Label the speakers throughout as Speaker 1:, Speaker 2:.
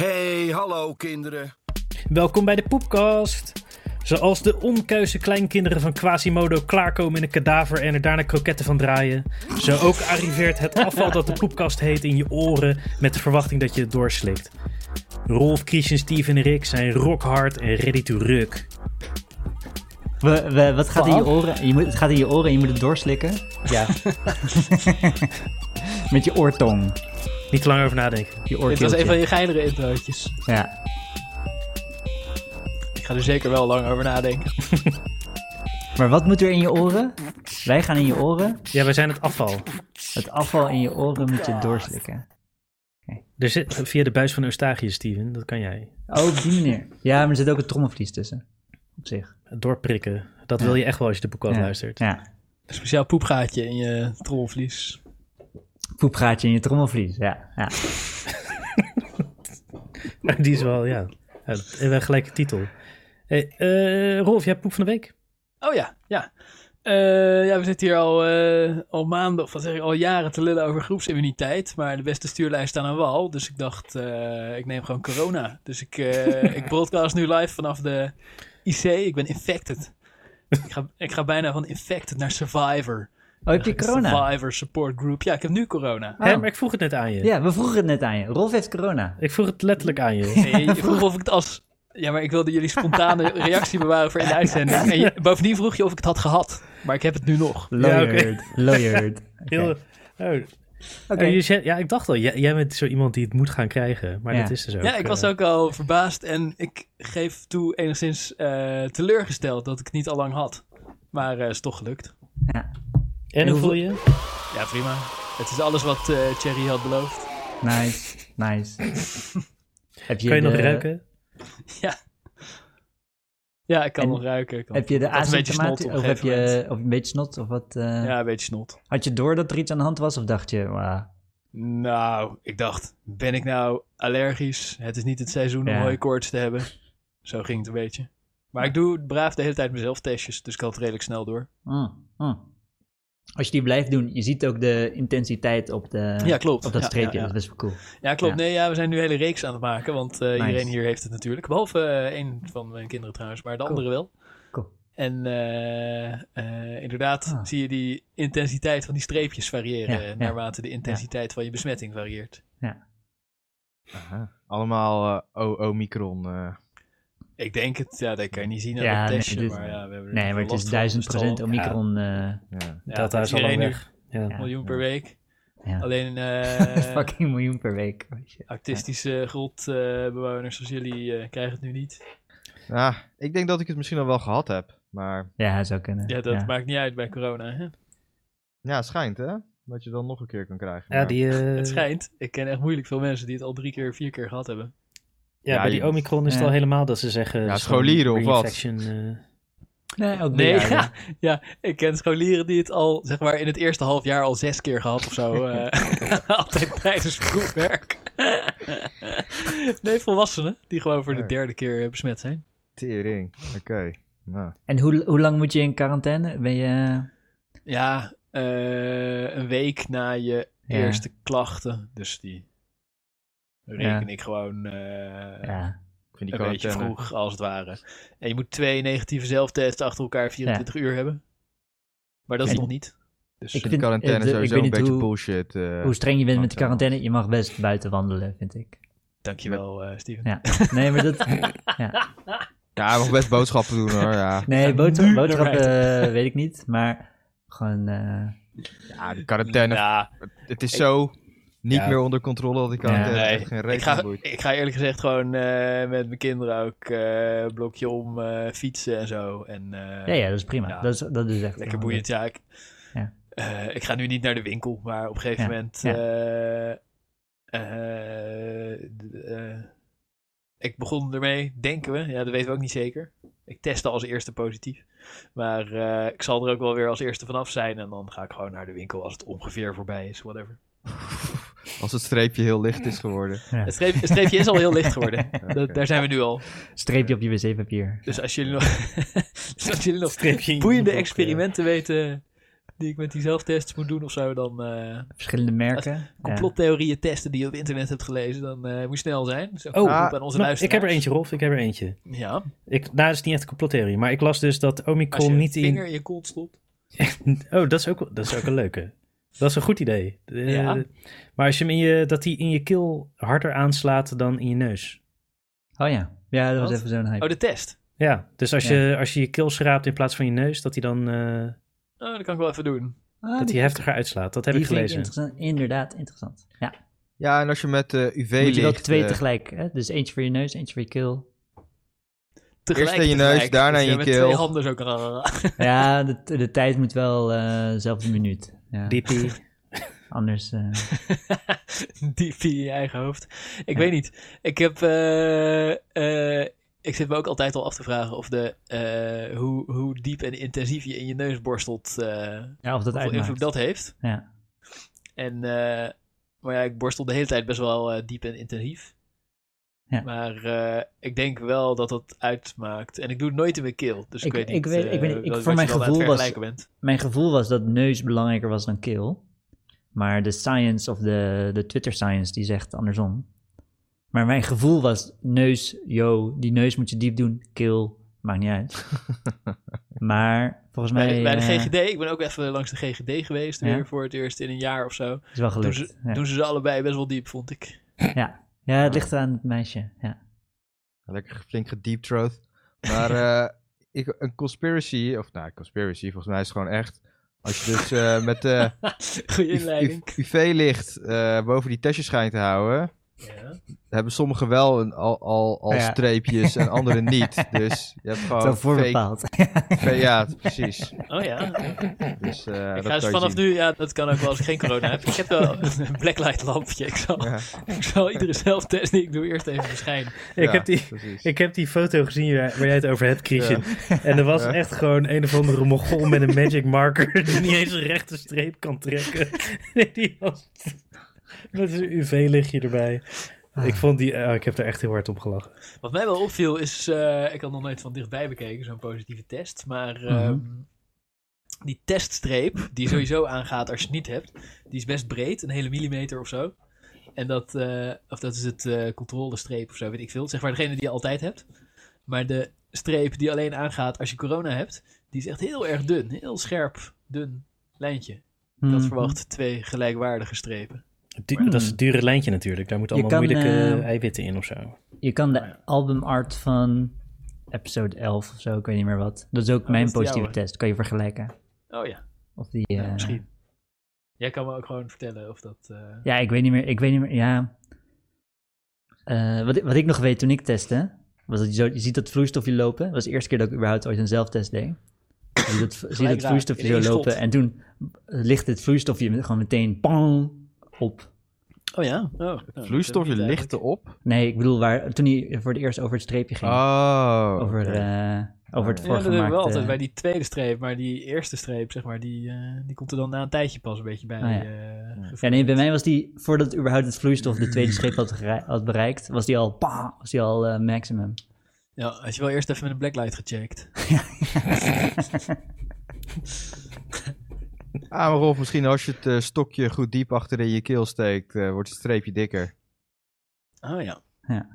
Speaker 1: Hey, hallo kinderen.
Speaker 2: Welkom bij de Poepkast. Zoals de onkuise kleinkinderen van Quasimodo klaarkomen in een kadaver en er daarna kroketten van draaien, zo ook arriveert het afval dat de Poepkast heet in je oren met de verwachting dat je het doorslikt. Rolf, Christian, Steve en Rick zijn rockhard en ready to ruk.
Speaker 3: We, we- wat gaat in je
Speaker 4: Wat?
Speaker 3: oren? Je moet, het gaat in je oren en je moet het doorslikken.
Speaker 4: Ja,
Speaker 3: Met je oortong.
Speaker 2: Niet te lang over nadenken.
Speaker 3: Je
Speaker 4: dit was
Speaker 3: oorkeeltje.
Speaker 4: een van je geinere introotjes.
Speaker 3: Ja.
Speaker 4: Ik ga er zeker wel lang over nadenken.
Speaker 3: Maar wat moet er in je oren? Wij gaan in je oren.
Speaker 2: Ja, wij zijn het afval.
Speaker 3: Het afval in je oren moet je doorslikken.
Speaker 2: Er zit via de buis van Eustachius, Steven. Dat kan jij.
Speaker 3: Oh, op die manier. Ja, maar er zit ook een trommelvlies tussen. Op zich.
Speaker 2: Het Doorprikken. Dat wil je echt wel als je de Poepkast
Speaker 3: Ja.
Speaker 2: luistert.
Speaker 3: Ja.
Speaker 4: Een speciaal poepgaatje in je trolvlies.
Speaker 3: Poepgaatje in je trommelvlies. Ja. ja. Oh,
Speaker 2: Maar die is wel, ja. ja en wel gelijke titel. Hey, eh, Rolf, jij hebt Poep van de Week?
Speaker 4: Oh ja, ja. Eh, ja, we zitten hier al, eh, al maanden, of wat zeg ik, al jaren te lullen over groepsimmuniteit. Maar de beste stuurlijst staan aan wal. Dus ik dacht, eh, ik neem gewoon corona. Dus ik, eh, ik broadcast nu live vanaf de IC. Ik ben infected. ik, ga, ik ga bijna van infected naar survivor.
Speaker 3: Oh, heb je corona?
Speaker 4: Survivor support group. Ja, ik heb nu corona.
Speaker 2: Hè,
Speaker 3: Oh.
Speaker 2: maar ik vroeg het net aan je.
Speaker 3: Ja, we vroegen het net aan je. Rolf heeft corona.
Speaker 2: Ik vroeg het letterlijk aan je.
Speaker 4: Nee, je vroeg of ik het als. Ja, maar ik wilde jullie spontane reactie bewaren voor in de uitzending. En je- bovendien vroeg je of ik het had gehad. Maar ik heb het nu nog.
Speaker 3: Lawyered. Lawyered. Oké.
Speaker 2: Heel, oh,
Speaker 3: Oké.
Speaker 2: eh, je zei- ja, ik dacht al, jij, jij bent zo iemand die het moet gaan krijgen. Maar
Speaker 3: Ja.
Speaker 2: dat is dus ook.
Speaker 4: Ja, ik was
Speaker 2: eh,
Speaker 4: ook al verbaasd. En ik geef toe enigszins eh, teleurgesteld dat ik het niet al lang had. Maar eh is toch gelukt.
Speaker 3: Ja.
Speaker 2: en hoe
Speaker 3: hoeveel-
Speaker 2: voel je?
Speaker 4: Ja, prima. Het is alles wat eh Thierry had beloofd.
Speaker 3: Nice. Nice. heb
Speaker 2: Kun je nog
Speaker 3: de-
Speaker 2: ruiken?
Speaker 4: Ja. Ja, ik kan
Speaker 3: En
Speaker 4: nog ruiken. ik Kan.
Speaker 3: Heb je de
Speaker 4: Ik had een beetje snot
Speaker 3: asymptomatische...
Speaker 4: op een
Speaker 3: Of heb
Speaker 4: gegeven
Speaker 3: je of een beetje snot? Of wat? eh?
Speaker 4: Ja, een beetje snot.
Speaker 3: Had je door dat er iets aan de hand was? Of dacht je, wauw.
Speaker 4: Nou, ik dacht, ben ik nou allergisch? Het is niet het seizoen om
Speaker 3: Ja.
Speaker 4: hooikoorts te hebben. Zo ging het een beetje. Maar ik doe braaf de hele tijd mezelf testjes, dus ik had het redelijk snel door.
Speaker 3: mm, mm. Als je die blijft doen, je ziet ook de intensiteit op, de,
Speaker 4: Ja, klopt.
Speaker 3: op dat
Speaker 4: Ja,
Speaker 3: streepje.
Speaker 4: ja, ja.
Speaker 3: Dat is best wel cool.
Speaker 4: Ja, klopt.
Speaker 3: Ja.
Speaker 4: Nee, ja, we zijn nu een hele reeks aan het maken, want eh,
Speaker 3: Nice.
Speaker 4: iedereen hier heeft het natuurlijk. Behalve eh, één van mijn kinderen trouwens, maar de
Speaker 3: Cool.
Speaker 4: andere wel.
Speaker 3: Cool.
Speaker 4: En eh, eh, inderdaad
Speaker 3: Ah.
Speaker 4: zie je die intensiteit van die streepjes variëren
Speaker 3: Ja, ja.
Speaker 4: naarmate de intensiteit van je besmetting varieert.
Speaker 5: Aha. Allemaal eh o Omicron. eh.
Speaker 4: Ik denk het, ja, dat kan je niet zien aan
Speaker 3: Ja,
Speaker 4: het
Speaker 3: nee,
Speaker 4: testje,
Speaker 3: dit-
Speaker 4: maar ja, we hebben er
Speaker 3: Nee, maar het
Speaker 4: last
Speaker 3: is
Speaker 4: van,
Speaker 3: duizend
Speaker 4: dus het zal-
Speaker 3: procent omicron. eh,
Speaker 5: ja.
Speaker 4: Ja,
Speaker 2: dat daar
Speaker 4: dus
Speaker 2: is al lang
Speaker 4: iedereen nu
Speaker 2: weg. Ja.
Speaker 3: Ja.
Speaker 4: miljoen per week.
Speaker 3: Ja.
Speaker 4: Alleen eh,
Speaker 3: fucking miljoen per week. Oh, shit.
Speaker 4: artistische grotbewoners zoals jullie eh, krijgen het nu niet.
Speaker 5: Ah, ik denk dat ik het misschien al wel gehad heb. Maar
Speaker 3: Ja, Eh. zou kunnen.
Speaker 4: Ja, dat maakt niet uit bij corona. Hè?
Speaker 5: ja, het schijnt hè? Dat je dan nog een keer kan krijgen.
Speaker 2: Ja,
Speaker 5: maar-
Speaker 2: die, eh,
Speaker 4: Het schijnt. Ik ken echt moeilijk veel mensen die het al drie keer, vier keer gehad hebben.
Speaker 2: ja,
Speaker 5: Ja,
Speaker 2: bij
Speaker 5: je-
Speaker 2: die Omicron is het
Speaker 3: Ja.
Speaker 2: al helemaal dat ze zeggen...
Speaker 5: Ja,
Speaker 2: het is gewoon
Speaker 5: scholieren of wat?
Speaker 2: reinfection, eh.
Speaker 3: Nee, ook
Speaker 4: Nee,
Speaker 3: bejaarden.
Speaker 4: ja, ja, ik ken scholieren die het al, zeg maar, in het eerste half jaar al zes keer gehad of zo. eh, altijd tijdens proefwerk. nee, volwassenen die gewoon voor de
Speaker 5: Ja.
Speaker 4: derde keer eh, besmet zijn.
Speaker 5: Tering. Oké. Nou.
Speaker 3: En hoe, hoe lang moet je in quarantaine? Ben je...
Speaker 4: Ja, eh, een week na je
Speaker 3: Ja.
Speaker 4: eerste klachten. Dus die reken
Speaker 3: Ja.
Speaker 4: ik gewoon eh,
Speaker 3: Ja,
Speaker 5: Ik vind die
Speaker 4: een beetje
Speaker 3: eh,
Speaker 5: quarantaine-
Speaker 4: vroeg, als het ware. En je moet twee negatieve zelftests achter elkaar 24 uur hebben. Maar dat is
Speaker 3: En-
Speaker 4: nog niet. Dus
Speaker 3: Ik
Speaker 5: Ik vind
Speaker 3: vind-
Speaker 5: die quarantaine
Speaker 3: eh, de- ik
Speaker 5: sowieso
Speaker 3: weet
Speaker 5: een
Speaker 3: niet
Speaker 5: beetje
Speaker 3: hoe-
Speaker 5: bullshit. eh.
Speaker 3: hoe streng je bent met de
Speaker 5: want, eh,
Speaker 3: quarantaine, je mag best buiten wandelen, vind ik.
Speaker 4: dankjewel, eh Steven.
Speaker 3: Ja. Nee, maar dat... Ja.
Speaker 5: Ja, hij mag best boodschappen doen hoor. Ja,
Speaker 3: Nee, boodschap,
Speaker 4: Nu
Speaker 3: boodschappen
Speaker 4: naar
Speaker 3: eh, weet ik niet, maar gewoon... eh,
Speaker 5: ja de quarantaine.
Speaker 4: Ja,
Speaker 5: Het is zo niet
Speaker 2: Ja.
Speaker 5: meer onder controle dat ik quarantaine
Speaker 4: nee.
Speaker 5: echt geen
Speaker 4: ik,
Speaker 5: reet
Speaker 4: ga,
Speaker 5: van boeit.
Speaker 4: ik ga eerlijk gezegd gewoon eh, met mijn kinderen ook eh, blokje om eh, fietsen en zo. En, eh,
Speaker 3: Ja, ja, dat is prima.
Speaker 4: Ja.
Speaker 3: Dat, is, dat is echt
Speaker 4: Lekker
Speaker 3: prima.
Speaker 4: boeiend, ja. Ik,
Speaker 3: Ja.
Speaker 4: Eh, ik ga nu niet naar de winkel, maar op een gegeven
Speaker 3: Ja,
Speaker 4: moment.
Speaker 3: ja.
Speaker 4: eh, eh, d- eh, ik begon ermee, denken we. Ja, dat weten we ook niet zeker. Ik testte als eerste positief. Maar eh, ik zal er ook wel weer als eerste vanaf zijn. En dan ga ik gewoon naar de winkel als het ongeveer voorbij is, whatever.
Speaker 5: Als het streepje heel licht is geworden.
Speaker 3: Ja.
Speaker 4: Het streepje, het streepje is al heel licht geworden. Dat, daar zijn we nu al.
Speaker 3: Streepje op je wc-papier.
Speaker 4: Dus als jullie nog, dus als jullie nog
Speaker 2: Streepje in je
Speaker 4: boeiende
Speaker 2: broek, eh.
Speaker 4: experimenten weten die ik met die zelftests moet doen of zo, dan eh,
Speaker 3: Verschillende merken.
Speaker 4: complottheorieën testen die je op internet hebt gelezen, dan eh, moet je snel zijn. Dat is ook
Speaker 2: Oh,
Speaker 4: een
Speaker 5: ah,
Speaker 4: oproep aan onze
Speaker 2: Nou, ik
Speaker 4: luisteraars.
Speaker 2: heb er eentje, Rolf. Ik heb er eentje.
Speaker 4: Ja,
Speaker 2: Ik, nou, dat is niet echt een complottheorie. Maar ik las dus dat
Speaker 4: als je
Speaker 2: Omicron
Speaker 4: je
Speaker 2: niet in...
Speaker 4: vinger in je kont stopt.
Speaker 2: Oh, dat is ook, dat is ook een leuke. Dat is een goed idee. Eh,
Speaker 4: Ja.
Speaker 2: Maar als je hem in je, dat die in je keel harder aanslaat dan in je neus.
Speaker 3: Oh ja. Ja, dat
Speaker 4: Wat?
Speaker 3: was even zo'n
Speaker 4: Oh,
Speaker 3: hype.
Speaker 4: de test.
Speaker 2: Ja, dus als,
Speaker 3: Ja.
Speaker 2: Je, als je je keel schraapt in plaats van je neus, dat die dan eh,
Speaker 4: Oh, dat kan ik wel even doen.
Speaker 3: Ah,
Speaker 2: dat
Speaker 3: die-
Speaker 2: die heftiger uitslaat. Dat heb
Speaker 3: die
Speaker 2: ik
Speaker 3: vind
Speaker 2: gelezen.
Speaker 3: interessant. Inderdaad, interessant. Ja.
Speaker 5: Ja, en als je met eh UV
Speaker 3: Moet je wel
Speaker 5: licht,
Speaker 3: twee
Speaker 5: eh,
Speaker 3: tegelijk. Hè? Dus eentje voor je neus, eentje voor je keel.
Speaker 4: Tegelijk,
Speaker 5: Eerst in je neus,
Speaker 4: tegelijk.
Speaker 5: daarna
Speaker 4: Dus
Speaker 5: in je
Speaker 4: met
Speaker 5: keel.
Speaker 4: twee handen zo. kan-
Speaker 3: Ja, de, de tijd moet wel eh zelfde minuut. Ja.
Speaker 2: Diepie.
Speaker 3: Anders. eh,
Speaker 4: Diep in je eigen hoofd. Ik weet niet. Ik heb... eh, eh, ik zit me ook altijd al af te vragen of de, eh, hoe, hoe diep en intensief je in je neus borstelt, eh
Speaker 3: ja, of dat
Speaker 4: hoeveel invloed
Speaker 3: uitmaakt.
Speaker 4: dat heeft.
Speaker 3: Ja.
Speaker 4: En, eh, maar ja, ik borstel de hele tijd best wel eh, diep en intensief.
Speaker 3: Ja.
Speaker 4: Maar eh, ik denk wel dat dat uitmaakt. En ik doe het nooit in mijn keel. Dus ik,
Speaker 3: Ik-
Speaker 4: weet
Speaker 3: ik
Speaker 4: niet.
Speaker 3: weet- ik weet niet.
Speaker 4: eh,
Speaker 3: Ik-
Speaker 4: wat-
Speaker 3: voor mijn
Speaker 4: wat je dan aan het
Speaker 3: gevoel was-
Speaker 4: vergelijken bent.
Speaker 3: Mijn gevoel was dat neus belangrijker was dan keel. Maar de science of de, de Twitter science die zegt andersom. Maar mijn gevoel was neus, yo, die neus moet je diep doen. Keel, maakt niet uit. maar volgens mij
Speaker 4: Bij, bij de
Speaker 3: eh,
Speaker 4: GGD, ik ben ook even langs de GGD geweest.
Speaker 3: Ja.
Speaker 4: Weer voor het eerst in een jaar of zo.
Speaker 3: is wel
Speaker 4: Doen
Speaker 3: gelukt.
Speaker 4: ze,
Speaker 3: ja.
Speaker 4: doen ze ze allebei best wel diep, vond ik.
Speaker 3: ja. Ja, het ligt aan het meisje. Ja.
Speaker 5: Lekker flink gedeep throat. Maar eh, ik, een conspiracy, of nou, conspiracy, volgens mij is het gewoon echt. Als je dus eh, met eh,
Speaker 4: Goeie
Speaker 5: U-
Speaker 4: inleiding.
Speaker 5: U- UV-licht eh, boven die testjes schijnt te houden,
Speaker 4: Ja.
Speaker 5: hebben sommigen wel een, al, al, al
Speaker 3: Ja.
Speaker 5: streepjes en anderen niet. Dus je hebt gewoon
Speaker 3: Zo
Speaker 5: fake,
Speaker 3: voorbepaald.
Speaker 5: fake- ja, precies.
Speaker 4: Oh ja.
Speaker 5: Dus, eh,
Speaker 4: ik
Speaker 5: dat
Speaker 4: ga dus
Speaker 5: kan je
Speaker 4: vanaf
Speaker 5: zien.
Speaker 4: nu, ja, dat kan ook wel als ik geen corona heb. Ik heb wel een blacklight lampje. Ik zal,
Speaker 5: Ja.
Speaker 4: ik zal iedere zelftest die ik doe eerst even verschijnen.
Speaker 2: ik,
Speaker 5: Ja,
Speaker 2: heb die,
Speaker 5: precies.
Speaker 2: ik heb die foto gezien waar, waar jij het over hebt, Christian. En er was echt gewoon een of andere mogol met een magic marker die niet eens een rechte streep kan trekken. Nee, die was... Dat is een UV-lichtje erbij.
Speaker 3: Ah.
Speaker 2: Ik vond die... oh, ik heb er echt heel hard op gelachen.
Speaker 4: Wat mij wel opviel is, eh, ik had nog nooit van dichtbij bekeken, zo'n positieve test. Maar ehm, die teststreep, die sowieso aangaat als je het niet hebt, die is best breed, een hele millimeter of zo. En dat, eh, of dat is het eh, controlestreep of zo, weet ik veel. Zeg maar degene die je altijd hebt. Maar de streep die alleen aangaat als je corona hebt, die is echt heel erg dun. Heel scherp, dun lijntje. Ik had
Speaker 3: Mhm.
Speaker 4: verwacht twee gelijkwaardige strepen.
Speaker 2: Du- Dat is het dure lijntje natuurlijk. Daar moeten
Speaker 3: Hmm. Je
Speaker 2: allemaal
Speaker 3: kan,
Speaker 2: moeilijke
Speaker 3: eh,
Speaker 2: eiwitten in of zo.
Speaker 3: Je kan de albumart van episode 11 of zo, ik weet niet meer wat. Dat is ook mijn
Speaker 4: Oh, dat is die
Speaker 3: positieve
Speaker 4: oude.
Speaker 3: test. Kan je vergelijken.
Speaker 4: Oh ja,
Speaker 3: Of die, eh,
Speaker 4: misschien. Jij kan me ook gewoon vertellen of dat... eh,
Speaker 3: Ja, ik weet niet meer. Ik weet niet meer. Ja. Eh, wat, ik- wat ik nog weet toen ik testte, was dat je, zo, je ziet dat vloeistofje lopen. Dat was de eerste keer dat ik überhaupt ooit een zelftest deed. Je ziet dat, zie je
Speaker 4: Gelijk
Speaker 3: dat
Speaker 4: raak,
Speaker 3: vloeistofje
Speaker 4: in
Speaker 3: zo
Speaker 4: één
Speaker 3: lopen
Speaker 4: schot.
Speaker 3: en toen ligt het vloeistofje met- gewoon meteen pang op.
Speaker 4: Oh ja? Oh, nou, dat
Speaker 5: Vloeistofje
Speaker 4: heb ik niet
Speaker 5: licht erop.
Speaker 3: Nee, ik bedoel waar, toen hij voor het eerst over het streepje ging.
Speaker 5: Oh.
Speaker 3: over eh, over
Speaker 5: oké.
Speaker 3: het
Speaker 5: Ja,
Speaker 4: eigenlijk. Ja, dat
Speaker 3: voorgemaakte...
Speaker 4: hebben we wel altijd bij die tweede streep. Maar die eerste streep, zeg maar, die, eh, die komt er dan na een tijdje pas een beetje bij.
Speaker 3: Ah, ja.
Speaker 4: eh, gevoeld.
Speaker 3: Ja, nee, bij mij was die, voordat überhaupt het vloeistof de tweede streep had, gerei- had bereikt, was die al, pa, was die al eh, maximum.
Speaker 4: Ja, had je wel eerst even met een blacklight gecheckt.
Speaker 5: Ah, maar Rolf, misschien als je het eh, stokje goed diep achterin je keel steekt, eh, wordt het streepje dikker.
Speaker 4: Oh ja.
Speaker 3: Ja.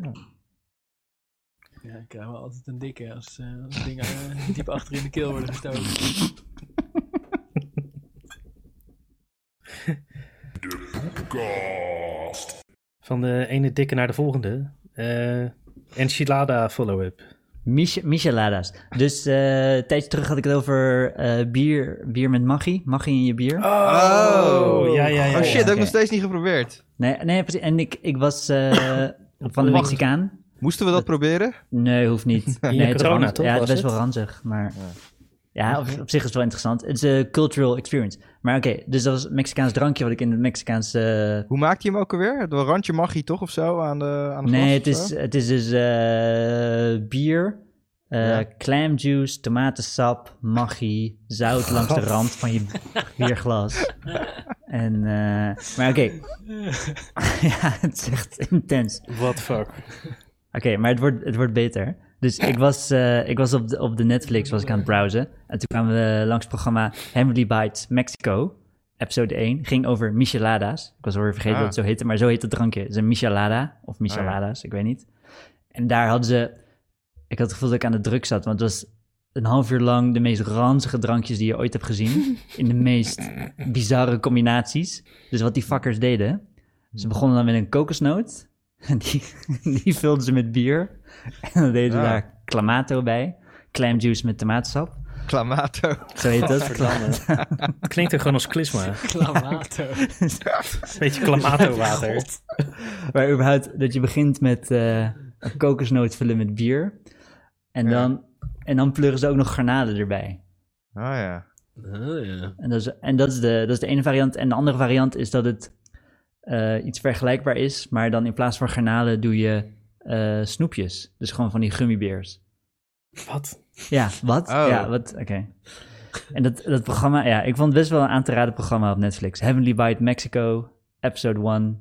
Speaker 4: Ja, ik krijg wel altijd een dikke als, eh, als dingen eh, diep achter in de keel worden gestoken.
Speaker 2: Van de ene dikke naar de volgende. Eh enchilada follow-up.
Speaker 3: Mich- Micheladas. Dus eh, een tijdje terug had ik het over eh, bier, bier met magie. Magie in je bier.
Speaker 2: Oh, ja, ja, ja.
Speaker 5: Oh shit, dat heb ik
Speaker 3: Oké.
Speaker 5: nog steeds niet geprobeerd.
Speaker 3: Nee, nee, precies. En ik, ik was eh, van de
Speaker 5: Mag-
Speaker 3: Mexicaan.
Speaker 5: Moesten we dat proberen?
Speaker 3: Nee, hoeft niet.
Speaker 2: In
Speaker 3: nee, het is
Speaker 2: corona,
Speaker 3: ranzig.
Speaker 2: toch,
Speaker 3: Ja, het is
Speaker 2: was
Speaker 3: best wel
Speaker 2: het?
Speaker 3: ranzig, maar... Ja, op, op zich is het wel interessant. Het is een cultural experience. Maar oké, dus dat was een Mexicaans drankje wat ik in het Mexicaans eh,
Speaker 5: Hoe maakt je hem ook alweer? Door randje magie toch of zo aan de aan de
Speaker 3: Nee,
Speaker 5: glas
Speaker 3: het
Speaker 5: of zo?
Speaker 3: is, het is dus eh, bier, eh,
Speaker 5: Ja.
Speaker 3: clam juice, tomatensap, maggi, zout langs de
Speaker 2: God.
Speaker 3: rand van je bierglas. en, eh, maar oké. ja, het is echt intens. Oké,
Speaker 2: What the fuck.
Speaker 3: maar het wordt, het wordt beter. Dus ik was, eh, ik was op, de, op de Netflix was ik aan het browsen. En toen kwamen we langs het programma Heavenly Bites Mexico. Episode 1 ging over micheladas. Ik was alweer vergeten
Speaker 5: Ah.
Speaker 3: dat het zo heette, maar zo heet het drankje. Het is een michelada of micheladas, ik weet niet. En daar hadden ze... Ik had het gevoel dat ik aan de druk zat, want het was een half uur lang de meest ranzige drankjes die je ooit hebt gezien. in de meest bizarre combinaties. Dus wat die fuckers deden, ze begonnen dan met een kokosnoot. En die, die vulden ze met bier. En dan deden ze
Speaker 5: Ja.
Speaker 3: daar clamato bij. Clam juice met tomatensap.
Speaker 5: Clamato. Oh,
Speaker 3: Zo heet dat.
Speaker 2: Het klinkt er gewoon als klisma.
Speaker 4: Clamato.
Speaker 2: Een beetje Clamato-water.
Speaker 4: God.
Speaker 3: Maar überhaupt dat je begint met eh, een kokosnoot vullen met bier. En
Speaker 5: Ja.
Speaker 3: dan, en dan pleuren ze ook nog garnalen erbij.
Speaker 5: Ah ja.
Speaker 1: Ah, ja.
Speaker 3: En, dat is, en dat, is de, dat is de ene variant. En de andere variant is dat het eh, iets vergelijkbaar is. Maar dan in plaats van garnalen doe je eh, snoepjes. Dus gewoon van die gummibeers.
Speaker 2: Wat?
Speaker 3: Ja, wat?
Speaker 5: Oh.
Speaker 3: Ja, wat? Oké. En dat, dat programma, ja, ik vond het best wel een aan te raden programma op Netflix. Heavenly Bite Mexico, episode 1,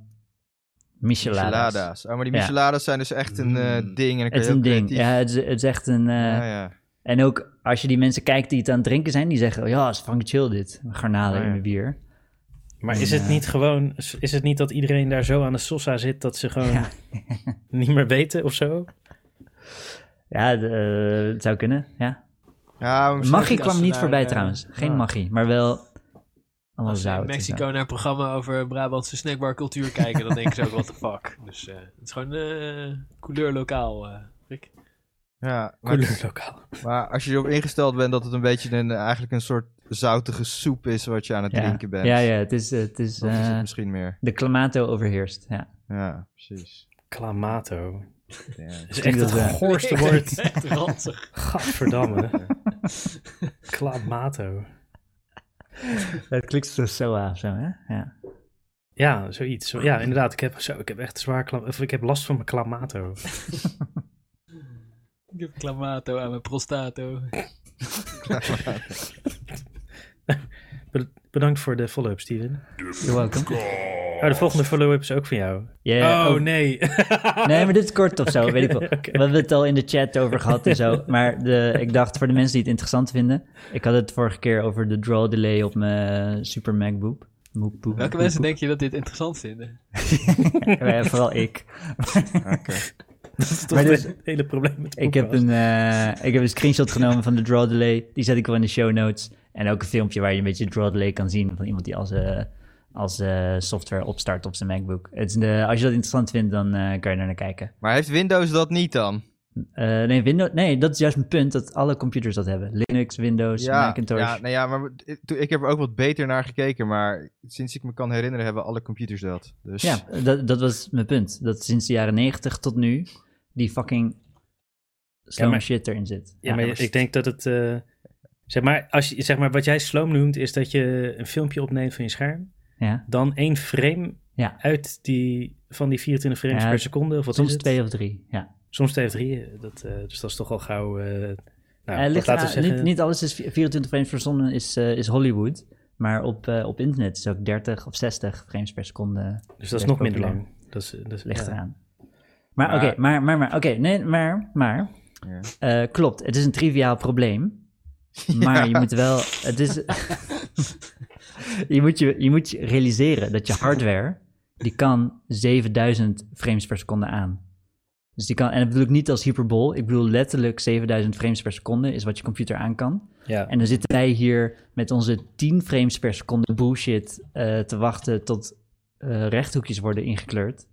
Speaker 3: Micheladas.
Speaker 5: Micheladas. Oh, maar die
Speaker 3: Ja. Mm.
Speaker 5: micheladas zijn dus echt een eh, ding. En dan
Speaker 3: Het
Speaker 5: kun
Speaker 3: is
Speaker 5: je
Speaker 3: een
Speaker 5: heel
Speaker 3: ding.
Speaker 5: creatief-
Speaker 3: Ja, het is, het is echt een... eh,
Speaker 5: Ja, ja.
Speaker 3: En ook als je die mensen kijkt die het aan het drinken zijn, die zeggen, ja, is fucking chill dit. Garnalen
Speaker 5: Oh,
Speaker 3: in
Speaker 5: ja.
Speaker 3: mijn bier.
Speaker 2: Maar is het niet gewoon... Is het niet dat iedereen daar zo aan de sossa zit dat ze gewoon
Speaker 3: Ja.
Speaker 2: niet meer weten of zo?
Speaker 3: Ja, d- eh, het zou kunnen, ja.
Speaker 5: Ja, maar misschien-
Speaker 3: Maggie
Speaker 4: als
Speaker 3: kwam
Speaker 4: ze
Speaker 3: niet
Speaker 4: daar,
Speaker 3: voorbij
Speaker 4: eh,
Speaker 3: trouwens. Geen
Speaker 5: ja.
Speaker 3: magie, maar wel... Allemaal
Speaker 4: Als ze
Speaker 3: zout.
Speaker 4: in
Speaker 3: en zo.
Speaker 4: Mexico naar een programma over Brabantse snackbarcultuur kijken, dan denken ze ook, what the fuck. Dus eh, het is gewoon eh couleur lokaal, eh, Rick.
Speaker 5: Ja, maar,
Speaker 2: Couleurlokaal.
Speaker 5: maar als je erop ingesteld bent dat het een beetje een, eigenlijk een soort zoutige soep is wat je aan het
Speaker 3: Ja.
Speaker 5: drinken bent.
Speaker 3: Ja, ja, het is... Het is,
Speaker 5: Dan is
Speaker 3: eh,
Speaker 5: het misschien meer.
Speaker 3: de clamato overheerst, ja.
Speaker 5: Ja, precies.
Speaker 2: Clamato.
Speaker 5: Ja.
Speaker 2: Dat is echt het
Speaker 3: dat, eh,
Speaker 2: goorste
Speaker 4: Echt,
Speaker 2: woord.
Speaker 4: echt ranzig.
Speaker 2: Gadverdamme. Clamato.
Speaker 3: Het klinkt zo zo af, zo hè? Ja.
Speaker 2: Ja, zoiets. Zo-
Speaker 3: Ah.
Speaker 2: Ja, inderdaad. Ik heb, zo, ik heb echt zwaar... kla- Of ik heb last van mijn clamato.
Speaker 4: Ik heb clamato aan mijn prostato.
Speaker 2: Be- bedankt voor de follow-up, Steven.
Speaker 3: You're welcome.
Speaker 2: Oh, de volgende follow-up is ook van jou.
Speaker 3: Ja,
Speaker 2: oh,
Speaker 3: ook-
Speaker 2: nee.
Speaker 3: Nee, maar dit is kort of zo, weet ik wel. We hebben het al in de chat over gehad en zo. Maar de, ik dacht voor de mensen die het interessant vinden. Ik had het vorige keer over de draw delay op mijn Super MacBook. Boek, boek,
Speaker 4: Welke
Speaker 3: boek,
Speaker 4: mensen denk je dat dit interessant vinden?
Speaker 3: boek. Ja, vooral ik.
Speaker 5: Oké.
Speaker 2: Dat is toch
Speaker 3: Maar dus-
Speaker 2: het hele probleem met de
Speaker 3: Ik heb,
Speaker 2: podcast.
Speaker 3: een, eh, ik heb een screenshot genomen van de draw delay. Die zet ik wel in de show notes. En ook een filmpje waar je een beetje draw delay kan zien van iemand die als, eh, als eh, software opstart op zijn MacBook. Het is de- als je dat interessant vindt, dan eh, kan je daar naar kijken.
Speaker 5: Maar heeft Windows dat niet dan?
Speaker 3: Eh, nee, Windows, nee, dat is juist mijn punt, dat alle computers dat hebben. Linux, Windows, Macintosh.
Speaker 5: ja, nou ja, maar ik- toen- ik heb er ook wat beter naar gekeken, maar sinds ik me kan herinneren hebben alle computers dat. Dus
Speaker 3: Ja, dat, dat was mijn punt. Dat sinds de jaren 90 tot nu die fucking slow
Speaker 2: Ja, maar-
Speaker 3: shit erin zit.
Speaker 2: Ja, maar ik denk dat het... eh, zeg, maar, als je, zeg maar, wat jij sloom noemt, is dat je een filmpje opneemt van je scherm.
Speaker 3: Ja,
Speaker 2: Dan één frame
Speaker 3: Ja.
Speaker 2: uit die, van die 24 frames
Speaker 3: Ja,
Speaker 2: per seconde. Of wat is
Speaker 3: soms
Speaker 2: het?
Speaker 3: twee of drie, ja.
Speaker 2: Soms twee of drie. eh, Dat, eh, dus dat is toch al gauw... eh, nou,
Speaker 3: Eh,
Speaker 2: wat laten
Speaker 3: ligt
Speaker 2: we
Speaker 3: eraan-
Speaker 2: zeggen...
Speaker 3: niet, niet alles is vi- 24 frames per seconde is, eh, is Hollywood. Maar op, eh, op internet is het ook 30 of 60 frames per seconde
Speaker 2: dus dat is
Speaker 3: best
Speaker 2: nog minder
Speaker 3: populair.
Speaker 2: lang. Dat is, dat is,
Speaker 3: dus ligt
Speaker 2: ja.
Speaker 3: eraan. Maar
Speaker 5: Maar-
Speaker 3: oké, maar, maar, maar, oké, nee, maar, maar.
Speaker 5: Ja.
Speaker 3: Eh, klopt, het is een triviaal probleem. Maar je moet wel, het is, je, moet je, je moet je realiseren dat je hardware, die kan 7000 frames per seconde aan. Dus die kan, en dat bedoel ik niet als hyperbol, ik bedoel letterlijk 7000 frames per seconde is wat je computer aan kan.
Speaker 2: Ja.
Speaker 3: En dan zitten wij hier met onze 10 frames per seconde bullshit eh, te wachten tot eh, rechthoekjes worden ingekleurd.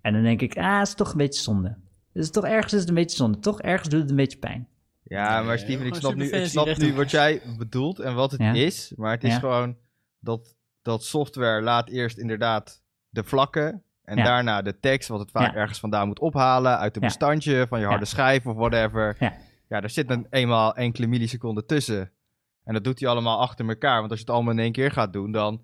Speaker 3: En dan denk ik, ah, is toch een beetje zonde. Dus toch ergens is het een beetje zonde. Toch ergens doet het een beetje pijn.
Speaker 5: ja maar
Speaker 4: Nee,
Speaker 5: Steven, ik
Speaker 4: gewoon
Speaker 5: snap, nu, ik
Speaker 4: superfancy
Speaker 5: snap nu
Speaker 4: rechthoek.
Speaker 5: wat jij bedoelt en wat het
Speaker 3: Ja.
Speaker 5: is, maar het is
Speaker 3: Ja.
Speaker 5: gewoon dat, dat software laat eerst inderdaad de vlakken en
Speaker 3: Ja.
Speaker 5: daarna de tekst, wat het vaak
Speaker 3: Ja.
Speaker 5: ergens vandaan moet ophalen, uit een
Speaker 3: Ja.
Speaker 5: bestandje van je harde
Speaker 3: Ja.
Speaker 5: schijf of whatever.
Speaker 3: Ja.
Speaker 5: ja, daar zit dan eenmaal enkele milliseconden tussen. En dat doet hij allemaal achter elkaar, want als je het allemaal in één keer gaat doen, dan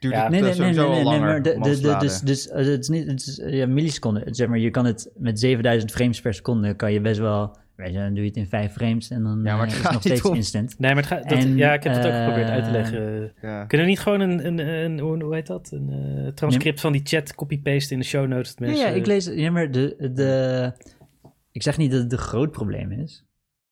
Speaker 5: duurt
Speaker 2: Ja.
Speaker 5: het eh, sowieso al langer.
Speaker 3: maar de-
Speaker 5: om
Speaker 3: de-
Speaker 5: af te
Speaker 3: de-
Speaker 5: laden.
Speaker 3: dus, dus eh, het is niet, het is, eh, ja, milliseconden. Zeg maar, je kan het met 7000 frames per seconde, kan je best wel, weet je, dan doe je het in 5 frames en dan
Speaker 5: Ja, maar
Speaker 3: eh,
Speaker 5: het
Speaker 3: is
Speaker 5: gaat
Speaker 3: het nog
Speaker 5: niet
Speaker 3: steeds
Speaker 5: om-
Speaker 3: instant.
Speaker 2: Nee, maar het gaat, dat,
Speaker 3: En,
Speaker 2: ja, ik heb dat ook
Speaker 3: eh,
Speaker 2: geprobeerd uit te leggen.
Speaker 5: ja.
Speaker 2: Kunnen we niet gewoon een, een, een- hoe, hoe heet dat? Een eh,
Speaker 5: dus, eh,
Speaker 2: transcript van die chat copy-paste in de show notes? dat
Speaker 3: Ja,
Speaker 2: mensen-
Speaker 3: ja, ik lees, ja, maar de, de, Ik zeg niet dat het een groot probleem is.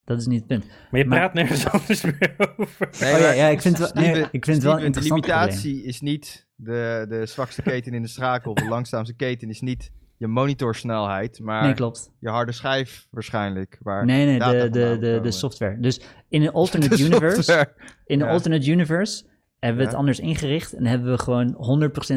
Speaker 3: Dat is niet het punt.
Speaker 2: Maar je
Speaker 3: Maar-
Speaker 2: praat nergens anders meer over.
Speaker 5: Nee,
Speaker 3: oh ja,
Speaker 5: maar-
Speaker 3: ja, ik vind het wel, nee,
Speaker 5: Steven,
Speaker 3: ik vind het wel een
Speaker 5: Steven, de
Speaker 3: interessant probleem.
Speaker 5: limitatie is niet de, de zwakste keten in de schakel. De langzaamste keten is niet je monitorsnelheid, maar
Speaker 3: Nee, klopt.
Speaker 5: je harde schijf waarschijnlijk. Waar
Speaker 3: Nee, nee,
Speaker 5: data
Speaker 3: de, de,
Speaker 5: vandaan
Speaker 3: de, de
Speaker 5: komen.
Speaker 3: software. Dus in een alternate
Speaker 5: De
Speaker 3: universe,
Speaker 5: software.
Speaker 3: in een
Speaker 5: ja.
Speaker 3: alternate universe hebben we het
Speaker 5: Ja.
Speaker 3: anders ingericht en hebben we gewoon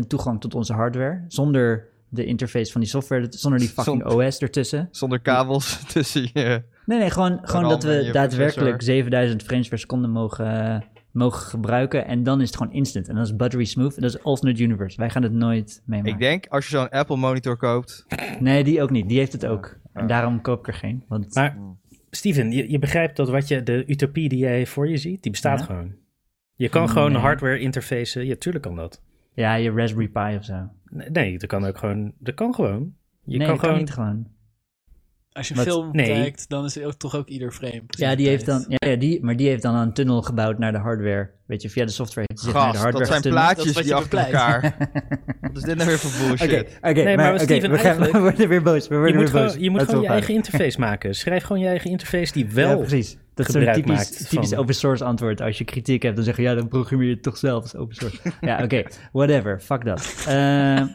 Speaker 3: 100% toegang tot onze hardware zonder de interface van die software, zonder die fucking OS ertussen.
Speaker 5: Zonder kabels tussen je...
Speaker 3: Nee, nee, gewoon, gewoon
Speaker 5: RAM
Speaker 3: dat
Speaker 5: en
Speaker 3: we
Speaker 5: je
Speaker 3: daadwerkelijk
Speaker 5: processor.
Speaker 3: 7000 frames per seconde mogen, eh, mogen gebruiken en dan is het gewoon instant. En dat is buttery smooth en dat is alternate universe. Wij gaan het nooit
Speaker 5: Ik
Speaker 3: meemaken.
Speaker 5: denk, als je zo'n Apple monitor koopt...
Speaker 3: Nee, die ook niet. Die heeft het ook. En daarom koop ik er geen. Want
Speaker 2: Maar Steven, je, je begrijpt dat wat je, de utopie die jij voor je ziet, die bestaat
Speaker 3: Ja.
Speaker 2: gewoon. Je kan gewoon
Speaker 3: Nee.
Speaker 2: hardware interfacen. Ja, tuurlijk kan dat.
Speaker 3: ja, je Raspberry Pi of zo.
Speaker 2: Nee, Nee, dat kan ook gewoon. Dat kan gewoon. Je
Speaker 3: nee,
Speaker 2: kan
Speaker 3: dat
Speaker 2: gewoon.
Speaker 3: kan niet gewoon.
Speaker 4: Als je een
Speaker 3: Wat?
Speaker 4: film
Speaker 2: Nee.
Speaker 4: kijkt, dan is er ook, toch ook ieder frame. precies
Speaker 3: Ja, die heeft dan,
Speaker 4: tijd.
Speaker 3: ja, ja, die, maar die heeft dan een tunnel gebouwd naar de hardware. Weet je, via de software heeft hij zich naar de
Speaker 5: Gast,
Speaker 3: hardware
Speaker 5: dat zijn
Speaker 3: getunneld.
Speaker 5: plaatjes
Speaker 4: Dat is wat
Speaker 5: die
Speaker 4: je
Speaker 5: achter
Speaker 4: bepleit.
Speaker 5: elkaar... Wat is dit nou weer voor bullshit?
Speaker 3: Oké, oké,
Speaker 2: Nee,
Speaker 3: maar,
Speaker 2: maar
Speaker 3: oké,
Speaker 2: Steven,
Speaker 3: we, gaan, we
Speaker 2: eigenlijk-
Speaker 3: worden weer boos. We
Speaker 2: Je
Speaker 3: worden
Speaker 2: moet
Speaker 3: weer boos.
Speaker 2: gewoon, je, moet
Speaker 3: Laten
Speaker 2: gewoon je
Speaker 3: we ophouden.
Speaker 2: eigen interface maken. Schrijf gewoon je eigen interface die wel.
Speaker 3: Ja, precies. Dat is zo'n
Speaker 2: gebruik
Speaker 3: typisch,
Speaker 2: maakt
Speaker 3: typisch
Speaker 2: van-
Speaker 3: open source antwoord. Als je kritiek hebt, dan zeg je, ja, dan programmeer je het toch zelf. Dat is open source. ja, oké, whatever. Fuck dat. Ehm,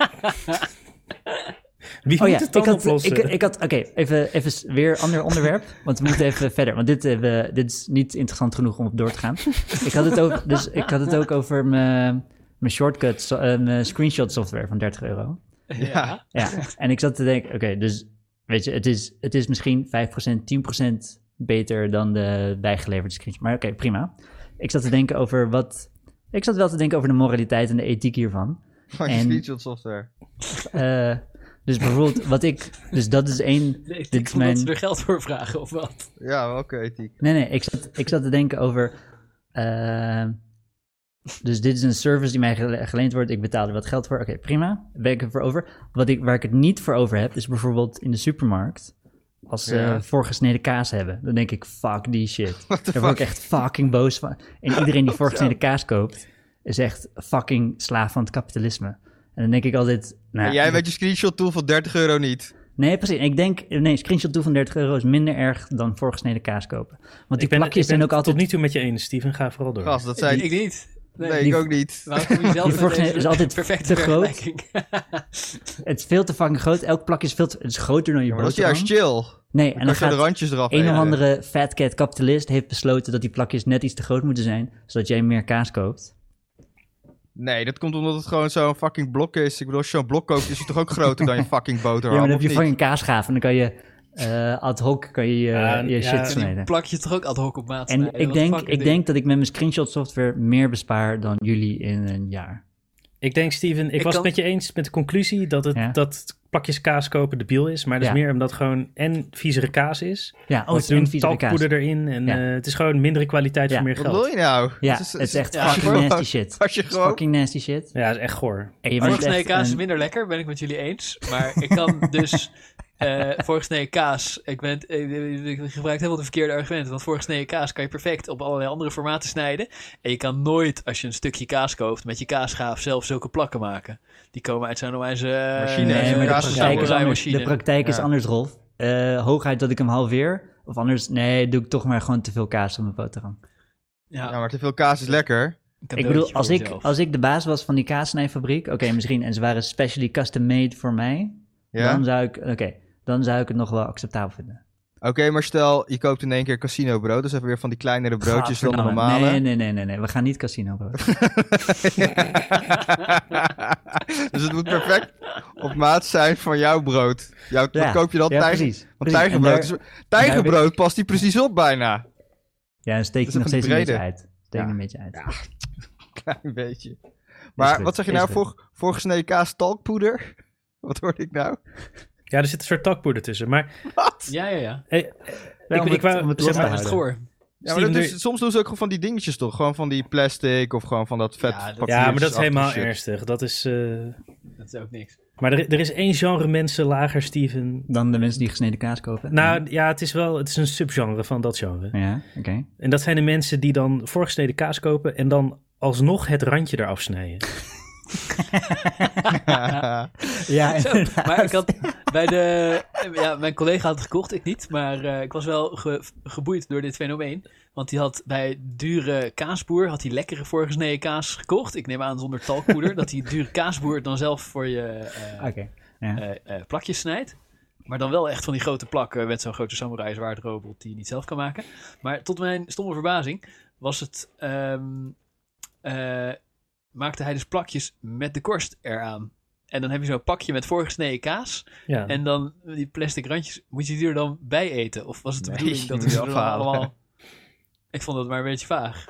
Speaker 2: Wie
Speaker 3: oh
Speaker 2: moet
Speaker 3: ja,
Speaker 2: het dan
Speaker 3: ik had,
Speaker 2: oplossen?
Speaker 3: ik, ik had oké, even, even s- weer ander onderwerp. Want we moeten even verder. Want dit, hebben we- dit is niet interessant genoeg om op door te gaan. ik, had het ook, dus ik had het ook over mijn, mijn shortcut, so- eh, mijn screenshot software van 30 euro.
Speaker 4: Ja.
Speaker 3: Ja, en ik zat te denken, oké, dus weet je, het is, het is misschien 5%, 10% beter dan de bijgeleverde screenshot. Maar oké, prima. Ik zat te denken over wat... Ik zat wel te denken over de moraliteit en de ethiek hiervan.
Speaker 5: Van je
Speaker 3: En-
Speaker 5: screenshot software.
Speaker 3: Eh, dus bijvoorbeeld wat ik... Dus dat is één...
Speaker 4: Nee, ik
Speaker 3: dit is
Speaker 4: denk dat
Speaker 3: mijn,
Speaker 4: ze er geld voor vragen of wat.
Speaker 5: Ja, welke ethiek?
Speaker 3: Nee, nee, ik zat, ik zat te denken over... eh, dus dit is een service die mij gele- geleend wordt. Ik betaal er wat geld voor. Oké, prima. Ben ik er voor over. Wat ik, waar ik het niet voor over heb, is bijvoorbeeld in de supermarkt. Als ze
Speaker 5: Ja.
Speaker 3: voorgesneden kaas hebben, dan denk ik, fuck die shit. Daar
Speaker 5: the
Speaker 3: word ik
Speaker 5: fuck?
Speaker 3: echt fucking boos van. En iedereen die voorgesneden kaas koopt, is echt fucking slaaf van het kapitalisme. En dan denk ik altijd... Nou,
Speaker 5: En jij met je screenshot tool van 30 euro niet.
Speaker 3: Nee, precies. En Ik denk, nee, screenshot toe van 30 euro is minder erg dan voorgesneden kaas kopen. Want die
Speaker 2: ben,
Speaker 3: plakjes
Speaker 2: ben
Speaker 3: zijn ook
Speaker 2: tot
Speaker 3: altijd...
Speaker 2: niet toe met je eens, Steven. Ga vooral door.
Speaker 5: Gast, dat
Speaker 4: Ik,
Speaker 5: zijn...
Speaker 4: ik niet. Nee,
Speaker 5: Nee, ik
Speaker 3: die-
Speaker 5: ook niet.
Speaker 4: Waarom kom je zelf
Speaker 3: Die
Speaker 4: met
Speaker 3: vorige
Speaker 4: deze
Speaker 3: is altijd
Speaker 4: perfecte
Speaker 3: te groot.
Speaker 4: vergelijking?
Speaker 3: Het is veel te fucking groot. Elk plakje is veel te, het is groter dan je
Speaker 5: Ja, maar dat is
Speaker 3: boterham.
Speaker 5: juist chill.
Speaker 3: Nee, en
Speaker 5: Dan
Speaker 3: dan
Speaker 5: kan je de
Speaker 3: gaat
Speaker 5: randjes eraf
Speaker 3: een of
Speaker 5: eten.
Speaker 3: andere fat cat kapitalist heeft besloten dat die plakjes net iets te groot moeten zijn, zodat jij meer kaas koopt.
Speaker 5: Nee, dat komt omdat het gewoon zo'n fucking blok is. Ik bedoel, als je zo'n blok koopt, is het toch ook groter dan je fucking
Speaker 3: Ja,
Speaker 5: boterham,
Speaker 3: maar dan heb
Speaker 5: of
Speaker 3: je
Speaker 5: niet?
Speaker 3: fucking kaasgaaf en dan kan je eh, ad hoc kan je, je-
Speaker 2: Ja,
Speaker 3: je
Speaker 2: ja,
Speaker 3: shit
Speaker 2: die
Speaker 3: snijden.
Speaker 4: Plak je toch ook ad hoc op maat
Speaker 3: En
Speaker 4: snijden?
Speaker 3: ik,
Speaker 4: Wat
Speaker 3: denk,
Speaker 4: fucking
Speaker 3: ik
Speaker 4: ding.
Speaker 3: denk dat ik met mijn screenshot software meer bespaar dan jullie in een jaar.
Speaker 2: Ik denk, Steven, ik,
Speaker 4: Ik
Speaker 2: was
Speaker 4: kan-
Speaker 2: het met je eens met de conclusie dat, het,
Speaker 3: Ja.
Speaker 2: dat plakjes kaas kopen debiel is. Maar dat is
Speaker 3: Ja.
Speaker 2: meer omdat gewoon en viezere kaas is.
Speaker 3: Ja, oh,
Speaker 2: Want
Speaker 3: het
Speaker 2: ze
Speaker 3: is
Speaker 2: doen
Speaker 3: een vieze kaas.
Speaker 2: talkpoeder erin en
Speaker 3: Ja.
Speaker 2: eh, het is gewoon mindere kwaliteit
Speaker 3: Ja.
Speaker 2: voor meer
Speaker 5: Wat wil
Speaker 2: geld.
Speaker 5: je nou?
Speaker 3: Ja,
Speaker 5: Het is-
Speaker 3: het is echt
Speaker 4: ja,
Speaker 3: fucking
Speaker 5: gewoon-
Speaker 3: nasty shit.
Speaker 5: Als je
Speaker 3: Het is
Speaker 5: gewoon-
Speaker 3: Fucking nasty shit. Oh,
Speaker 2: Ja, dat is echt goor.
Speaker 3: En je bent
Speaker 4: Voorgesneden
Speaker 3: echt
Speaker 4: kaas is
Speaker 3: een-
Speaker 4: minder lekker, ben ik met jullie eens. Maar ik kan dus eh voorgesneden kaas. Ik, ben, eh, ik, ik gebruik helemaal de verkeerde argumenten. Want voorgesneden kaas kan je perfect op allerlei andere formaten snijden. En je kan nooit, als je een stukje kaas koopt, met je kaasgaaf zelf zulke plakken maken. Die komen uit zo'n eh, wijze
Speaker 5: Machine.
Speaker 3: Nee, maar de
Speaker 5: kaas is
Speaker 3: praktijk is
Speaker 5: samurai
Speaker 3: anders. De praktijk is
Speaker 5: Ja.
Speaker 3: anders, Rolf. Eh, hooguit dat ik hem halveer. Of anders, nee, doe ik toch maar gewoon te veel kaas op mijn boterham.
Speaker 5: Ja, maar te veel kaas is lekker.
Speaker 3: Ik bedoel, als ik, als ik de baas was van die kaassnijfabriek, oké, misschien, en ze waren specially custom made voor mij,
Speaker 5: Ja?
Speaker 3: dan zou ik, oké, dan zou ik het nog wel acceptabel vinden.
Speaker 5: Oké, maar stel, je koopt in één keer casino brood. Dus even weer van die kleinere broodjes dan de
Speaker 3: Gadverdamme.
Speaker 5: normale.
Speaker 3: Nee, nee, nee, nee, nee, we gaan niet casino brood.
Speaker 5: dus het moet perfect op maat zijn van jouw brood. Jouw,
Speaker 3: Ja,
Speaker 5: wat koop je dan?
Speaker 3: ja,
Speaker 5: tijger-
Speaker 3: precies,
Speaker 5: Want
Speaker 3: precies. En
Speaker 5: tijgerbrood,
Speaker 3: daar-
Speaker 5: is- tijgerbrood past die precies op bijna.
Speaker 3: Ja, dan steek
Speaker 5: Dat
Speaker 3: je
Speaker 5: is
Speaker 3: nog
Speaker 5: ook niet
Speaker 3: steeds een beetje
Speaker 5: breder.
Speaker 3: uit. Steek
Speaker 5: Ja.
Speaker 3: een beetje uit.
Speaker 5: Klein beetje. Maar
Speaker 3: goed,
Speaker 5: wat zeg je
Speaker 3: is
Speaker 5: nou?
Speaker 3: goed.
Speaker 5: Voor, voorgesneden kaas, talkpoeder? Wat hoor ik nou?
Speaker 2: Ja, er zit een soort talkpoeder tussen. Maar
Speaker 4: Ja, ja, ja.
Speaker 2: eh, ik,
Speaker 3: om
Speaker 2: ik
Speaker 3: het-
Speaker 2: wou-
Speaker 3: om het
Speaker 2: zeg
Speaker 3: los te
Speaker 2: maar-
Speaker 4: Dat is
Speaker 3: houden.
Speaker 4: het goor.
Speaker 5: Ja, maar
Speaker 2: Steven,
Speaker 5: dat
Speaker 2: doe-
Speaker 5: doen ze- soms doen ze ook gewoon van die dingetjes toch? Gewoon van die plastic of gewoon van dat vet.
Speaker 4: Ja,
Speaker 2: Ja, maar
Speaker 4: dat-
Speaker 2: dat is
Speaker 5: papiertjesachtige
Speaker 2: helemaal
Speaker 5: shit.
Speaker 2: ernstig. Dat is, eh,
Speaker 4: Dat is ook niks.
Speaker 2: Maar er, er is één genre mensen lager, Steven.
Speaker 3: Dan de mensen die gesneden kaas kopen.
Speaker 2: Nou ja, het is wel het is een subgenre van dat genre.
Speaker 3: Ja, oké.
Speaker 2: En dat zijn de mensen die dan voorgesneden kaas kopen en dan alsnog het randje eraf snijden.
Speaker 3: Ja,
Speaker 4: Zo,
Speaker 3: inderdaad.
Speaker 4: maar ik had bij de. Ja, mijn collega had het gekocht, ik niet. Maar eh, ik was wel ge- geboeid door dit fenomeen. Want die had bij dure kaasboer. had hij lekkere voorgesneden kaas gekocht. Ik neem aan zonder talkpoeder. dat die dure kaasboer dan zelf voor je eh,
Speaker 3: Oké. ja.
Speaker 4: eh, eh, plakjes snijdt. Maar dan wel echt van die grote plakken met zo'n grote samurai zwaardrobot die je niet zelf kan maken. Maar tot mijn stomme verbazing was het. ehm, eh, maakte hij dus plakjes met de korst eraan. En dan heb je zo'n pakje met voorgesneden kaas.
Speaker 2: Ja.
Speaker 4: En dan die plastic randjes, moet je die er dan bij eten? Of was het de
Speaker 5: Nee,
Speaker 4: bedoeling dat
Speaker 5: die
Speaker 4: we
Speaker 5: moet
Speaker 4: ze
Speaker 5: je
Speaker 4: er dan
Speaker 5: afhalen.
Speaker 4: allemaal... Ik vond dat maar een beetje vaag.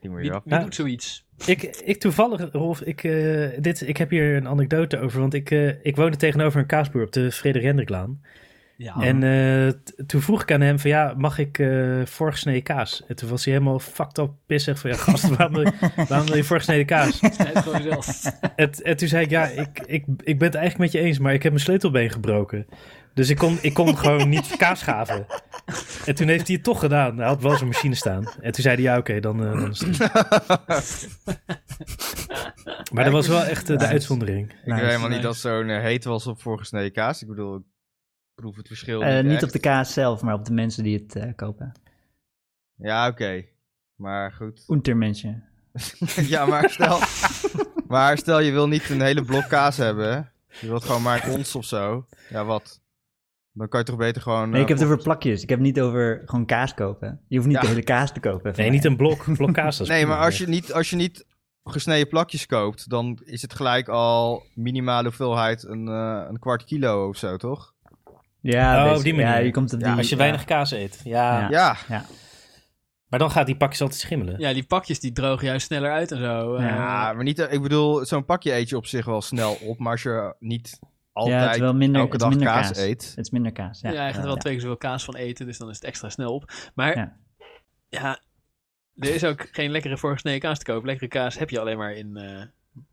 Speaker 5: Die moet
Speaker 4: Wie,
Speaker 5: je af.
Speaker 4: wie
Speaker 2: Ja.
Speaker 4: doet zoiets?
Speaker 2: Ik, ik toevallig, Rolf, ik, eh, dit, ik heb hier een anekdote over. Want ik, eh, ik woonde tegenover een kaasboer op de Frederik Hendriklaan.
Speaker 4: Ja,
Speaker 2: En eh, t- toen vroeg ik aan hem van ja, mag ik eh, voorgesneden kaas? En toen was hij helemaal fucked up pissig van ja gast, waarom wil je, waarom wil je voorgesneden kaas?
Speaker 4: hij heeft gewoon zelf.
Speaker 2: En, en toen zei ik ja, ik, ik, ik ben het eigenlijk met je eens, maar ik heb mijn sleutelbeen gebroken. Dus ik kon, ik kon gewoon niet kaas schaven. En toen heeft hij het toch gedaan. Hij had wel zijn machine staan. En toen zei hij ja, oké, dan, eh, dan is het goed. Maar dat was wel echt eh, de
Speaker 3: Nice.
Speaker 2: uitzondering.
Speaker 5: Ik
Speaker 3: Nice,
Speaker 5: weet helemaal niet
Speaker 4: nice.
Speaker 5: dat zo'n eh, heet was op voorgesneden kaas. Ik bedoel, ik proef het verschil
Speaker 3: Eh,
Speaker 5: niet
Speaker 3: niet
Speaker 5: echt.
Speaker 3: op de kaas zelf, maar op de mensen die het eh, kopen.
Speaker 5: Ja, oké. Maar goed.
Speaker 3: Untermenschen.
Speaker 5: ja, maar stel... maar stel, je wil niet een hele blok kaas hebben. hè? Je wilt gewoon maar een ons of zo. Ja, wat? Dan kan je toch beter gewoon...
Speaker 3: Nee, ik
Speaker 5: eh,
Speaker 2: Nou,
Speaker 3: heb het over plakjes. Ik heb het niet over gewoon kaas kopen. Je hoeft niet
Speaker 5: Ja.
Speaker 3: de hele kaas te kopen.
Speaker 2: Nee, niet een blok, blok kaas. dat is
Speaker 5: Nee, maar
Speaker 2: prima.
Speaker 5: als je, niet, als je niet gesneden plakjes koopt, dan is het gelijk al minimale hoeveelheid een, eh, een kwart kilo of zo, toch?
Speaker 3: Ja,
Speaker 2: Oh, op
Speaker 3: basic-
Speaker 2: die manier.
Speaker 3: Ja, je komt op
Speaker 5: Ja,
Speaker 3: die...
Speaker 2: Als je
Speaker 3: ja.
Speaker 2: weinig kaas eet. Ja.
Speaker 3: Ja.
Speaker 5: Ja,
Speaker 2: Maar dan gaat die pakjes altijd schimmelen.
Speaker 4: Ja, die pakjes die drogen juist sneller uit en zo. eh.
Speaker 5: ja Ah, maar niet, ik bedoel, zo'n pakje eet je op zich wel snel op, maar als je niet
Speaker 3: Ja, het is
Speaker 5: altijd
Speaker 3: wel minder,
Speaker 5: elke
Speaker 3: het is
Speaker 5: dag
Speaker 3: minder
Speaker 5: kaas, eet.
Speaker 3: Het is minder kaas, ja.
Speaker 4: ja, je gaat er wel
Speaker 3: Ja.
Speaker 4: twee keer zoveel kaas van eten, dus dan is het extra snel op. Maar ja,
Speaker 3: Ja.
Speaker 4: er is ook geen lekkere voorgesneden kaas te koop. Lekkere kaas heb je alleen maar in eh,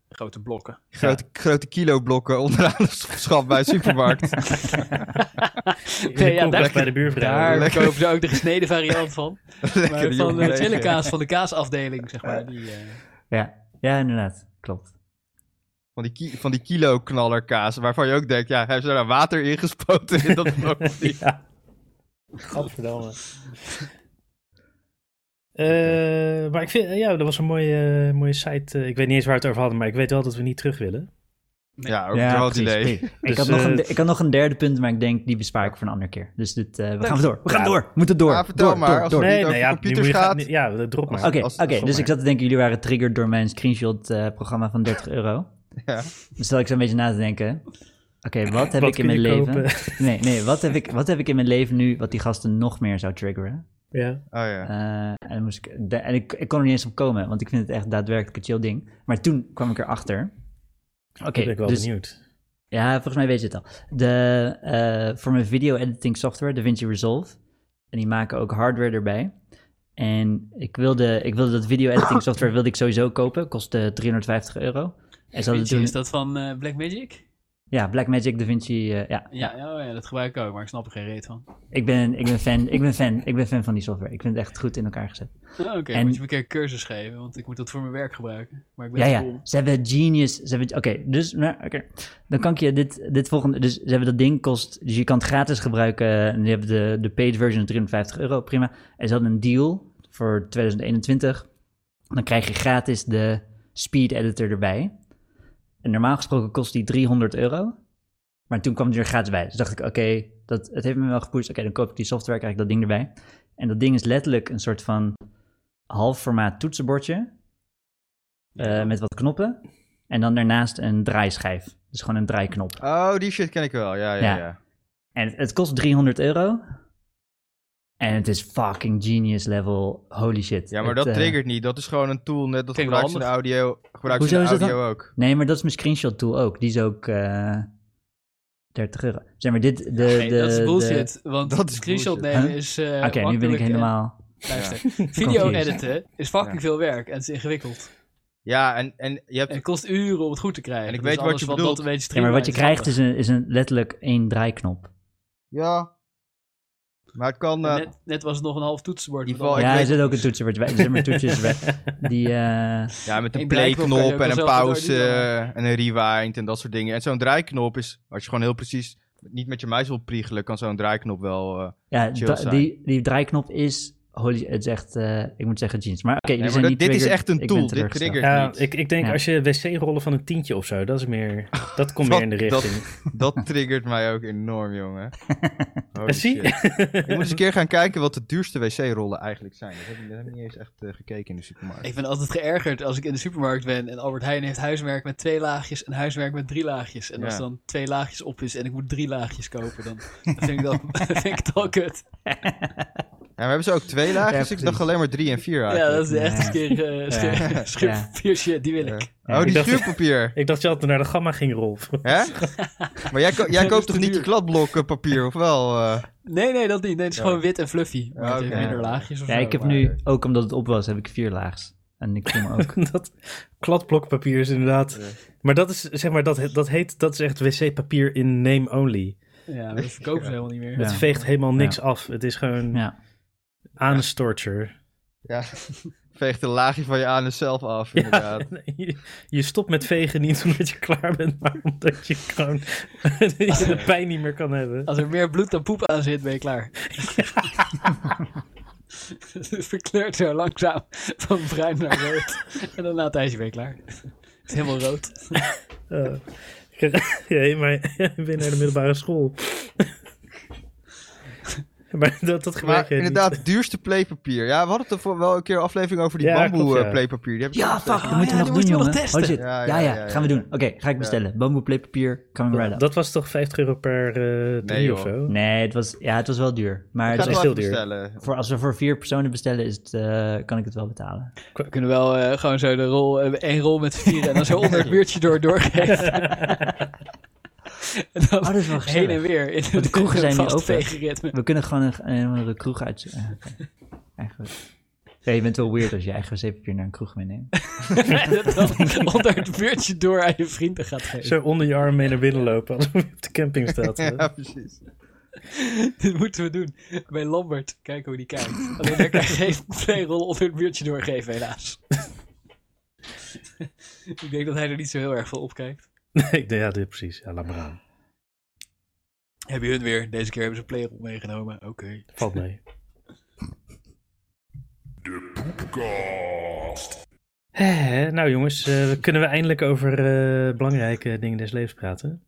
Speaker 4: grote blokken.
Speaker 5: Grote, grote kiloblokken onderaan de schap bij de supermarkt.
Speaker 2: In de
Speaker 4: Nee, ja,
Speaker 2: koelkast
Speaker 4: daar-
Speaker 2: bij de buurvrouw.
Speaker 4: Daar
Speaker 5: lekker.
Speaker 4: kopen ze ook de gesneden variant van.
Speaker 5: Lekker,
Speaker 4: Maar
Speaker 5: die
Speaker 4: van de
Speaker 5: jongen.
Speaker 4: chille kaas, van de kaasafdeling, zeg maar. Die, eh,
Speaker 3: Ja. ja, inderdaad. Klopt.
Speaker 5: Van die, ki- van die kiloknallerkaas, waarvan je ook denkt, ja, hebben ze daar water in gespoten in dat blok of niet?
Speaker 2: Ja. Godverdamme. Eh, maar ik vind, ja, dat was een mooie, mooie site. eh, ik weet niet eens waar we het over hadden, maar ik weet wel dat we niet terug willen.
Speaker 5: Ja, ook
Speaker 3: Ja,
Speaker 5: een
Speaker 3: precies.
Speaker 5: idee.
Speaker 3: Ik,
Speaker 2: Dus,
Speaker 3: had nog
Speaker 2: eh,
Speaker 3: een, ik had nog een derde punt, maar ik denk die bespaar ik voor een andere keer. Dus dit, eh, we gaan door. We gaan
Speaker 2: Ja.
Speaker 3: door. We moeten door.
Speaker 5: Ja, vertel
Speaker 3: door,
Speaker 5: maar,
Speaker 3: door,
Speaker 5: als
Speaker 3: door.
Speaker 5: het
Speaker 3: Oké,
Speaker 5: niet over
Speaker 2: ja,
Speaker 5: computers
Speaker 2: nu moet je gaan-
Speaker 5: gaat.
Speaker 2: Ja, dat drop maar.
Speaker 5: Als-
Speaker 3: oké.
Speaker 5: als- als-
Speaker 3: dus
Speaker 5: maar.
Speaker 3: ik zat te denken, jullie waren getriggerd door mijn screenshot-programma van 30 euro.
Speaker 5: Ja.
Speaker 3: Dus zat ik zo'n beetje na te denken. Oké, wat heb
Speaker 2: Wat
Speaker 3: ik
Speaker 2: kun
Speaker 3: in mijn
Speaker 2: je
Speaker 3: leven...
Speaker 2: kopen?
Speaker 3: Nee, nee, wat heb, ik, wat heb ik in mijn leven nu wat die gasten nog meer zou triggeren?
Speaker 2: ja.
Speaker 5: Oh ja.
Speaker 3: Eh, en dan moest ik, de- en ik, ik kon er niet eens op komen, want ik vind het echt daadwerkelijk een chill ding. Maar toen kwam ik erachter. Oké,
Speaker 2: Ik ben ik wel
Speaker 3: dus
Speaker 2: benieuwd.
Speaker 3: Ja, volgens mij weet je het al. De, eh, voor mijn video editing software, DaVinci Resolve. En die maken ook hardware erbij. En ik wilde, ik wilde dat video editing software wilde ik sowieso kopen. Kostte 350 euro. En ze hadden
Speaker 4: Vinci,
Speaker 3: toen,
Speaker 4: Is dat van eh Blackmagic?
Speaker 3: Ja, Blackmagic, DaVinci. eh ja.
Speaker 4: Ja, ja, oh ja, dat gebruik ik ook, maar ik snap er geen reet van.
Speaker 3: Ik, ben, ik ben fan. Ik ben fan. Ik ben fan van die software. Ik vind het echt goed in elkaar gezet.
Speaker 4: Ah, Oké,
Speaker 3: En-
Speaker 4: moet je me een keer een cursus geven, want ik moet dat voor mijn werk gebruiken. Maar ik ben
Speaker 3: Ja,
Speaker 4: te
Speaker 3: ja.
Speaker 4: cool.
Speaker 3: Ze hebben Genius. Ze hebben, oké, dus nou, oké. dan kan ik je dit, dit volgende. Dus ze hebben dat ding kost. Dus je kan het gratis gebruiken. En die hebben de, de paid version 53 euro. Prima. En ze hadden een deal voor 2021. Dan krijg je gratis de speed editor erbij. En normaal gesproken kost die 300 euro. Maar toen kwam die er gratis bij. Dus dacht ik, oké, dat het heeft me wel gepusht. Oké, dan koop ik die software, krijg ik dat ding erbij. En dat ding is letterlijk een soort van half formaat toetsenbordje. eh, met wat knoppen. En dan daarnaast een draaischijf. Dus gewoon een draaiknop.
Speaker 5: Oh, die shit ken ik wel. Ja, ja,
Speaker 3: Ja.
Speaker 5: ja.
Speaker 3: En het, het kost 300 euro. En het is fucking genius level. Holy shit.
Speaker 5: Ja, maar
Speaker 3: Het,
Speaker 5: dat
Speaker 3: eh,
Speaker 5: triggert niet. Dat is gewoon een tool. Net dat
Speaker 4: Klinkt wel
Speaker 5: gebruikt ze in de audio, gebruikt ze
Speaker 3: Hoezo
Speaker 5: in de
Speaker 3: is dat
Speaker 5: audio ook.
Speaker 3: Nee, maar dat is mijn screenshot tool ook. Die is ook eh 30 euro. Zeg maar, dit... De,
Speaker 4: Nee,
Speaker 3: de,
Speaker 4: dat is
Speaker 3: de-
Speaker 4: bullshit, want
Speaker 5: dat is
Speaker 4: screenshot
Speaker 5: bullshit.
Speaker 4: nemen
Speaker 3: Huh?
Speaker 4: is eh,
Speaker 3: Oké, nu ben ik
Speaker 4: makkelijk en-
Speaker 3: helemaal...
Speaker 4: Luister, video
Speaker 3: Confused.
Speaker 4: editen is fucking
Speaker 5: Ja.
Speaker 4: veel werk en het is ingewikkeld.
Speaker 5: Ja, en, en je hebt...
Speaker 4: En het kost uren om het goed te krijgen.
Speaker 5: En ik weet
Speaker 4: Dus
Speaker 5: wat
Speaker 4: alles
Speaker 5: je
Speaker 4: van
Speaker 5: bedoelt.
Speaker 4: Dat een beetje
Speaker 3: Ja, maar wat je
Speaker 4: streamlined
Speaker 3: krijgt is, een, is een, letterlijk één draaiknop.
Speaker 5: Ja. Maar het kan... eh,
Speaker 4: Net, net was het nog een half toetsenbord.
Speaker 5: In
Speaker 4: maar
Speaker 5: ieder geval,
Speaker 4: dan-
Speaker 5: Oh, ik
Speaker 3: ja, er
Speaker 5: weet-
Speaker 3: zit ook een toetsenbord bij. Er zitten maar toetjes bij. Die, eh,
Speaker 5: Ja, met een
Speaker 4: Eén draaiknop kan je
Speaker 5: playknop
Speaker 4: ook
Speaker 5: en een
Speaker 4: wel zelf
Speaker 5: pauze
Speaker 4: door die
Speaker 5: eh, en een rewind en dat soort dingen. En zo'n draaiknop is, als je gewoon heel precies niet met je muis wil priegelen, kan zo'n draaiknop wel... eh,
Speaker 3: ja,
Speaker 5: Chill
Speaker 3: da-
Speaker 5: zijn.
Speaker 3: die, die draaiknop is... Holy, het is echt... eh, ik moet zeggen jeans. Maar oké, jullie
Speaker 5: maar
Speaker 3: zijn
Speaker 5: dat-
Speaker 3: niet
Speaker 5: dit is
Speaker 3: triggered.
Speaker 5: echt een
Speaker 3: Ik ben
Speaker 5: tool, dit
Speaker 3: teleurgesteld.
Speaker 5: triggert.
Speaker 2: Ja,
Speaker 5: niet.
Speaker 2: ik, ik denk
Speaker 3: Ja.
Speaker 2: als je wc-rollen van een tientje of zo, dat is meer. Dat komt
Speaker 5: Dat-
Speaker 2: meer in de
Speaker 5: dat-
Speaker 2: richting.
Speaker 5: Dat triggert mij ook enorm, jongen. Holy
Speaker 2: Zie?
Speaker 5: shit. Ik moet eens een keer gaan kijken wat de duurste wc-rollen eigenlijk zijn. Dat heb ik, dat heb ik niet eens echt eh, gekeken in de supermarkt.
Speaker 4: Ik ben altijd geërgerd als ik in de supermarkt ben en Albert Heijn heeft huiswerk met twee laagjes en huiswerk met drie laagjes. En als
Speaker 5: Ja.
Speaker 4: er dan twee laagjes op is en ik moet drie laagjes kopen, dan, dan vind, ik dat, vind ik het al kut.
Speaker 5: Ja, we hebben ze ook twee lagen,
Speaker 3: Ja,
Speaker 5: dus ik
Speaker 3: precies.
Speaker 5: dacht alleen maar drie en vier
Speaker 4: Ja,
Speaker 5: eigenlijk.
Speaker 4: dat is echt een keer
Speaker 3: Ja. Ja.
Speaker 4: die wil ik.
Speaker 5: Oh,
Speaker 2: Ik
Speaker 5: die
Speaker 2: dacht-
Speaker 5: schuurpapier.
Speaker 2: Ik dacht je altijd naar de gamma ging rollen.
Speaker 5: Hè? Maar jij, ko- jij
Speaker 4: Dat
Speaker 5: koopt
Speaker 4: is te
Speaker 5: toch niet je
Speaker 4: duur.
Speaker 5: kladblok eh, papier, of wel? eh?
Speaker 4: Nee, nee, dat niet. Nee, het is
Speaker 5: Ja.
Speaker 4: gewoon wit en fluffy. Maar het heeft
Speaker 5: oké.
Speaker 4: minder laagjes of
Speaker 3: Ja,
Speaker 4: zo.
Speaker 3: ik heb
Speaker 4: maar-
Speaker 3: nu, ook omdat het op was, heb ik vier laags. En ik voel me ook...
Speaker 2: dat kladblokpapier is inderdaad. Maar dat is zeg maar dat, dat heet dat is echt wc-papier in name only.
Speaker 4: Ja, maar dat verkopen ze helemaal niet meer.
Speaker 3: Ja.
Speaker 2: Het veegt helemaal niks af. Het is gewoon
Speaker 3: Ja.
Speaker 2: anus torture.
Speaker 5: Ja, veegt een laagje van je anus zelf af, inderdaad.
Speaker 2: Ja, nee, je, je stopt met vegen niet omdat je klaar bent, maar omdat je gewoon de pijn niet meer kan hebben.
Speaker 4: Als er meer bloed dan poep aan zit, ben je klaar. Het verkleurt zo langzaam van bruin naar rood. En dan na een tijdje ben je klaar. Het is helemaal rood.
Speaker 2: Eh, ja, maar ik ben naar de middelbare school. maar dat, dat gebeurt
Speaker 5: Maar
Speaker 2: jij niet.
Speaker 5: inderdaad, duurste playpapier. Ja, we hadden het er voor wel een keer een aflevering over die
Speaker 2: Ja,
Speaker 5: bamboe
Speaker 2: klopt, ja.
Speaker 5: eh, playpapier. Die heb ik
Speaker 3: Ja,
Speaker 5: ook
Speaker 3: fuck,
Speaker 5: gezien.
Speaker 3: dat moeten we nog
Speaker 4: ja, die moeten
Speaker 3: doen,
Speaker 4: we nog
Speaker 3: jongen.
Speaker 4: testen.
Speaker 3: Oh shit,
Speaker 5: Ja,
Speaker 3: ja,
Speaker 5: ja,
Speaker 3: ja,
Speaker 5: ja, ja,
Speaker 3: gaan we
Speaker 5: ja.
Speaker 3: doen. Oké, ga ik bestellen. Bamboe playpapier, coming right up.
Speaker 2: Dat was toch 50 euro per eh drie
Speaker 5: joh.
Speaker 2: of zo?
Speaker 3: Nee, het was, ja, het was wel duur. Maar
Speaker 5: Ik
Speaker 3: het
Speaker 5: ga
Speaker 3: was
Speaker 5: het
Speaker 2: echt
Speaker 5: wel
Speaker 2: heel
Speaker 5: even
Speaker 2: duur.
Speaker 5: bestellen.
Speaker 3: voor, als we voor vier personen bestellen, is het, eh, kan ik het wel betalen.
Speaker 4: We kunnen wel eh, gewoon zo de rol, eh, één rol met vieren en dan zo onder het muurtje door doorgeven. en dan
Speaker 3: Oh, dat is wel
Speaker 4: heen en
Speaker 3: gezellig.
Speaker 4: weer in
Speaker 3: de kroegen zijn nu
Speaker 4: vast
Speaker 3: open.
Speaker 4: vegenritme.
Speaker 3: We kunnen gewoon een, een, andere kroeg uit... eh, oké. Eigenlijk. Ja, je bent wel weird als je eigen wc-papier naar een kroeg meeneemt.
Speaker 4: En dat dan onder het muurtje door aan je vrienden gaat geven.
Speaker 2: Zo onder je arm mee naar binnen lopen alsof je op de camping staat. hè?
Speaker 5: Ja, precies.
Speaker 4: Dit moeten we doen. Bij Lambert. Kijken hoe die kijkt. Alleen daar kan je geen playrol onder het muurtje doorgeven, helaas. Ik denk dat hij er niet zo heel erg van opkijkt.
Speaker 2: Ik denk, ja, dit, precies. Ja, laat maar aan.
Speaker 4: Heb je hun weer. Deze keer hebben ze een playrol meegenomen. Oké.
Speaker 2: Valt mee. De poepkast. Nou jongens, eh, kunnen we eindelijk over eh, belangrijke dingen des levens praten?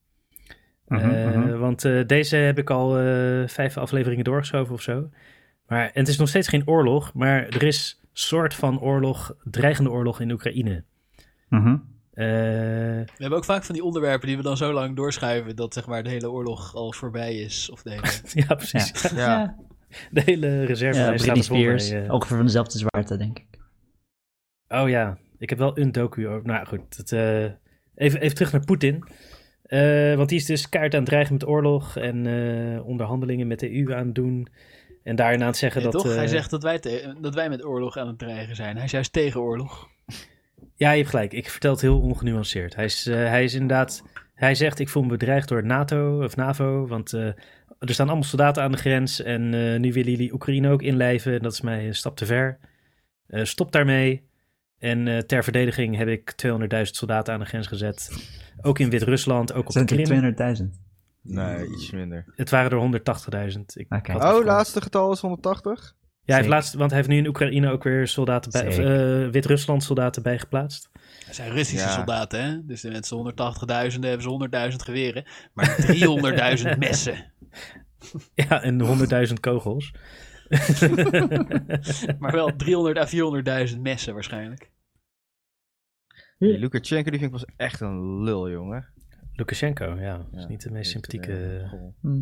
Speaker 3: Mhm,
Speaker 2: Eh, Want eh, deze heb ik al eh, vijf afleveringen doorgeschoven of zo. Maar en het is nog steeds geen oorlog, maar er is soort van oorlog, dreigende oorlog in Oekraïne.
Speaker 3: mhm,
Speaker 2: Eh,
Speaker 4: We hebben ook vaak van die onderwerpen die we dan zo lang doorschuiven... dat zeg maar de hele oorlog al voorbij is. Of de hele...
Speaker 2: ja, precies.
Speaker 5: Ja.
Speaker 2: De hele reserve
Speaker 3: Ja,
Speaker 2: staat
Speaker 3: Britney
Speaker 2: er vol mee,
Speaker 3: Spears.
Speaker 2: eh.
Speaker 3: Ongeveer van dezelfde zwaarte, denk ik.
Speaker 2: Oh ja, ik heb wel een docu over. Nou goed, het, eh, even, even terug naar Poetin. Eh, want die is dus kaart aan het dreigen met oorlog en eh, onderhandelingen met de EU aan het doen. En daarna aan het zeggen
Speaker 4: Nee,
Speaker 2: dat...
Speaker 4: toch? Hij
Speaker 2: eh,
Speaker 4: zegt dat wij, te- dat wij met oorlog aan het dreigen zijn. Hij is juist tegen oorlog.
Speaker 2: Ja, je hebt gelijk. Ik vertel het heel ongenuanceerd. Hij is, eh, hij is inderdaad... Hij zegt, ik voel me bedreigd door NATO of NAVO, want eh, er staan allemaal soldaten aan de grens en eh, nu willen jullie Oekraïne ook inlijven. En dat is mij een stap te ver. Eh, stop daarmee. En eh, ter verdediging heb ik 200.000 soldaten aan de grens gezet. Ook in Wit-Rusland, ook op de
Speaker 3: Zijn
Speaker 2: Krim.
Speaker 3: het er 200.000?
Speaker 5: Nee, iets minder.
Speaker 2: Het waren er 180.000. Ik
Speaker 3: Oké.
Speaker 2: had het
Speaker 5: Oh,
Speaker 2: gewoon-
Speaker 5: laatste getal is 180?
Speaker 2: Ja, hij heeft
Speaker 3: Ah, Zeker.
Speaker 2: laatst, want hij heeft nu in Oekraïne ook weer soldaten bij, of, eh, Wit-Rusland soldaten bijgeplaatst.
Speaker 4: Het zijn Russische
Speaker 5: Ja.
Speaker 4: soldaten, hè? Dus de mensen 180.000 hebben ze 100.000 geweren. Maar 300.000 messen.
Speaker 2: Ja, en 100.000 kogels.
Speaker 4: Maar wel 300 à 400.000 messen waarschijnlijk.
Speaker 5: Die Lukashenko die vind ik was echt een lul, jongen.
Speaker 2: Lukashenko, ja. Dat is
Speaker 5: Ja, eh,
Speaker 2: niet de meest sympathieke. eh.
Speaker 3: Hm.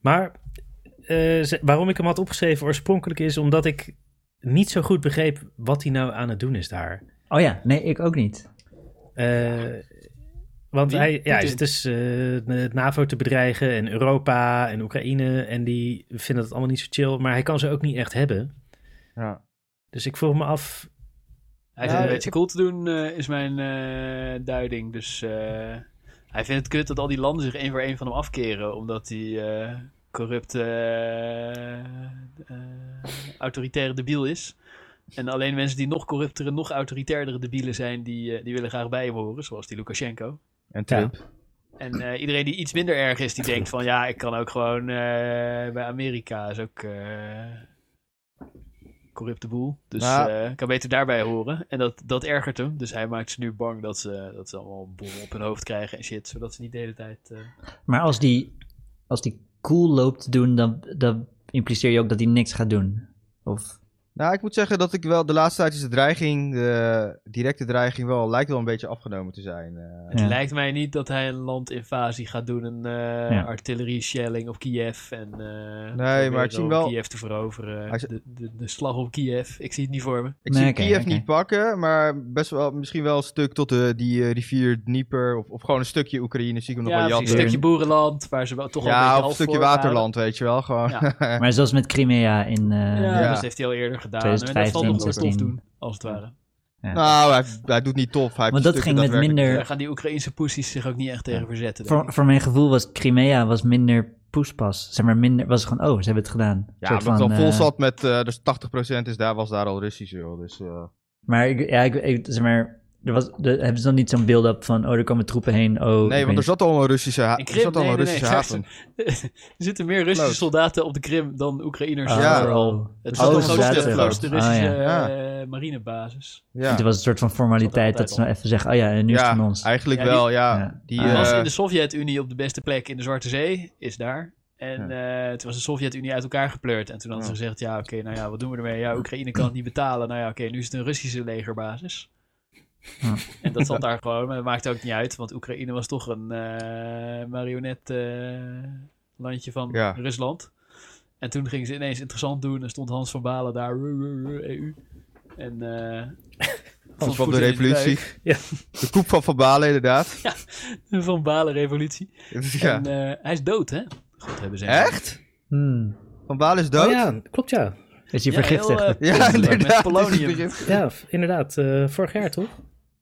Speaker 2: Maar eh, ze- waarom ik hem had opgeschreven oorspronkelijk is omdat ik niet zo goed begreep wat hij nou aan het doen is daar.
Speaker 3: Oh ja, nee, ik ook niet.
Speaker 2: Eh, want
Speaker 4: Wie?
Speaker 2: hij, ja, hij
Speaker 4: Poetin?
Speaker 2: zit dus eh, de NAVO te bedreigen en Europa en Oekraïne. En die vinden het allemaal niet zo chill. Maar hij kan ze ook niet echt hebben.
Speaker 5: Ja.
Speaker 2: Dus ik vroeg me af.
Speaker 4: Hij
Speaker 5: Ja,
Speaker 4: zit een
Speaker 5: ik
Speaker 4: beetje cool te doen, eh, is mijn eh, duiding. Dus eh, hij vindt het kut dat al die landen zich één voor één van hem afkeren. Omdat hij eh, corrupte, eh, eh, autoritaire debiel is. En alleen mensen die nog corruptere, nog autoritairdere debielen zijn, die, eh, die willen graag bij hem horen, zoals die Lukashenko.
Speaker 5: En Trump.
Speaker 4: En eh, iedereen die iets minder erg is, die denkt van ja, ik kan ook gewoon eh, bij Amerika, is ook eh, corrupte boel. Dus
Speaker 5: Nou.
Speaker 4: eh, ik kan beter daarbij horen. En dat, dat ergert hem, dus hij maakt ze nu bang dat ze, dat ze allemaal bommen op hun hoofd krijgen en shit, zodat ze niet de hele tijd... eh,
Speaker 3: Maar als die, als die cool loopt te doen, dan, dan impliceer je ook dat hij niks gaat doen. Of,
Speaker 5: Nou, ik moet zeggen dat ik wel de laatste tijd is de dreiging, de directe dreiging, wel lijkt wel een beetje afgenomen te zijn. eh.
Speaker 4: Het
Speaker 3: Ja.
Speaker 4: lijkt mij niet dat hij een landinvasie gaat doen, een eh
Speaker 3: Ja.
Speaker 4: artillerie shelling op Kiev en eh,
Speaker 5: maar
Speaker 4: proberen
Speaker 5: ik zie
Speaker 4: om
Speaker 5: wel-
Speaker 4: Kiev te veroveren,
Speaker 5: Hij z-
Speaker 4: de, de, de slag op Kiev. Ik zie het niet voor me.
Speaker 5: ik
Speaker 3: Nee,
Speaker 5: zie
Speaker 3: oké,
Speaker 5: Kiev
Speaker 3: oké.
Speaker 5: niet pakken, maar best wel, misschien wel een stuk tot de, die eh, rivier Dnieper, of, of gewoon een stukje Oekraïne zie ik hem nog
Speaker 4: ja,
Speaker 5: wel
Speaker 4: precies,
Speaker 5: jatten.
Speaker 4: een stukje boerenland waar ze wel toch al een
Speaker 5: ja,
Speaker 4: beetje
Speaker 5: of een
Speaker 4: half
Speaker 5: stukje
Speaker 4: voor waren.
Speaker 5: waterland, weet je wel. Gewoon.
Speaker 4: Ja.
Speaker 3: maar zoals met Crimea in... eh,
Speaker 4: Ja, Ah,
Speaker 5: Ja.
Speaker 4: dat heeft hij al eerder gedaan. en dat valt
Speaker 3: 2015,
Speaker 4: nog wel tof
Speaker 3: 16.
Speaker 4: doen, als het ware.
Speaker 3: ja.
Speaker 5: Nou, hij, hij doet niet tof. Hij heeft
Speaker 3: Want
Speaker 5: een
Speaker 3: dat
Speaker 5: stukje
Speaker 3: ging met
Speaker 5: daadwerkelijk-
Speaker 4: Daar
Speaker 3: minder...
Speaker 4: gaan die Oekraïnse poesies zich ook niet echt tegen verzetten. denk
Speaker 3: Voor, voor mijn gevoel was Crimea was minder poespas. Zeg maar minder... Was gewoon, oh, ze hebben het gedaan. Een
Speaker 5: Ja,
Speaker 3: soort
Speaker 5: omdat het
Speaker 3: van,
Speaker 5: al vol
Speaker 3: eh,
Speaker 5: zat met, eh, dus 80% is daar, was daar al Russisch, joh. Dus, eh,
Speaker 3: Maar ik, ja, ik, ik- zeg maar... Er was, er, hebben ze dan niet zo'n build-up van, oh, er komen troepen heen, oh...
Speaker 5: nee,
Speaker 3: ik
Speaker 5: want er
Speaker 3: weet-
Speaker 5: zat allemaal Russische, ha-
Speaker 4: In
Speaker 5: er
Speaker 4: Krim,
Speaker 5: zat allemaal
Speaker 4: nee, nee,
Speaker 5: Russische
Speaker 4: nee,
Speaker 5: haven.
Speaker 4: ik. Er zitten meer Russische
Speaker 5: Klopt.
Speaker 4: soldaten op de Krim dan Oekraïners.
Speaker 3: Oh,
Speaker 5: Ah. Ja.
Speaker 4: overal.
Speaker 3: oh.
Speaker 4: Het
Speaker 5: Oh,
Speaker 4: was
Speaker 5: dat
Speaker 4: de grootste-
Speaker 5: is
Speaker 4: de
Speaker 5: het. Ah,
Speaker 4: grootste
Speaker 3: Oh,
Speaker 4: Russische
Speaker 5: ja.
Speaker 4: eh, marinebasis.
Speaker 5: Ja,
Speaker 3: Het was een soort van formaliteit dat ze nou even zeggen, oh ja, en nu is het van
Speaker 5: ja
Speaker 3: ons.
Speaker 5: eigenlijk
Speaker 4: Ja, die-
Speaker 5: wel, ja.
Speaker 3: Ja.
Speaker 5: Die,
Speaker 3: Ah.
Speaker 5: eh,
Speaker 4: was in de Sovjet-Unie op de beste plek in de Zwarte Zee, is daar. En eh, toen was de Sovjet-Unie uit elkaar gepleurd. En toen hadden ze gezegd, ja, oké, nou ja, wat doen we ermee? Ja, Oekraïne kan het niet betalen. Nou ja, oké, nu is het een Russische legerbasis.
Speaker 3: Ja.
Speaker 4: En dat zat daar gewoon, maar dat maakt ook niet uit. Want Oekraïne was toch een eh marionet eh, landje van
Speaker 5: Ja.
Speaker 4: Rusland. En toen gingen ze ineens interessant doen. En stond Hans van Balen daar, ru, ru, ru, EU. En... eh vond
Speaker 5: Hans van de
Speaker 4: Poetin in
Speaker 5: revolutie.
Speaker 2: Ja.
Speaker 5: De koep van Van Balen, inderdaad. Dus
Speaker 4: buik. Van Balen revolutie.
Speaker 5: Ja.
Speaker 4: En eh, hij is dood, hè? God hebben ze hem.
Speaker 5: Echt?
Speaker 3: Hmm.
Speaker 5: Van Balen is dood?
Speaker 2: Oh ja, klopt ja.
Speaker 3: Is hij
Speaker 4: Ja,
Speaker 3: vergiftigd?
Speaker 4: heel, eh,
Speaker 5: Ja,
Speaker 4: Met
Speaker 5: inderdaad.
Speaker 4: polonium.
Speaker 5: het is begin-
Speaker 2: Ja, f- inderdaad. eh, vorig jaar toch?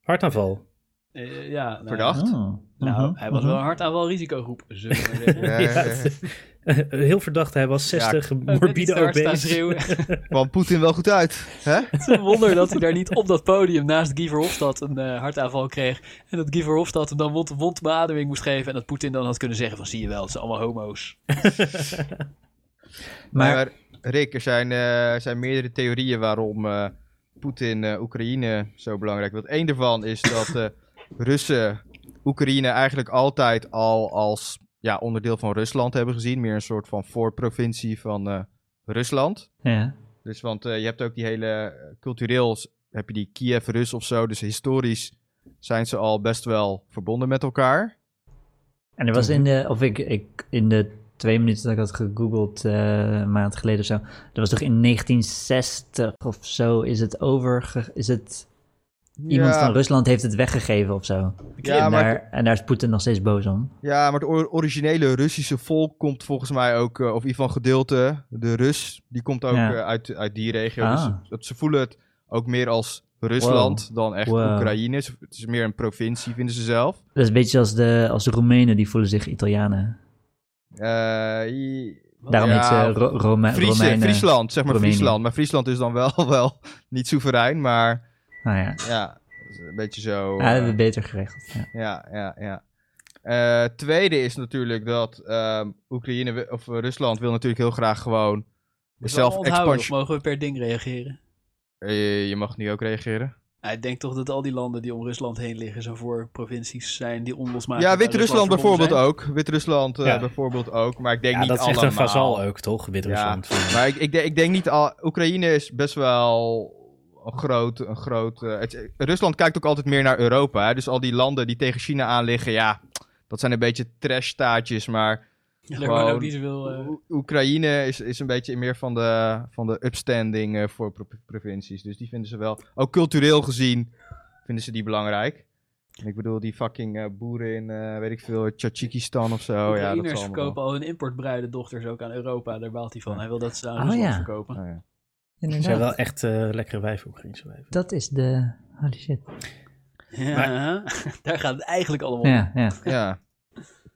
Speaker 2: Hartaanval.
Speaker 4: Eh, ja, nou,
Speaker 5: Verdacht.
Speaker 3: Oh.
Speaker 4: Nou,
Speaker 3: Mhm,
Speaker 4: hij was
Speaker 3: mhm.
Speaker 4: wel een hartaanval risicogroep, zullen we maar zeggen.
Speaker 5: Ja, ja, ja.
Speaker 2: Heel verdacht. Hij was 60,
Speaker 4: Eh, met iets
Speaker 2: morbide
Speaker 4: te hard staan
Speaker 2: obese.
Speaker 4: schreeuwen. Het
Speaker 5: Kwam Poetin wel goed uit? hè?
Speaker 4: is een wonder dat hij daar niet op dat podium naast Guy Verhofstadt een eh, hartaanval kreeg. En dat Guy Verhofstadt hem dan wond, wondbeademing moest geven. En dat Poetin dan had kunnen zeggen van zie je wel, het zijn allemaal homo's.
Speaker 3: Maar,
Speaker 5: Maar Rick, er zijn, eh, er zijn meerdere theorieën waarom eh, Poetin eh, Oekraïne zo belangrijk wil. Eén daarvan is dat eh, Russen Oekraïne eigenlijk altijd al als ja, onderdeel van Rusland hebben gezien. Meer een soort van voorprovincie van eh, Rusland.
Speaker 3: ja.
Speaker 5: Dus want eh, je hebt ook die hele eh, cultureel, s- heb je die Kiev-Rus of zo. Dus historisch zijn ze al best wel verbonden met elkaar.
Speaker 3: En er was in de, of ik, ik, in de twee minuten dat ik had gegoogeld, eh, een maand geleden of zo, er was toch in 1960 of zo, is het over, is het, iemand
Speaker 5: Ja.
Speaker 3: van Rusland heeft het weggegeven of zo.
Speaker 5: Ja,
Speaker 3: en,
Speaker 5: maar-
Speaker 3: daar, en daar is Poetin nog steeds boos om.
Speaker 5: Ja, maar het or- originele Russische volk komt volgens mij ook, eh, of in ieder geval gedeelte, de Rus, die komt ook
Speaker 3: Ja.
Speaker 5: eh, uit, uit die regio.
Speaker 3: Ah.
Speaker 5: Dus ze- dat- ze voelen het ook meer als Rusland dan echt
Speaker 3: Wow.
Speaker 5: Oekraïne. Ze- Het is meer een provincie, vinden ze zelf.
Speaker 3: Dat is een beetje als de, als de Roemenen, die voelen zich Italianen.
Speaker 5: Eh, i-
Speaker 3: Daarom
Speaker 5: Ja,
Speaker 3: heet ze Ro Rome
Speaker 5: Friese-
Speaker 3: Romeinen.
Speaker 5: Friesland, zeg maar
Speaker 3: Roemenië.
Speaker 5: Friesland. Maar Friesland is dan wel, wel niet soeverein, maar
Speaker 3: Nou ja,
Speaker 5: ja, is een beetje zo.
Speaker 3: Ah, dat
Speaker 5: eh,
Speaker 3: hebben we beter geregeld. Ja.
Speaker 5: Ja, ja, ja. Eh, tweede is natuurlijk dat ehm, Oekraïne wi- of eh, Rusland wil natuurlijk heel graag gewoon zelf
Speaker 4: onthouden, of
Speaker 5: expansion.
Speaker 4: mogen we per ding reageren?
Speaker 5: Eh, je mag nu ook reageren.
Speaker 4: Hij ik denk toch dat al die landen die om Rusland heen liggen zo voor provincies zijn die onlosmakelijk
Speaker 5: ja,
Speaker 4: aan
Speaker 5: Wit-Rusland bijvoorbeeld
Speaker 4: verbonden
Speaker 5: ook. Wit-Rusland eh,
Speaker 2: Ja.
Speaker 5: bijvoorbeeld ook, maar ik denk
Speaker 2: Ja,
Speaker 5: niet
Speaker 2: dat is
Speaker 5: allemaal.
Speaker 2: echt een fazal ook, toch?
Speaker 5: Ja,
Speaker 2: Wit-Rusland.
Speaker 5: maar ik, ik, denk, ik denk niet al. Oekraïne is best wel een groot, een groot. eh, het- Rusland kijkt ook altijd meer naar Europa. Hè? Dus al die landen die tegen China aan liggen, ja, dat zijn een beetje trash-staatjes, maar
Speaker 4: zijn. Ja, daar
Speaker 5: Gewoon-
Speaker 4: ook niet zoveel... eh,
Speaker 5: Oe- Oekraïne is, is een beetje meer van de, van de upstanding eh, voor pro- provincies. Dus die vinden ze wel, ook cultureel gezien, vinden ze die belangrijk. En ik bedoel, die fucking eh, boeren in, eh, weet ik veel, Tchatchikistan of zo. Oh ja, dat
Speaker 4: Oekraïners
Speaker 5: is allemaal
Speaker 4: verkopen al hun importbruide dochters ook aan Europa. Daar baalt hij van. Hij wil dat ze aan
Speaker 3: Oh,
Speaker 4: Rusland
Speaker 3: ja.
Speaker 4: verkopen.
Speaker 5: wel- Oh, ja.
Speaker 2: Ze zijn
Speaker 3: Inderdaad.
Speaker 2: wel echt eh, lekkere wijven, Oekraïnse wijven.
Speaker 3: Dat is de... Holy shit.
Speaker 4: Ja, daar gaat het eigenlijk allemaal om.
Speaker 3: Ja, ja.
Speaker 5: ja.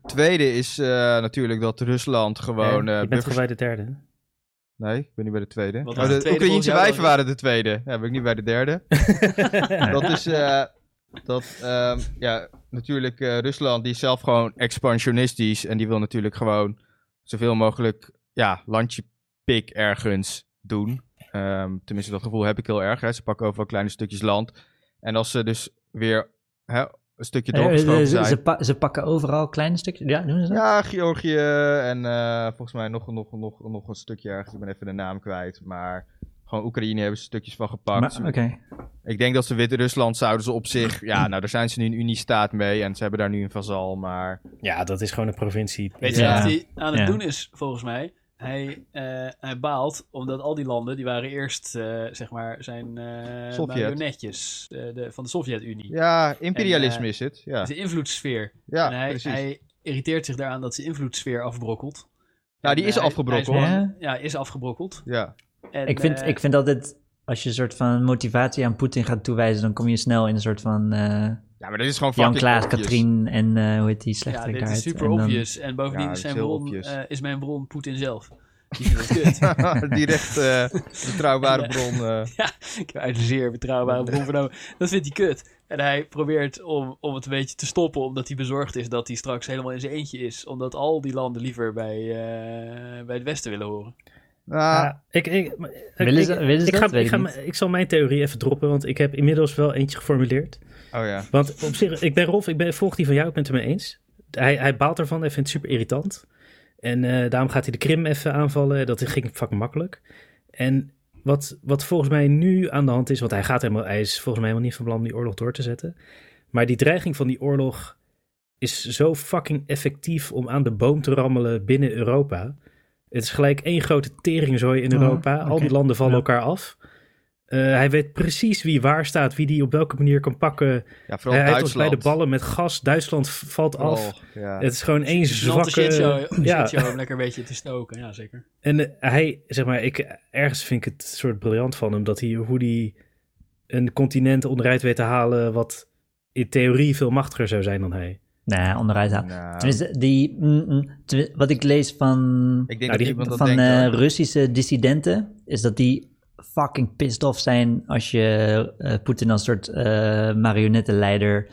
Speaker 5: Tweede is eh, natuurlijk dat Rusland gewoon... eh
Speaker 2: je bent
Speaker 5: buffers-
Speaker 2: gewoon bij de derde.
Speaker 5: Nee, ik ben niet bij de tweede.
Speaker 4: was
Speaker 5: Oh,
Speaker 4: de
Speaker 5: de
Speaker 4: tweede volgens
Speaker 5: Oekraïense
Speaker 4: jou
Speaker 5: wijven
Speaker 4: dan?
Speaker 5: waren de tweede. Ja, ben ik nu bij de derde. dat is... eh, dat, ehm, ja, natuurlijk eh, Rusland die is zelf gewoon expansionistisch. En die wil natuurlijk gewoon zoveel mogelijk ja, landje pik ergens doen. Ehm, tenminste, dat gevoel heb ik heel erg. Hè. Ze pakken overal kleine stukjes land. En als ze dus weer hè, een stukje
Speaker 3: Eh, eh,
Speaker 5: doorgeschoven
Speaker 3: ze,
Speaker 5: zijn...
Speaker 3: ze, pa- ze pakken overal kleine stukjes. Ja, doen ze dat?
Speaker 5: Ja, Georgië en eh, volgens mij nog, nog, nog, nog een stukje ergens. Ik ben even de naam kwijt. Maar gewoon Oekraïne hebben ze stukjes van gepakt.
Speaker 3: Maar-
Speaker 5: Ze-
Speaker 3: Oké.
Speaker 5: Ik denk dat ze Wit-Rusland zouden ze op zich... Ja, nou daar zijn ze nu een uniestaat mee en ze hebben daar nu een vazal. Maar
Speaker 2: Ja, dat is gewoon een provincie.
Speaker 4: Weet je
Speaker 3: Ja.
Speaker 4: wat hij aan het
Speaker 3: Ja.
Speaker 4: doen is, volgens mij? Hij, eh, hij baalt omdat al die landen, die waren eerst, eh, zeg maar, zijn eh
Speaker 5: Sovjet.
Speaker 4: marionetjes eh, de, van de Sovjet-Unie.
Speaker 5: ja, imperialisme
Speaker 4: En, eh,
Speaker 5: is het. Ja,
Speaker 4: Het is een invloedssfeer.
Speaker 5: ja
Speaker 4: en hij,
Speaker 5: precies.
Speaker 4: hij irriteert zich daaraan dat zijn invloedssfeer afbrokkelt.
Speaker 5: nou, die
Speaker 4: En,
Speaker 5: is
Speaker 4: eh, hij-
Speaker 5: afgebroken.
Speaker 4: hij
Speaker 5: hoor.
Speaker 4: is
Speaker 3: Ja.
Speaker 4: gewoon- Ja, is afgebrokkeld.
Speaker 5: Ja,
Speaker 4: En,
Speaker 3: Ik vind,
Speaker 4: eh,
Speaker 3: ik vind altijd, als je een soort van motivatie aan Poetin gaat toewijzen, dan kom je snel in een soort van eh,
Speaker 5: ja, maar dat is gewoon
Speaker 3: Jan,
Speaker 5: fucking
Speaker 3: Klaas,
Speaker 5: obvious.
Speaker 3: Katrien en eh, hoe heet die
Speaker 4: ja,
Speaker 3: slechterikaart.
Speaker 4: dit is super
Speaker 3: en dan-
Speaker 4: obvious. En bovendien
Speaker 5: Ja,
Speaker 4: is,
Speaker 5: dit
Speaker 4: zijn
Speaker 5: is heel
Speaker 4: bron,
Speaker 5: obvious.
Speaker 4: eh, is mijn bron Poetin zelf. Die vindt het kut.
Speaker 5: Direct eh betrouwbare
Speaker 4: En,
Speaker 5: bron. eh.
Speaker 4: Ik heb uit een zeer betrouwbare bron vernomen. Dat vindt hij kut. En hij probeert om, om het een beetje te stoppen, omdat hij bezorgd is dat hij straks helemaal in zijn eentje is. Omdat al die landen liever bij, eh, bij het Westen willen horen.
Speaker 5: Nou,
Speaker 2: Ja, ik, ik,
Speaker 3: Willen ze-
Speaker 2: ik-
Speaker 3: willen ze
Speaker 2: ik,
Speaker 3: dat?
Speaker 2: ga,
Speaker 3: Weet
Speaker 2: ik,
Speaker 3: ik
Speaker 2: ga,
Speaker 3: niet.
Speaker 2: ik zal mijn theorie even droppen, want ik heb inmiddels wel eentje geformuleerd.
Speaker 5: Oh ja.
Speaker 2: Want op zich, ik ben Rolf, ik ben, volg die van jou, ik ben het ermee eens. Hij, hij baalt ervan, hij vindt het super irritant. En eh, daarom gaat hij de Krim even aanvallen. Dat ging fucking makkelijk. En wat, wat volgens mij nu aan de hand is, want hij, gaat helemaal, hij is volgens mij helemaal niet van plan om die oorlog door te zetten. Maar die dreiging van die oorlog is zo fucking effectief om aan de boom te rammelen binnen Europa. Het is gelijk één grote teringzooi in
Speaker 3: Oh,
Speaker 2: Europa. Al die
Speaker 3: oké.
Speaker 2: landen vallen
Speaker 3: Ja.
Speaker 2: elkaar af. Eh, hij weet precies wie waar staat, wie die op welke manier kan pakken.
Speaker 5: ja, vooral
Speaker 2: Hij rijdt ons bij
Speaker 5: Duitsland.
Speaker 2: de ballen met gas. Duitsland v- valt af.
Speaker 5: Oh, ja.
Speaker 2: Het is gewoon één
Speaker 4: Dus Een shitshow,
Speaker 2: zwakke... Ja,
Speaker 4: shitshow om lekker een beetje te stoken. Ja, zeker.
Speaker 2: en eh, hij, zeg maar, ik, ergens vind ik het soort briljant van hem... dat hij, hoe hij een continent onderuit weet te halen... wat in theorie veel machtiger zou zijn dan hij.
Speaker 3: Nee, onderuit halen.
Speaker 5: Nou,
Speaker 3: Tenminste, die, mm, mm, tenmin- wat ik lees van,
Speaker 5: ik denk
Speaker 2: Nou,
Speaker 5: dat
Speaker 2: die-
Speaker 5: iemand dat
Speaker 3: van
Speaker 5: denkt.
Speaker 3: eh,
Speaker 5: hoor.
Speaker 3: Russische dissidenten, is dat die fucking pissed off zijn als je eh, Poetin als soort eh, marionettenleider,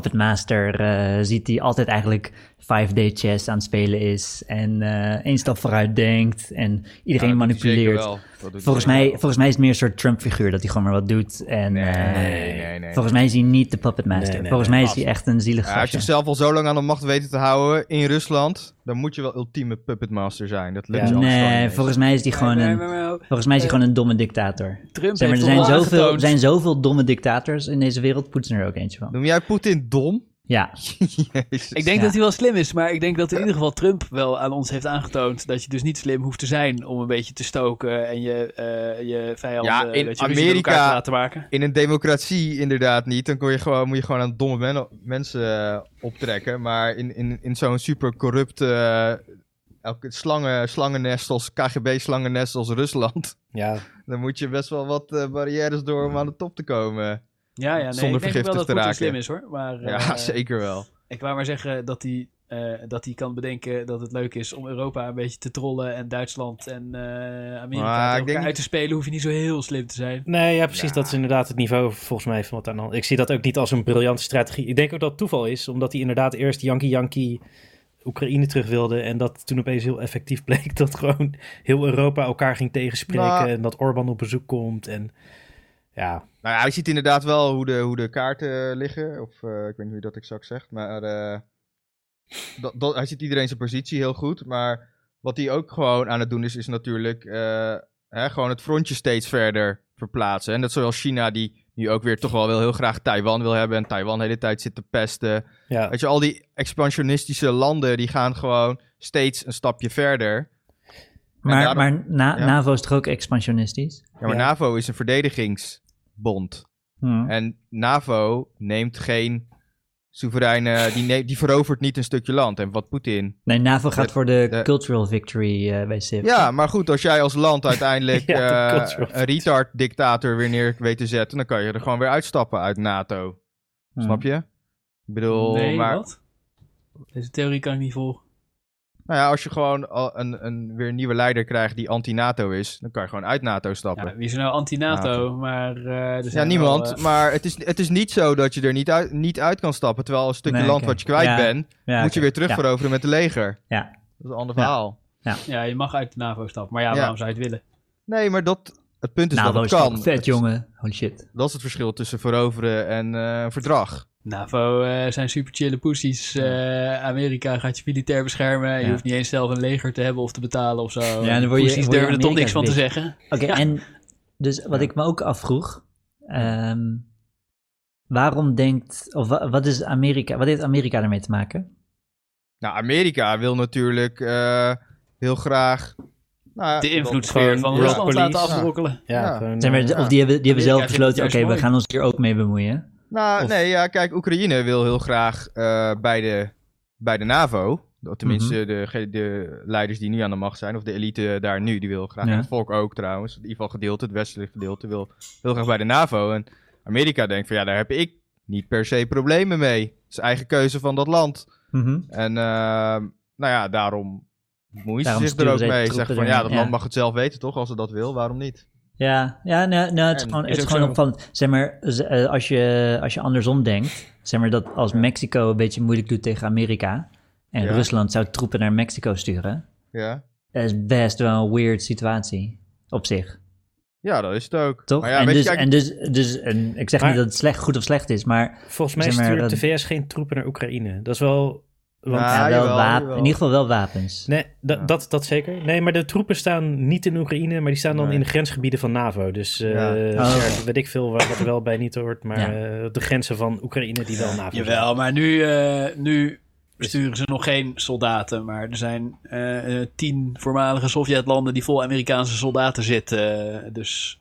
Speaker 3: puppetmaster eh, ziet, die altijd eigenlijk 5D chess aan het spelen is en eh één stap vooruit denkt en iedereen
Speaker 5: Ja, dat doet hij zeker
Speaker 3: manipuleert.
Speaker 5: wel. Dat doet hij
Speaker 3: Volgens
Speaker 5: zeker
Speaker 3: mij,
Speaker 5: wel.
Speaker 3: volgens mij is het meer een soort Trump-figuur dat hij gewoon maar wat doet. En,
Speaker 5: Nee,
Speaker 3: eh,
Speaker 5: nee, nee, nee.
Speaker 3: Volgens mij is hij niet de puppetmaster.
Speaker 2: Nee, nee,
Speaker 3: volgens
Speaker 2: nee,
Speaker 3: mij is hij echt een zielig
Speaker 5: Ja, als je
Speaker 3: gastje.
Speaker 5: zichzelf al zo lang aan de macht weten te houden in Rusland, dan moet je wel ultieme puppetmaster zijn. Dat lukt
Speaker 2: Ja.
Speaker 5: je anders gewoon
Speaker 3: nee,
Speaker 5: niet
Speaker 3: volgens mij is hij gewoon
Speaker 4: Maar-
Speaker 3: een...
Speaker 4: maar- maar- maar-
Speaker 3: Volgens mij is hij gewoon een domme dictator.
Speaker 4: Trump
Speaker 3: Zeg maar, er
Speaker 4: heeft
Speaker 3: zijn
Speaker 4: al
Speaker 3: zoveel, er
Speaker 4: aangetoond-
Speaker 3: zijn zoveel domme dictators in deze wereld. Poetin er ook eentje
Speaker 5: eens.
Speaker 3: van.
Speaker 5: Noem jij Poetin dom?
Speaker 3: Ja,
Speaker 5: Jezus.
Speaker 4: Ik denk
Speaker 3: Ja.
Speaker 4: dat hij wel slim is, maar ik denk dat in ieder geval Trump wel aan ons heeft aangetoond dat je dus niet slim hoeft te zijn om een beetje te stoken en je, eh je vijanden
Speaker 5: Ja,
Speaker 4: een
Speaker 5: in
Speaker 4: beetje ruzie met elkaar
Speaker 5: Amerika-
Speaker 4: te laten maken.
Speaker 5: In een democratie inderdaad niet. Dan kon je gewoon, moet je gewoon aan domme men- mensen eh, optrekken. Maar in, in, in zo'n super corrupte eh, elke slangen, slangennest als KGB-slangennest als Rusland,
Speaker 2: Ja,
Speaker 5: dan moet je best wel wat eh, barrières door om aan de top te komen.
Speaker 4: Ja, ja, nee,
Speaker 5: Zonder
Speaker 4: ik denk wel
Speaker 5: vergiftigd
Speaker 4: dat
Speaker 5: te
Speaker 4: Poetin
Speaker 5: raken.
Speaker 4: slim is hoor. Maar, eh,
Speaker 5: ja, zeker wel.
Speaker 4: Ik wou maar zeggen dat hij, eh, dat hij kan bedenken dat het leuk is om Europa een beetje te trollen en Duitsland en eh, Amerika
Speaker 5: Maar
Speaker 4: tegen elkaar
Speaker 5: ik denk niet-
Speaker 4: uit te spelen. Hoef je niet zo heel slim te zijn.
Speaker 2: Nee, ja, precies. Dat is inderdaad het niveau volgens mij van wat aan de hand. Ik zie dat ook niet als een briljante strategie. Ik denk ook dat het toeval is, omdat hij inderdaad eerst Yankee Yankee Oekraïne terug wilde. En dat toen opeens heel effectief bleek dat gewoon heel Europa elkaar ging tegenspreken.
Speaker 5: Nou.
Speaker 2: En dat Orbán op bezoek komt. En ja,
Speaker 5: Nou ja, je ziet inderdaad wel hoe de, hoe de kaarten liggen. Of eh, ik weet niet hoe je dat exact zegt. Maar eh, dat, dat, hij ziet iedereen zijn positie heel goed. Maar wat hij ook gewoon aan het doen is, is natuurlijk eh, hè, gewoon het frontje steeds verder verplaatsen. En dat zoals China, die nu ook weer toch wel wil, heel graag Taiwan wil hebben. En Taiwan de hele tijd zit te pesten.
Speaker 2: ja.
Speaker 5: Weet je, al die expansionistische landen, die gaan gewoon steeds een stapje verder.
Speaker 3: maar,
Speaker 5: daarom-
Speaker 3: maar na,
Speaker 5: ja.
Speaker 3: NAVO is toch ook expansionistisch?
Speaker 5: Ja,
Speaker 2: Ja.
Speaker 5: maar NAVO is een verdedigingsbond.
Speaker 3: Hm.
Speaker 5: En NAVO neemt geen soevereine. Die, ne- die verovert niet een stukje land. En wat Poetin.
Speaker 3: Nee, NAVO gaat
Speaker 5: De-
Speaker 3: voor de,
Speaker 5: de-
Speaker 3: cultural victory eh, bij SIP.
Speaker 5: Ja, maar goed, als jij als land uiteindelijk
Speaker 2: Ja, de
Speaker 5: eh,
Speaker 2: cultural
Speaker 5: een retard-dictator weer neer weet te zetten. dan kan je er gewoon weer uitstappen uit NATO.
Speaker 3: Hm.
Speaker 5: Snap je? Ik bedoel,
Speaker 4: nee,
Speaker 5: Oh, maar.
Speaker 4: wat? Deze theorie kan ik niet volgen.
Speaker 5: Nou ja, als je gewoon al een, een weer een nieuwe leider krijgt die anti-NATO is, dan kan je gewoon uit NATO stappen.
Speaker 4: Ja, wie is er nou anti-NATO? Maar, eh, er
Speaker 5: Ja,
Speaker 4: zijn wel,
Speaker 5: niemand.
Speaker 4: eh,
Speaker 5: Maar het is, het is niet zo dat je er niet uit, niet uit kan stappen. Terwijl een stukje
Speaker 3: Nee,
Speaker 5: land
Speaker 3: oké.
Speaker 5: wat je kwijt
Speaker 3: Ja,
Speaker 5: bent,
Speaker 3: Ja,
Speaker 5: moet je weer terug
Speaker 3: Ja.
Speaker 5: veroveren met een leger.
Speaker 3: Ja.
Speaker 5: Dat is een ander
Speaker 3: Ja.
Speaker 5: verhaal.
Speaker 4: ja, je mag uit de NAVO stappen. Maar ja,
Speaker 5: Ja.
Speaker 4: waarom zou je het willen?
Speaker 5: Nee, maar dat, het punt is
Speaker 3: nou,
Speaker 5: Dus
Speaker 3: dat
Speaker 5: dat het
Speaker 3: is
Speaker 5: kan.
Speaker 3: toch vet,
Speaker 5: Het-
Speaker 3: jongen. Holy shit.
Speaker 5: Dat is het verschil tussen veroveren en eh, een verdrag.
Speaker 4: NAVO eh, zijn super chille poesies. Eh, Amerika gaat je militair beschermen. Je
Speaker 3: Ja.
Speaker 4: hoeft niet eens zelf een leger te hebben of te betalen of zo.
Speaker 3: Ja, dan word je-
Speaker 4: poesies
Speaker 3: word je
Speaker 4: durven er toch niks van te
Speaker 3: Amerika's
Speaker 4: zeggen.
Speaker 3: Oké, en dus wat ik me ook afvroeg. ehm, waarom denkt, of wa- wat is Amerika, wat heeft Amerika ermee te maken?
Speaker 5: Nou, Amerika wil natuurlijk eh, heel graag... Nou, ja,
Speaker 4: De
Speaker 5: dat-
Speaker 4: invloedssfeer van
Speaker 2: world
Speaker 5: ja.
Speaker 4: Rusland laten
Speaker 2: police.
Speaker 4: afbrokkelen.
Speaker 2: Ja,
Speaker 5: Ja.
Speaker 2: gewoon,
Speaker 3: Zijn we,
Speaker 2: eh,
Speaker 3: of die hebben, die hebben zelf
Speaker 4: Amerika vindt het
Speaker 3: besloten, oké,
Speaker 4: juist
Speaker 3: we
Speaker 4: mooi.
Speaker 3: gaan ons hier ook mee bemoeien.
Speaker 5: Nou,
Speaker 3: Of-
Speaker 5: nee, ja, kijk, Oekraïne wil heel graag eh, bij, de, bij de NAVO. Tenminste,
Speaker 3: Mhm.
Speaker 5: de, ge- de leiders die nu aan de macht zijn, of de elite daar nu, die wil graag.
Speaker 3: Ja.
Speaker 5: Het volk ook trouwens. In ieder geval gedeelte, het westelijk gedeelte, wil heel graag bij de NAVO. En Amerika denkt van ja, daar heb ik niet per se problemen mee. Het is eigen keuze van dat land.
Speaker 3: Mhm.
Speaker 5: En ehm, nou ja, daarom moeit ze
Speaker 3: Daarom
Speaker 5: zich er ook
Speaker 3: sturen ze
Speaker 5: mee.
Speaker 3: troepen
Speaker 5: Zegt van
Speaker 3: erin,
Speaker 5: ja, dat
Speaker 3: ja.
Speaker 5: land mag het zelf weten toch, als ze dat wil, waarom niet?
Speaker 3: Ja, ja nou, nou, het is
Speaker 5: En
Speaker 3: gewoon,
Speaker 5: is
Speaker 3: het is
Speaker 5: ook
Speaker 3: gewoon
Speaker 5: zo.
Speaker 3: van, zeg maar, z- eh, als je, als je andersom denkt, zeg maar dat als Mexico een beetje moeilijk doet tegen Amerika en
Speaker 5: Ja.
Speaker 3: Rusland zou troepen naar Mexico sturen,
Speaker 5: Ja.
Speaker 3: dat is best wel een weird situatie op zich,
Speaker 5: Ja, dat is het ook.
Speaker 3: toch?
Speaker 5: Maar ja,
Speaker 3: en,
Speaker 5: weet je,
Speaker 3: dus,
Speaker 5: kijk,
Speaker 3: en dus, dus, en ik zeg
Speaker 2: Maar-
Speaker 3: niet dat het slecht, goed of slecht is, maar
Speaker 2: Volgens mij
Speaker 3: Zeg maar,
Speaker 2: stuurt de
Speaker 3: dat-
Speaker 2: VS geen troepen naar Oekraïne. Dat is wel... Want,
Speaker 5: Nou, Ja,
Speaker 3: ja, wel
Speaker 5: Ah, jawel,
Speaker 3: wapen-
Speaker 5: jawel.
Speaker 3: in ieder geval wel wapens.
Speaker 2: Nee, dat, dat, dat zeker. Nee, maar de troepen staan niet in Oekraïne, maar die staan dan
Speaker 5: Nee.
Speaker 2: in de grensgebieden van NAVO. Dus eh,
Speaker 5: Ja.
Speaker 3: Oh.
Speaker 2: ja, weet ik veel waar- wat er wel bij niet hoort, maar
Speaker 3: Ja.
Speaker 2: eh, de grenzen van Oekraïne die wel NAVO zijn.
Speaker 4: Jawel, maar nu, eh, nu besturen ze nog geen soldaten. Maar er zijn eh, eh, tien voormalige Sovjetlanden die vol Amerikaanse soldaten zitten. Dus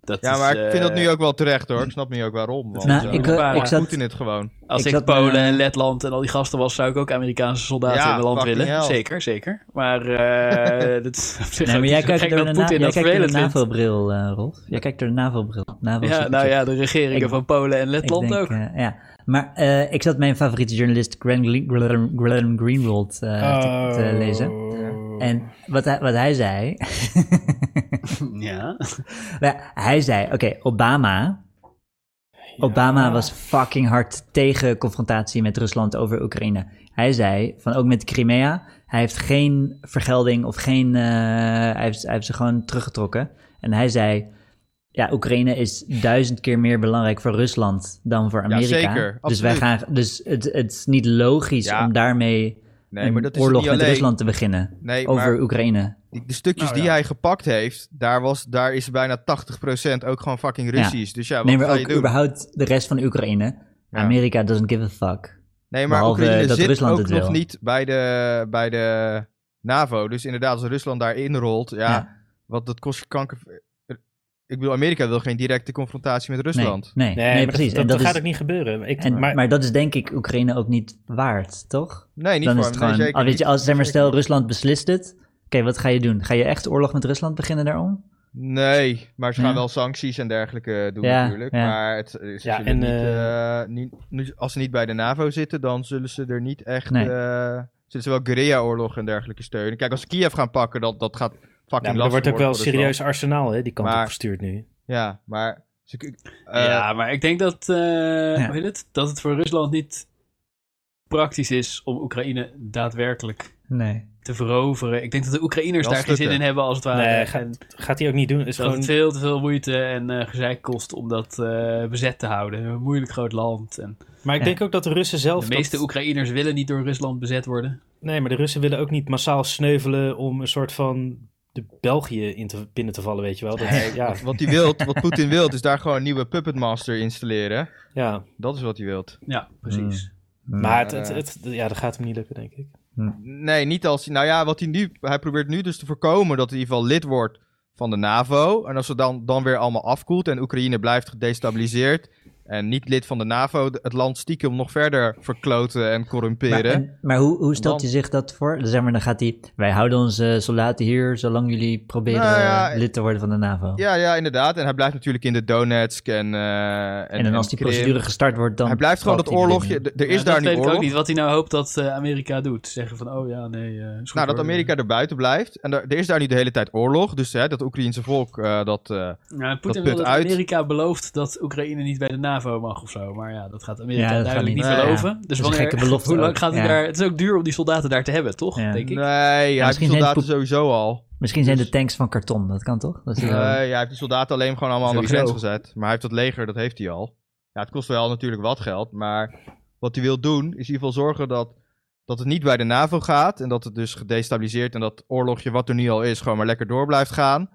Speaker 4: dat
Speaker 5: Ja,
Speaker 4: is,
Speaker 5: maar ik vind dat
Speaker 4: eh,
Speaker 5: nu ook wel terecht hoor. Ik snap nu ook waarom. Want,
Speaker 3: Nou,
Speaker 5: eh,
Speaker 3: ik,
Speaker 4: een
Speaker 3: eh,
Speaker 4: paar
Speaker 3: ik zat,
Speaker 5: Poetin het gewoon.
Speaker 4: Als
Speaker 3: Ik
Speaker 4: ik,
Speaker 3: zat,
Speaker 4: Polen
Speaker 3: eh,
Speaker 4: en Letland en al die gasten was, zou ik ook Amerikaanse soldaten
Speaker 5: Ja,
Speaker 4: in mijn land
Speaker 5: fucking
Speaker 4: willen.
Speaker 5: hell.
Speaker 4: Zeker, zeker. Maar eh dat is op zich
Speaker 3: nee,
Speaker 4: ook
Speaker 3: maar
Speaker 4: niet
Speaker 3: jij
Speaker 4: zo
Speaker 3: kijkt
Speaker 4: gek
Speaker 3: door
Speaker 4: dat
Speaker 3: de, na,
Speaker 4: Poetin
Speaker 3: jij kijkt
Speaker 4: dat
Speaker 3: door de
Speaker 4: vervelend vindt.
Speaker 3: NAVO-bril, eh, Rolf. Jij kijkt door de NAVO-bril. NAVO
Speaker 4: Ja, nou ja, de regeringen
Speaker 3: Ik-
Speaker 4: van Polen en
Speaker 3: Ik
Speaker 4: Letland
Speaker 3: denk,
Speaker 4: ook.
Speaker 3: eh, ja. Maar eh, ik zat mijn favoriete journalist Glenn, Glenn, Glenn- Glenn Greenwald eh, te, te
Speaker 2: Oh.
Speaker 3: lezen. En wat hij, wat hij zei...
Speaker 4: Ja.
Speaker 3: Nou, hij zei, oké, Obama... Obama was fucking hard tegen confrontatie met Rusland over Oekraïne. Hij zei, van ook met Crimea, hij heeft geen vergelding of geen... eh, hij, heeft, hij heeft ze gewoon teruggetrokken. En hij zei, ja, Oekraïne is duizend keer meer belangrijk voor Rusland dan voor Amerika.
Speaker 5: zeker,
Speaker 3: dus
Speaker 5: absoluut.
Speaker 3: wij gaan, dus het, het is niet logisch
Speaker 5: Ja.
Speaker 3: om daarmee
Speaker 5: Nee,
Speaker 3: een
Speaker 5: maar dat is
Speaker 3: oorlog
Speaker 5: niet
Speaker 3: met
Speaker 5: alleen.
Speaker 3: Rusland te beginnen
Speaker 5: Nee,
Speaker 3: over
Speaker 5: maar
Speaker 3: Oekraïne.
Speaker 5: die- de stukjes
Speaker 4: Nou,
Speaker 5: die
Speaker 4: ja.
Speaker 5: hij gepakt heeft, daar, was, daar is bijna 80% ook gewoon fucking Russisch. Dus ja, wat
Speaker 3: Nee,
Speaker 5: ga
Speaker 3: maar
Speaker 5: je
Speaker 3: ook
Speaker 5: doen?
Speaker 3: überhaupt de rest van Oekraïne.
Speaker 5: Ja.
Speaker 3: Amerika doesn't give a fuck.
Speaker 5: Nee, maar
Speaker 3: behalve
Speaker 5: Oekraïne
Speaker 3: dat
Speaker 5: zit
Speaker 3: Rusland
Speaker 5: ook
Speaker 3: het
Speaker 5: nog
Speaker 3: wil.
Speaker 5: niet bij de, bij de NAVO. Dus inderdaad, als Rusland daarin rolt, ja,
Speaker 3: Ja.
Speaker 5: wat dat kost je kanker... Ik bedoel, Amerika wil geen directe confrontatie met
Speaker 3: Nee,
Speaker 5: Rusland.
Speaker 3: nee,
Speaker 2: Nee,
Speaker 3: nee,
Speaker 2: maar
Speaker 3: precies.
Speaker 2: Dat,
Speaker 3: en
Speaker 2: dat,
Speaker 3: dat
Speaker 2: gaat
Speaker 3: is,
Speaker 2: ook niet gebeuren. Ik,
Speaker 3: en, maar,
Speaker 2: maar,
Speaker 3: dat is denk ik Oekraïne ook niet waard, toch?
Speaker 5: Nee, niet
Speaker 3: Dan
Speaker 5: voor
Speaker 3: is het
Speaker 5: hem. Nee,
Speaker 3: gewoon,
Speaker 5: zeker
Speaker 3: ah, weet je,
Speaker 5: niet.
Speaker 3: als zeg maar
Speaker 5: Zeker
Speaker 3: stel Rusland beslist het, oké, wat ga je doen? Ga je echt oorlog met Rusland beginnen daarom?
Speaker 5: Nee, maar ze gaan
Speaker 3: Ja.
Speaker 5: wel sancties en dergelijke doen
Speaker 3: Ja,
Speaker 5: natuurlijk.
Speaker 3: ja.
Speaker 5: Maar het, ze
Speaker 2: Ja,
Speaker 5: zullen
Speaker 2: en,
Speaker 5: niet,
Speaker 2: eh,
Speaker 5: eh, niet- nu- als ze niet bij de NAVO zitten, dan zullen ze er niet echt...
Speaker 3: Nee.
Speaker 5: eh, zullen ze wel guerrilla-oorlog en dergelijke steunen. Kijk, als ze Kiev gaan pakken, dat, dat gaat fucking
Speaker 2: ja,
Speaker 5: lastig
Speaker 2: maar er wordt ook
Speaker 5: worden
Speaker 2: wel
Speaker 5: voor Rusland.
Speaker 2: serieus arsenaal hè, die kant
Speaker 5: Maar-
Speaker 2: op gestuurd nu.
Speaker 5: Ja, maar... Ze, kun- eh,
Speaker 4: ja, maar ik denk dat, eh, hoe heet het? dat het voor Rusland niet praktisch is om Oekraïne daadwerkelijk
Speaker 3: Nee.
Speaker 4: te veroveren. Ik denk dat de Oekraïners
Speaker 5: Wel
Speaker 4: daar geen zin
Speaker 5: stukken.
Speaker 4: in hebben als het ware.
Speaker 2: Nee,
Speaker 4: en
Speaker 2: gaat, gaat hij ook niet doen. Het is
Speaker 4: dat
Speaker 2: gewoon...
Speaker 4: het veel te veel moeite en eh gezeik kost om dat eh, bezet te houden. Een moeilijk groot land. En
Speaker 2: Maar ik
Speaker 3: Ja.
Speaker 2: denk ook dat de Russen zelf...
Speaker 4: de meeste
Speaker 2: dat-
Speaker 4: Oekraïners willen niet door Rusland bezet worden.
Speaker 2: Nee, maar de Russen willen ook niet massaal sneuvelen om een soort van de België in te, binnen te vallen, weet je wel. Dat, ja,
Speaker 5: Wat hij wilt, wat Poetin wilt, is daar gewoon een nieuwe puppetmaster installeren.
Speaker 2: ja.
Speaker 5: Dat is wat hij wilt.
Speaker 4: Ja, precies.
Speaker 5: Hmm.
Speaker 2: Maar het,
Speaker 5: eh,
Speaker 2: het, het- ja, dat gaat hem niet lukken, denk ik.
Speaker 5: Nee, niet als... hij- Nou ja, wat hij nu... Hij probeert nu dus te voorkomen dat hij in ieder geval lid wordt van de NAVO. En als ze dan, dan weer allemaal afkoelt en Oekraïne blijft gedestabiliseerd... En niet lid van de NAVO het land stiekem nog verder verkloten en
Speaker 3: Maar,
Speaker 5: corrumperen.
Speaker 3: en- maar hoe, hoe stelt
Speaker 5: Dan-
Speaker 3: hij zich dat voor? Zeg maar, dan gaat hij... Wij houden onze soldaten hier zolang jullie proberen
Speaker 5: Nou ja,
Speaker 3: eh, lid te worden van de NAVO.
Speaker 5: Ja, ja, inderdaad. En hij blijft natuurlijk in de Donetsk en. eh,
Speaker 3: en, dan als die
Speaker 5: Krim.
Speaker 3: procedure gestart wordt, dan...
Speaker 5: Hij blijft gewoon dat
Speaker 3: valt hij
Speaker 5: oorlogje.
Speaker 3: binnen.
Speaker 5: d- Er is
Speaker 4: Ja, Nou,
Speaker 5: daar
Speaker 4: dat
Speaker 5: nu
Speaker 4: weet ik
Speaker 5: oorlog.
Speaker 4: ook niet wat hij nou hoopt dat eh, Amerika doet. Zeggen van, oh ja, nee. eh, is goed
Speaker 5: Nou, dat
Speaker 4: hoor.
Speaker 5: Amerika er buiten blijft. En er, er is daar nu de hele tijd oorlog. Dus hè, dat Oekraïense volk, eh, dat, eh,
Speaker 4: Ja, Poetin
Speaker 5: Dat
Speaker 4: wil
Speaker 5: put
Speaker 4: dat
Speaker 5: uit.
Speaker 4: Amerika belooft dat Oekraïne niet bij de NAVO mag of zo. Maar ja, dat gaat Amerika
Speaker 3: Ja, dat gaat
Speaker 4: duidelijk
Speaker 3: niet.
Speaker 4: niet,
Speaker 5: Nee,
Speaker 4: beloven. Dus
Speaker 3: is een
Speaker 4: wanneer,
Speaker 3: gekke belofte
Speaker 4: hoe lang
Speaker 3: ook.
Speaker 4: gaat hij
Speaker 3: Ja.
Speaker 4: daar... Het is ook duur om die soldaten daar te hebben, toch?
Speaker 3: Ja.
Speaker 4: Denk ik.
Speaker 5: nee, hij heeft
Speaker 3: misschien
Speaker 5: die
Speaker 3: zijn
Speaker 5: soldaten
Speaker 3: poep-
Speaker 5: sowieso al.
Speaker 3: Misschien zijn de tanks van karton, dat kan toch? Dat is
Speaker 5: Nee,
Speaker 3: wel-
Speaker 5: Eh, hij heeft die soldaten alleen gewoon allemaal aan de grens
Speaker 3: Sowieso.
Speaker 5: gezet. Maar hij heeft dat leger, dat heeft hij al. Ja, het kost wel natuurlijk wat geld. Maar wat hij wil doen, is in ieder geval zorgen dat, dat het niet bij de NAVO gaat. En dat het dus gedestabiliseerd en dat oorlogje wat er nu al is, gewoon maar lekker door blijft gaan. En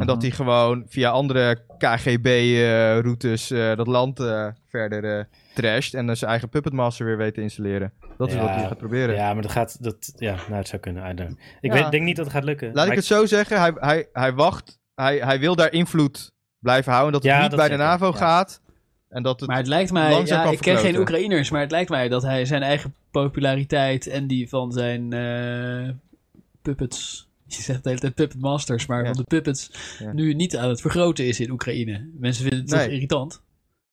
Speaker 2: Mhm.
Speaker 5: dat hij gewoon via andere KGB-routes dat land eh, verder eh, trasht. En dan zijn eigen Puppetmaster weer weet te installeren. Dat is
Speaker 2: Ja.
Speaker 5: wat hij gaat proberen.
Speaker 2: Ja, maar dat gaat. Dat, ja, nou, het zou kunnen. I don't know. Ik
Speaker 5: Ja.
Speaker 2: weet, denk niet dat het gaat lukken.
Speaker 5: Laat ik
Speaker 2: Maar
Speaker 5: het zo zeggen, hij, hij, hij wacht. Hij, hij wil daar invloed blijven houden. Dat het
Speaker 2: Ja,
Speaker 5: niet
Speaker 2: dat
Speaker 5: bij de
Speaker 2: zeker,
Speaker 5: NAVO
Speaker 2: ja.
Speaker 5: gaat. En dat het...
Speaker 4: Maar het lijkt mij,
Speaker 5: langzaam
Speaker 4: ja,
Speaker 5: kan
Speaker 4: ik ken geen
Speaker 5: vergroten.
Speaker 4: Oekraïners, maar het lijkt mij dat hij zijn eigen populariteit en die van zijn eh, puppets, je zegt de hele tijd puppet masters, maar
Speaker 5: Ja.
Speaker 4: van de puppets,
Speaker 5: Ja.
Speaker 4: nu niet aan het vergroten is in Oekraïne. Mensen vinden het toch
Speaker 5: Nee.
Speaker 4: irritant.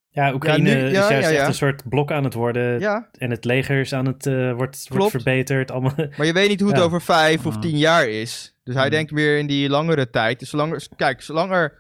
Speaker 2: Ja, Oekraïne
Speaker 5: Ja, nu- ja,
Speaker 2: is juist
Speaker 5: ja, ja.
Speaker 2: echt een soort blok aan het worden.
Speaker 5: Ja,
Speaker 2: En het leger is aan het, eh, wordt, wordt
Speaker 5: Klopt.
Speaker 2: verbeterd. Allemaal.
Speaker 5: maar je weet niet hoe het
Speaker 2: Ja.
Speaker 5: over vijf of
Speaker 3: Mm.
Speaker 5: tien jaar is. Dus hij
Speaker 3: Mm.
Speaker 5: denkt meer in die langere tijd. Dus zolang er- kijk, zolang er...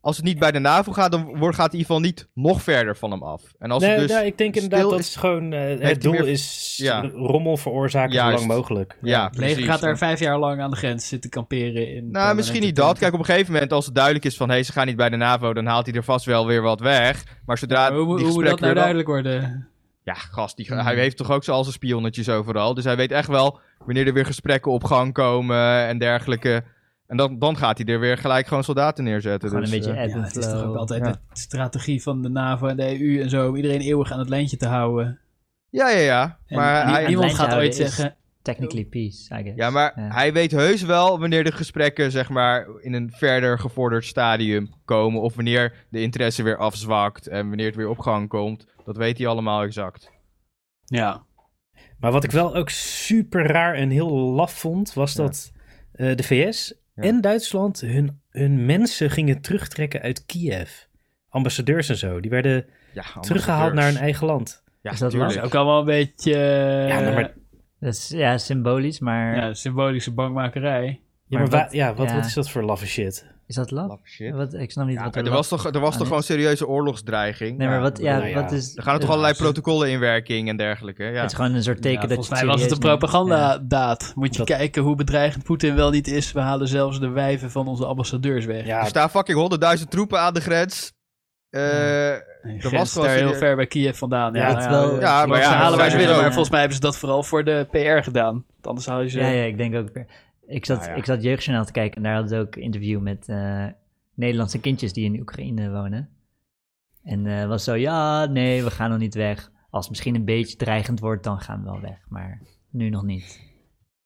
Speaker 5: Als het niet bij de NAVO gaat, dan wordt, gaat het in ieder geval niet nog verder van hem af. En als
Speaker 2: nee,
Speaker 5: het dus...
Speaker 2: ja, ik denk inderdaad
Speaker 5: stil
Speaker 2: dat
Speaker 5: is,
Speaker 2: is gewoon, eh,
Speaker 5: hij
Speaker 2: het doel
Speaker 5: meer-
Speaker 2: is
Speaker 5: ja.
Speaker 2: rommel veroorzaken
Speaker 5: Juist.
Speaker 2: zo lang mogelijk.
Speaker 5: ja,
Speaker 4: Het leger
Speaker 5: precies.
Speaker 4: gaat daar vijf jaar lang aan de grens zitten kamperen. In
Speaker 5: Nou, misschien niet dat. Kijk, op een gegeven moment, als het duidelijk is van... hé, ze gaan niet bij de NAVO, dan haalt hij er vast wel weer wat weg. Maar zodra
Speaker 4: hoe, moet-
Speaker 5: die
Speaker 4: hoe moet dat
Speaker 5: gesprekken
Speaker 4: nou
Speaker 5: weer
Speaker 4: duidelijk worden?
Speaker 5: Ja, gast, die,
Speaker 3: Mm.
Speaker 5: hij heeft toch ook zo al zijn spionnetjes overal. Dus hij weet echt wel wanneer er weer gesprekken op gang komen en dergelijke. En dan, dan gaat hij er weer gelijk gewoon soldaten neerzetten.
Speaker 3: Gewoon
Speaker 5: dus,
Speaker 3: een beetje
Speaker 5: eh,
Speaker 3: ebb
Speaker 4: Ja,
Speaker 3: and
Speaker 4: het is toch
Speaker 3: flow.
Speaker 4: ook altijd
Speaker 5: ja.
Speaker 4: de strategie van de NAVO en de EU en zo, om iedereen eeuwig aan het lijntje te houden.
Speaker 5: ja, ja, ja.
Speaker 4: En
Speaker 5: Maar,
Speaker 4: nie-
Speaker 5: hij,
Speaker 4: niemand
Speaker 3: Lijntje
Speaker 4: gaat
Speaker 3: houden
Speaker 4: ooit
Speaker 3: is-
Speaker 4: zeggen,
Speaker 3: Technically peace, I guess.
Speaker 5: ja, maar hij weet heus wel wanneer de gesprekken zeg maar, in een verder gevorderd stadium komen. Of wanneer de interesse weer afzwakt en wanneer het weer op gang komt. Dat weet hij allemaal exact.
Speaker 4: ja,
Speaker 2: Maar wat ik wel ook super raar en heel laf vond, was
Speaker 5: Ja.
Speaker 2: dat eh, de VS
Speaker 5: Ja.
Speaker 2: en Duitsland hun, hun mensen gingen terugtrekken uit Kiev. Ambassadeurs en zo. Die werden
Speaker 5: Ja,
Speaker 2: teruggehaald naar hun
Speaker 5: ambassadeurs.
Speaker 2: eigen land.
Speaker 5: Ja,
Speaker 3: Is dat
Speaker 5: tuurlijk.
Speaker 4: dat is ook allemaal een beetje... eh,
Speaker 2: Ja, nou, maar
Speaker 3: Dat is ja, symbolisch, maar
Speaker 4: Ja, symbolische bankmakerij.
Speaker 2: Ja,
Speaker 3: Maar
Speaker 2: maar wa-
Speaker 3: wat-
Speaker 2: ja, wat,
Speaker 3: ja.
Speaker 2: wat is dat voor laffe shit?
Speaker 3: is dat laf?
Speaker 5: Love shit.
Speaker 3: Wat, ik snap niet
Speaker 5: Ja,
Speaker 3: wat
Speaker 5: er
Speaker 3: laf-
Speaker 5: was toch, er was
Speaker 3: aan
Speaker 5: toch
Speaker 3: is.
Speaker 5: gewoon serieuze oorlogsdreiging?
Speaker 3: Ah, Nee, maar wat, ja,
Speaker 2: Nou ja.
Speaker 3: wat is...
Speaker 5: Er gaan er toch
Speaker 3: ja,
Speaker 5: allerlei
Speaker 3: het is-
Speaker 5: protocollen in werking en dergelijke. Ja.
Speaker 3: Het is gewoon een soort teken
Speaker 4: Ja,
Speaker 3: dat
Speaker 4: volgens
Speaker 3: je
Speaker 4: mij was het een
Speaker 3: serieus neemt. Ja.
Speaker 4: propagandadaad. Moet je
Speaker 3: Dat-
Speaker 4: kijken hoe bedreigend Poetin wel niet is. We halen zelfs de wijven van onze ambassadeurs weg.
Speaker 2: Ja,
Speaker 5: Er staan fucking 100.000 troepen aan de grens. Eh,
Speaker 4: Nee,
Speaker 5: was
Speaker 4: grens
Speaker 5: gewoon
Speaker 4: daar heel
Speaker 5: serieus-
Speaker 4: ver bij Kiev vandaan. Ja,
Speaker 3: Ja, het
Speaker 4: nou
Speaker 3: wel-
Speaker 4: eh,
Speaker 5: Ja, maar
Speaker 4: ze
Speaker 5: ja,
Speaker 4: halen waar ze
Speaker 5: sowieso.
Speaker 4: willen. Maar
Speaker 3: Ja.
Speaker 4: volgens mij hebben ze dat vooral voor de PR gedaan. Want Anders houden ze...
Speaker 3: Ja, ja, ik denk ook. Ik zat,
Speaker 5: Nou ja.
Speaker 3: ik zat jeugdjournaal te kijken en daar hadden ze ook een interview met eh, Nederlandse kindjes die in Oekraïne wonen. En eh, was zo, ja, nee, we gaan nog niet weg. Als het misschien een beetje dreigend wordt, dan gaan we wel weg. Maar nu nog niet.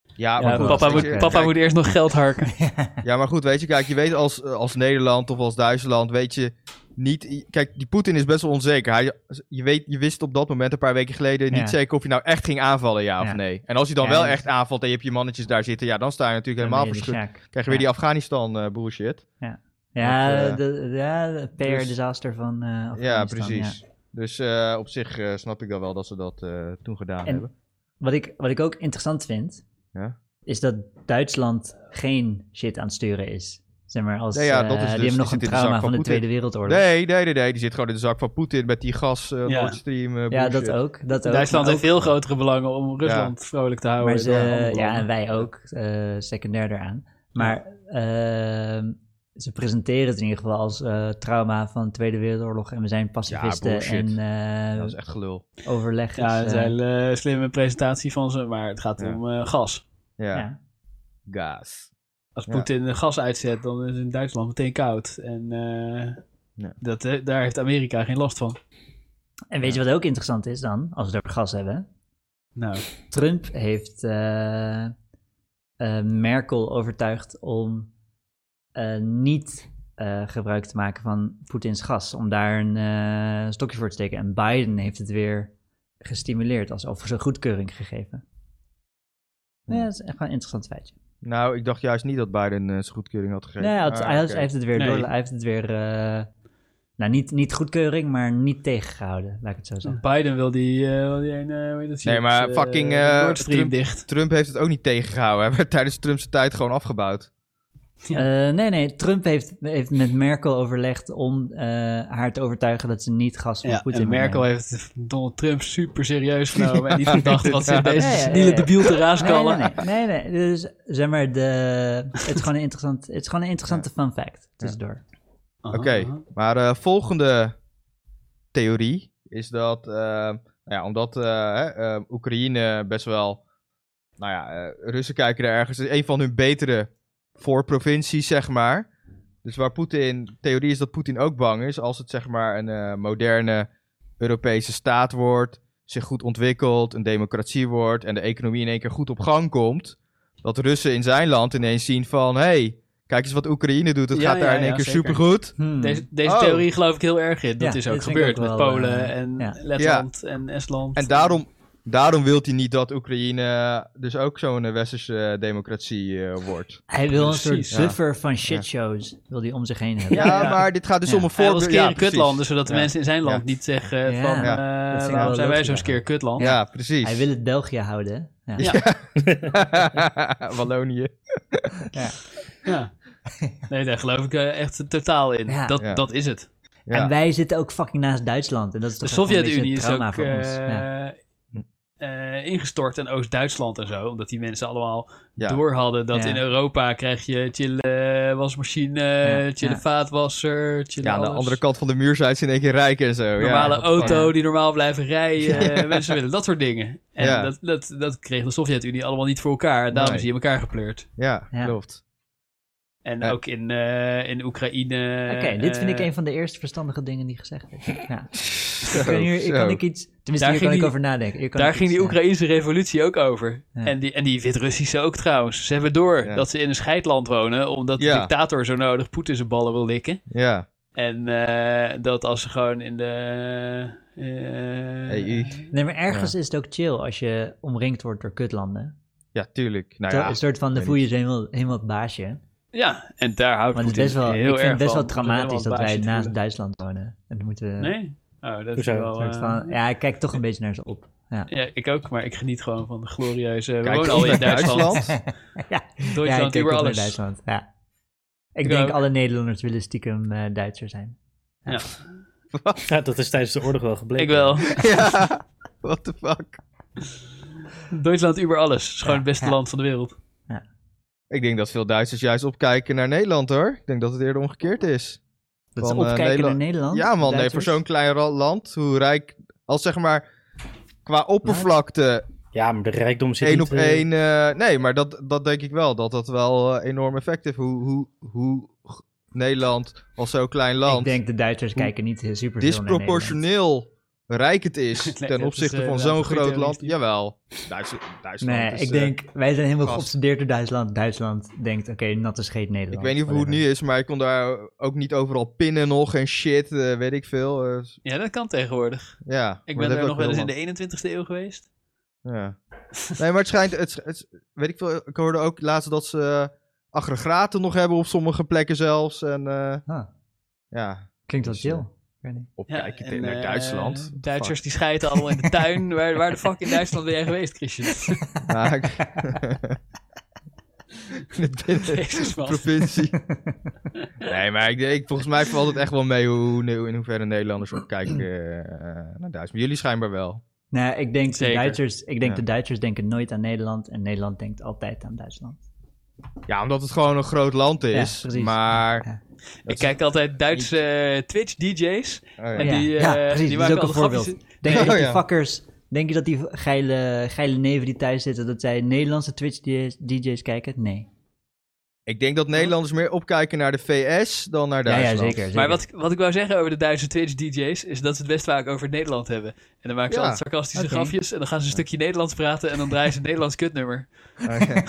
Speaker 5: ja,
Speaker 4: Ja,
Speaker 5: maar goed,
Speaker 4: papa
Speaker 5: als-
Speaker 4: moet,
Speaker 5: kijk,
Speaker 4: papa moet eerst nog geld harken.
Speaker 5: Ja, maar goed, weet je, kijk, je weet als, eh, als Nederland of als Duitsland, weet je niet... Kijk, die Poetin is best wel onzeker. Hij, je, weet, je wist op dat moment, een paar weken geleden,
Speaker 3: Ja.
Speaker 5: niet zeker of hij nou echt ging aanvallen, ja,
Speaker 3: Ja.
Speaker 5: of nee. En als hij dan
Speaker 3: Ja,
Speaker 5: wel
Speaker 3: dus-
Speaker 5: echt aanvalt en je hebt je mannetjes daar zitten, ja, dan sta je natuurlijk helemaal
Speaker 3: Dan ben je de
Speaker 5: verschut.
Speaker 3: Sjaak.
Speaker 5: Krijg je weer die eh, Afghanistan-bullshit.
Speaker 3: Ja,
Speaker 5: Dat, eh,
Speaker 3: de, ja, de
Speaker 5: dus-
Speaker 3: PR-disaster van eh,
Speaker 5: ja,
Speaker 3: Afghanistan,
Speaker 5: precies. Dus eh, op zich eh, snap ik dan wel dat ze dat eh, toen gedaan
Speaker 3: En-
Speaker 5: hebben.
Speaker 3: Wat ik, wat ik ook interessant vind,
Speaker 5: Ja?
Speaker 3: is dat Duitsland geen shit aan het sturen is. Zeg maar, als,
Speaker 5: Ja, ja,
Speaker 3: eh,
Speaker 5: dat is dus-
Speaker 3: die hebben nog
Speaker 5: die
Speaker 3: een
Speaker 5: zit in de zak
Speaker 3: trauma
Speaker 5: van
Speaker 3: van de
Speaker 5: Poetin.
Speaker 3: Tweede Wereldoorlog.
Speaker 5: Nee, nee, nee, nee. Die zit gewoon in de zak van Poetin met die gas eh,
Speaker 4: Ja.
Speaker 5: Nord Stream. eh,
Speaker 3: ja, dat
Speaker 5: bullshit.
Speaker 3: ook. Dat ook
Speaker 4: Duitsland
Speaker 3: maar
Speaker 4: heeft veel grotere belangen om
Speaker 5: Ja.
Speaker 4: Rusland vrolijk te houden.
Speaker 3: Maar
Speaker 4: dan
Speaker 3: ze, eh,
Speaker 4: andere
Speaker 3: ja, en
Speaker 4: landen.
Speaker 3: wij ook, eh, secundair daaraan. Maar ehm, ze presenteren het in ieder geval als eh, trauma van de Tweede Wereldoorlog en we zijn pacifisten en
Speaker 5: bullshit.
Speaker 3: eh
Speaker 5: Dat is echt gelul.
Speaker 3: overleggers.
Speaker 4: Ja, het
Speaker 3: eh,
Speaker 4: is een hele slimme presentatie van ze. Maar het gaat
Speaker 5: Ja.
Speaker 4: om eh, gas.
Speaker 5: Ja.
Speaker 3: ja.
Speaker 5: Gas.
Speaker 4: Als
Speaker 5: Ja.
Speaker 4: Poetin de gas uitzet, dan is het in Duitsland meteen koud. En eh,
Speaker 5: Ja.
Speaker 4: dat, eh, daar heeft Amerika geen last van.
Speaker 3: En weet je wat ook interessant is dan, als we het over gas hebben?
Speaker 4: Nou,
Speaker 3: Trump heeft eh, eh, Merkel overtuigd om eh, niet eh, gebruik te maken van Poetins gas. Om daar een eh, stokje voor te steken. En Biden heeft het weer gestimuleerd. Als over zijn goedkeuring gegeven. Ja, dat is echt wel een interessant feitje.
Speaker 5: Nou, ik dacht juist niet dat Biden eh, zijn goedkeuring had gegeven.
Speaker 3: Nee, hij, had-
Speaker 5: Ah,
Speaker 3: hij had-
Speaker 5: oké.
Speaker 3: hij heeft het weer,
Speaker 4: Nee.
Speaker 3: door, hij heeft het weer eh, nou niet, niet goedkeuring, maar niet tegengehouden, laat ik het zo zeggen.
Speaker 4: dus Biden wil die, eh, wil die een, eh, hoe heet dat?
Speaker 5: Nee, maar
Speaker 4: Eh,
Speaker 5: fucking, eh,
Speaker 4: Nord Stream
Speaker 5: Trump-
Speaker 4: dicht.
Speaker 5: Trump heeft het ook niet tegengehouden. Hij werd tijdens Trumps tijd gewoon afgebouwd.
Speaker 3: Eh, nee, nee, Trump heeft, heeft met Merkel overlegd om eh, haar te overtuigen dat ze niet gas van
Speaker 4: Ja,
Speaker 3: Poetin
Speaker 4: en
Speaker 3: moet
Speaker 4: Merkel
Speaker 3: nemen.
Speaker 4: heeft Donald Trump super serieus genomen. en die dacht, wat zit deze
Speaker 3: Ja, ja, ja,
Speaker 4: seniele
Speaker 3: ja.
Speaker 4: debiel te raaskallen?
Speaker 3: Nee, nee, nee, nee, nee, Dus zeg maar, de, het, is gewoon een interessant, het is gewoon een interessante fun fact tussendoor.
Speaker 4: Aha,
Speaker 5: Oké,
Speaker 4: aha.
Speaker 5: maar eh, volgende theorie is dat, eh, nou ja, omdat eh, hè, eh, Oekraïne best wel, nou ja, eh, Russen kijken er ergens, het is een van hun betere voorprovincies, zeg maar. Dus waar Poetin, theorie is dat Poetin ook bang is als het zeg maar een eh, moderne Europese staat wordt, zich goed ontwikkelt, een democratie wordt en de economie in één keer goed op gang komt. Dat Russen in zijn land ineens zien van, hé, hey, kijk eens wat Oekraïne doet, het
Speaker 4: Ja,
Speaker 5: gaat daar
Speaker 4: ja,
Speaker 5: in één
Speaker 4: ja,
Speaker 5: keer
Speaker 4: zeker.
Speaker 5: supergoed.
Speaker 3: Hmm.
Speaker 4: Deze, deze
Speaker 5: Oh.
Speaker 4: theorie geloof ik heel erg in. Dat
Speaker 3: Ja,
Speaker 4: is ook
Speaker 3: dit vind
Speaker 4: gebeurd
Speaker 3: ik ook
Speaker 4: met
Speaker 3: wel,
Speaker 4: Polen
Speaker 3: eh,
Speaker 4: en
Speaker 3: ja.
Speaker 4: Letland en Estland.
Speaker 5: En daarom, daarom wil hij niet dat Oekraïne eh, dus ook zo'n eh, westerse eh, democratie eh, wordt.
Speaker 3: Hij wil een soort
Speaker 4: Precies,
Speaker 5: ja.
Speaker 3: buffer van shitshows, wil hij om zich heen hebben.
Speaker 4: Ja,
Speaker 5: Ja,
Speaker 4: ja.
Speaker 5: maar dit gaat dus
Speaker 3: Ja.
Speaker 5: om een
Speaker 4: Hij wil
Speaker 5: voorbeeld.
Speaker 4: skeren
Speaker 5: Ja, precies.
Speaker 4: kutlanden, zodat de
Speaker 5: Ja.
Speaker 4: mensen in zijn land
Speaker 5: Ja.
Speaker 4: niet zeggen eh,
Speaker 3: Ja.
Speaker 4: van...
Speaker 5: Ja.
Speaker 4: eh,
Speaker 3: Dat vind ik
Speaker 4: waarom
Speaker 3: wel
Speaker 4: zijn wij
Speaker 3: leuk,
Speaker 4: zo'n
Speaker 3: ja.
Speaker 4: skeer kutland?
Speaker 5: Ja, precies.
Speaker 3: Hij wil het België houden. hè? Ja.
Speaker 4: Ja.
Speaker 5: Wallonië.
Speaker 4: Ja. Nee, daar geloof ik eh, echt totaal in.
Speaker 3: Ja.
Speaker 4: Dat,
Speaker 5: Ja.
Speaker 4: dat is het.
Speaker 5: Ja.
Speaker 3: En wij zitten ook fucking naast Duitsland. En dat is
Speaker 4: De
Speaker 3: toch echt wel een beetje
Speaker 4: Sovjet-Unie
Speaker 3: een
Speaker 4: is
Speaker 3: trauma
Speaker 4: ook
Speaker 3: voor ons.
Speaker 4: eh,
Speaker 3: Ja.
Speaker 4: eh, ingestort in Oost-Duitsland en zo. Omdat die mensen allemaal
Speaker 5: Ja.
Speaker 4: door hadden dat
Speaker 3: Ja.
Speaker 4: in Europa krijg je chille wasmachine,
Speaker 3: Ja,
Speaker 4: chille
Speaker 3: ja.
Speaker 4: vaatwasser, chille
Speaker 5: Ja, aan de
Speaker 4: alles.
Speaker 5: andere kant van de muur zijn ze in één keer rijk en zo.
Speaker 4: Normale
Speaker 5: ja,
Speaker 4: auto die normaal blijven rijden. Eh, Mensen willen dat soort dingen. En
Speaker 5: Ja.
Speaker 4: dat, dat, dat kreeg de Sovjet-Unie allemaal niet voor elkaar. En daarom
Speaker 5: Nee.
Speaker 4: is die in elkaar gepleurd.
Speaker 5: Ja,
Speaker 3: Ja.
Speaker 5: klopt.
Speaker 4: En
Speaker 5: Ja.
Speaker 4: ook in, eh, in Oekraïne.
Speaker 3: Oké, dit vind ik
Speaker 4: eh,
Speaker 3: een van de eerste verstandige dingen die gezegd is. Ja.
Speaker 5: Zo,
Speaker 3: Kan hier,
Speaker 5: zo.
Speaker 3: kan ik iets... Tenminste, hier
Speaker 4: Daar
Speaker 3: kan
Speaker 4: ging
Speaker 3: ik
Speaker 4: die-
Speaker 3: over nadenken. Hier kan
Speaker 4: Daar
Speaker 3: ik
Speaker 4: ging
Speaker 3: iets,
Speaker 4: die
Speaker 3: ja.
Speaker 4: Oekraïnse revolutie ook over.
Speaker 3: Ja.
Speaker 4: En die, en die Wit-Russische ook trouwens. Ze hebben door
Speaker 5: Ja.
Speaker 4: dat ze in een scheidland wonen. Omdat de
Speaker 5: Ja.
Speaker 4: dictator zo nodig Poetin zijn ballen wil likken.
Speaker 5: Ja,
Speaker 4: En eh, dat als ze gewoon in de... eh,
Speaker 5: EU.
Speaker 3: Nee, maar ergens is het ook chill als je omringd wordt door kutlanden.
Speaker 5: ja, tuurlijk. Nou
Speaker 3: Ter-
Speaker 5: ja,
Speaker 3: een soort van,
Speaker 5: weet
Speaker 3: dan voel je je helemaal, helemaal het baasje.
Speaker 4: Ja, en daar houdt
Speaker 3: Want het
Speaker 4: Poetin
Speaker 3: is best wel,
Speaker 4: heel
Speaker 3: ik vind
Speaker 4: erg
Speaker 3: het best wel
Speaker 4: van, om
Speaker 3: dramatisch dat
Speaker 4: helemaal
Speaker 3: wij
Speaker 4: een baasje
Speaker 3: naast
Speaker 4: te
Speaker 3: Duitsland wonen. En dan moeten we...
Speaker 4: voelen. Nee? Oh, dat is
Speaker 2: Hoezo?
Speaker 4: wel...
Speaker 3: een
Speaker 4: eh,
Speaker 3: soort van, ja, ik kijk toch een beetje naar ze op. Ja,
Speaker 4: ja, ik ook, maar ik geniet gewoon van de glorieuze... We
Speaker 5: kijk
Speaker 4: wonen
Speaker 5: eens
Speaker 4: al in
Speaker 5: naar
Speaker 4: Duitsland.
Speaker 5: Duitsland.
Speaker 3: ja, ja ik
Speaker 4: Duitsland,
Speaker 3: kijk
Speaker 4: over
Speaker 3: ook naar
Speaker 4: alles.
Speaker 3: Duitsland. Ja. Ik,
Speaker 4: Ik
Speaker 3: denk
Speaker 4: ook.
Speaker 3: alle Nederlanders willen stiekem eh, Duitser zijn.
Speaker 4: Ja,
Speaker 2: Ja, dat is tijdens de oorlog wel gebleken.
Speaker 4: ik wel.
Speaker 5: ja, what the fuck.
Speaker 4: Duitsland over alles. Het is gewoon het beste
Speaker 3: ja.
Speaker 4: land van de wereld.
Speaker 5: Ik denk dat veel Duitsers juist opkijken naar Nederland hoor. Ik denk dat het eerder omgekeerd is.
Speaker 3: Dat ze
Speaker 5: Van, eh,
Speaker 3: opkijken naar Nederland.
Speaker 5: Ja, man, nee, voor
Speaker 3: Duitsers.
Speaker 5: zo'n klein ra- land, hoe rijk, als zeg maar qua oppervlakte
Speaker 2: Ja, maar de rijkdom zit
Speaker 5: één
Speaker 2: niet,
Speaker 5: op
Speaker 2: eh,
Speaker 5: één. eh, nee, maar dat, dat denk ik wel, dat dat wel eh, enorm effectief hoe, hoe, hoe g- Nederland als zo'n klein
Speaker 3: Ik
Speaker 5: land
Speaker 3: denk de Duitsers kijken niet eh, super veel naar Nederland.
Speaker 5: disproportioneel rijk het is
Speaker 4: Nee, dat
Speaker 5: ten
Speaker 4: is,
Speaker 5: opzichte
Speaker 4: eh,
Speaker 5: van
Speaker 4: inderdaad
Speaker 5: zo'n
Speaker 4: een goede
Speaker 5: groot
Speaker 4: theorie,
Speaker 5: land.
Speaker 4: Steve.
Speaker 5: Jawel, Duits- Duitsland
Speaker 3: Nee,
Speaker 5: is,
Speaker 3: ik
Speaker 5: eh,
Speaker 3: denk, wij zijn helemaal
Speaker 5: gast.
Speaker 3: geobsedeerd door Duitsland. Duitsland denkt, oké, natte scheet Nederland.
Speaker 5: ik weet niet hoe het nu is, maar ik kon daar ook niet overal pinnen nog en shit, eh, weet ik veel. eh, s-
Speaker 4: Ja, dat kan tegenwoordig.
Speaker 5: ja,
Speaker 4: Ik
Speaker 5: maar
Speaker 4: ben
Speaker 5: dat
Speaker 4: er
Speaker 5: hebben
Speaker 4: nog wel
Speaker 5: we
Speaker 4: eens in
Speaker 5: ook
Speaker 4: de 21ste eeuw geweest.
Speaker 5: heel lang. Ja. Nee, maar het schijnt, het, sch- het sch- weet ik veel, ik hoorde ook laatst dat ze eh, aggregaten nog hebben op sommige plekken zelfs. En eh,
Speaker 3: Ah,
Speaker 5: ja,
Speaker 3: klinkt wel
Speaker 5: Dus, eh,
Speaker 3: chill. Ik weet niet.
Speaker 5: op
Speaker 4: Ja,
Speaker 5: kijk
Speaker 4: en,
Speaker 5: naar
Speaker 4: eh,
Speaker 5: Duitsland.
Speaker 4: Duitsers die schijten allemaal in de tuin. waar, waar de fuck in Duitsland ben jij geweest, Christian?
Speaker 5: Fuck. Ja, ik- In de binnen-
Speaker 4: Jezus, man.
Speaker 5: provincie. nee, maar ik, ik, volgens mij valt het echt wel mee hoe, hoe- in hoeverre Nederlanders opkijken eh, eh, naar Duitsland. Maar jullie schijnbaar wel.
Speaker 3: Nee, Nou ik denk, de
Speaker 4: Zeker.
Speaker 3: Duitsers, ik denk
Speaker 5: Ja.
Speaker 3: de Duitsers denken nooit aan Nederland en Nederland denkt altijd aan Duitsland.
Speaker 5: Ja, omdat het gewoon een groot land is.
Speaker 3: precies.
Speaker 5: maar
Speaker 3: Ja.
Speaker 4: Ik kijk altijd Duitse eh, Twitch-DJ's.
Speaker 5: Oh,
Speaker 4: En
Speaker 5: ja.
Speaker 3: Ja,
Speaker 4: die, eh,
Speaker 3: ja, precies,
Speaker 4: die
Speaker 3: dat
Speaker 4: maken
Speaker 3: is ook een voorbeeld.
Speaker 4: altijd grapjes
Speaker 3: Denk je
Speaker 5: Oh,
Speaker 3: dat die
Speaker 5: ja.
Speaker 3: fuckers, denk je dat die geile, geile neven die thuis zitten, dat zij Nederlandse Twitch-DJ's kijken? Nee.
Speaker 5: Ik denk dat Nederlanders meer opkijken naar de VS dan naar
Speaker 3: Ja, ja,
Speaker 5: Duitsland.
Speaker 3: zeker. zeker.
Speaker 4: Maar wat, ik- wat ik wou zeggen over de Duitse Twitch-DJ's, is dat ze het best vaak over Nederland hebben. En dan maken ze
Speaker 5: Ja,
Speaker 4: altijd sarcastische
Speaker 3: oké.
Speaker 4: grafjes en dan gaan ze een stukje Nederlands praten en dan draaien ze een Nederlands kutnummer.
Speaker 5: Oké.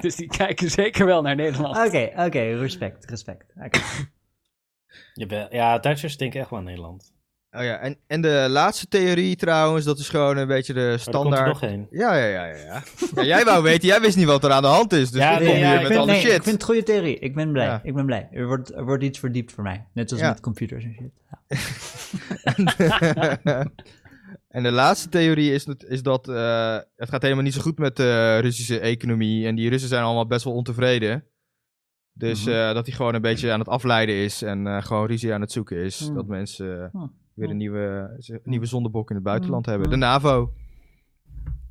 Speaker 4: Dus die kijken zeker wel naar Nederland.
Speaker 3: Oké, oké, respect, respect. Oké.
Speaker 2: Jawel. Ja, Duitsers denken echt wel aan Nederland.
Speaker 5: Oh ja, en, en de laatste theorie trouwens, dat is gewoon een beetje de
Speaker 2: Maar er Oh, komt er
Speaker 5: standaard.
Speaker 2: nog één.
Speaker 5: Ja, ja, ja, ja, ja. Ja, jij wou weten, jij wist niet wat er aan de hand is. Dus
Speaker 2: Ja,
Speaker 5: ja,
Speaker 2: nee,
Speaker 5: kom je
Speaker 2: ja,
Speaker 5: hier
Speaker 2: ik
Speaker 5: met
Speaker 3: vind,
Speaker 5: alle
Speaker 3: nee,
Speaker 5: shit.
Speaker 3: ik vind het goede theorie. Ik ben blij.
Speaker 5: Ja.
Speaker 3: Ik ben blij. Er wordt, er wordt iets verdiept voor mij. Net als
Speaker 5: Ja.
Speaker 3: met computers en shit. Ja.
Speaker 5: en de laatste theorie is, dat- is dat eh, het gaat helemaal niet zo goed met de Russische economie. En die Russen zijn allemaal best wel ontevreden. Dus
Speaker 2: Mhm.
Speaker 5: eh, dat hij gewoon een beetje aan het afleiden is en eh, gewoon ruzie aan het zoeken is.
Speaker 3: Hmm.
Speaker 5: Dat mensen eh,
Speaker 3: Hmm.
Speaker 5: weer een
Speaker 3: Hmm.
Speaker 5: nieuwe, ze- nieuwe zondebok in het buitenland
Speaker 3: Hmm.
Speaker 5: hebben. De NAVO.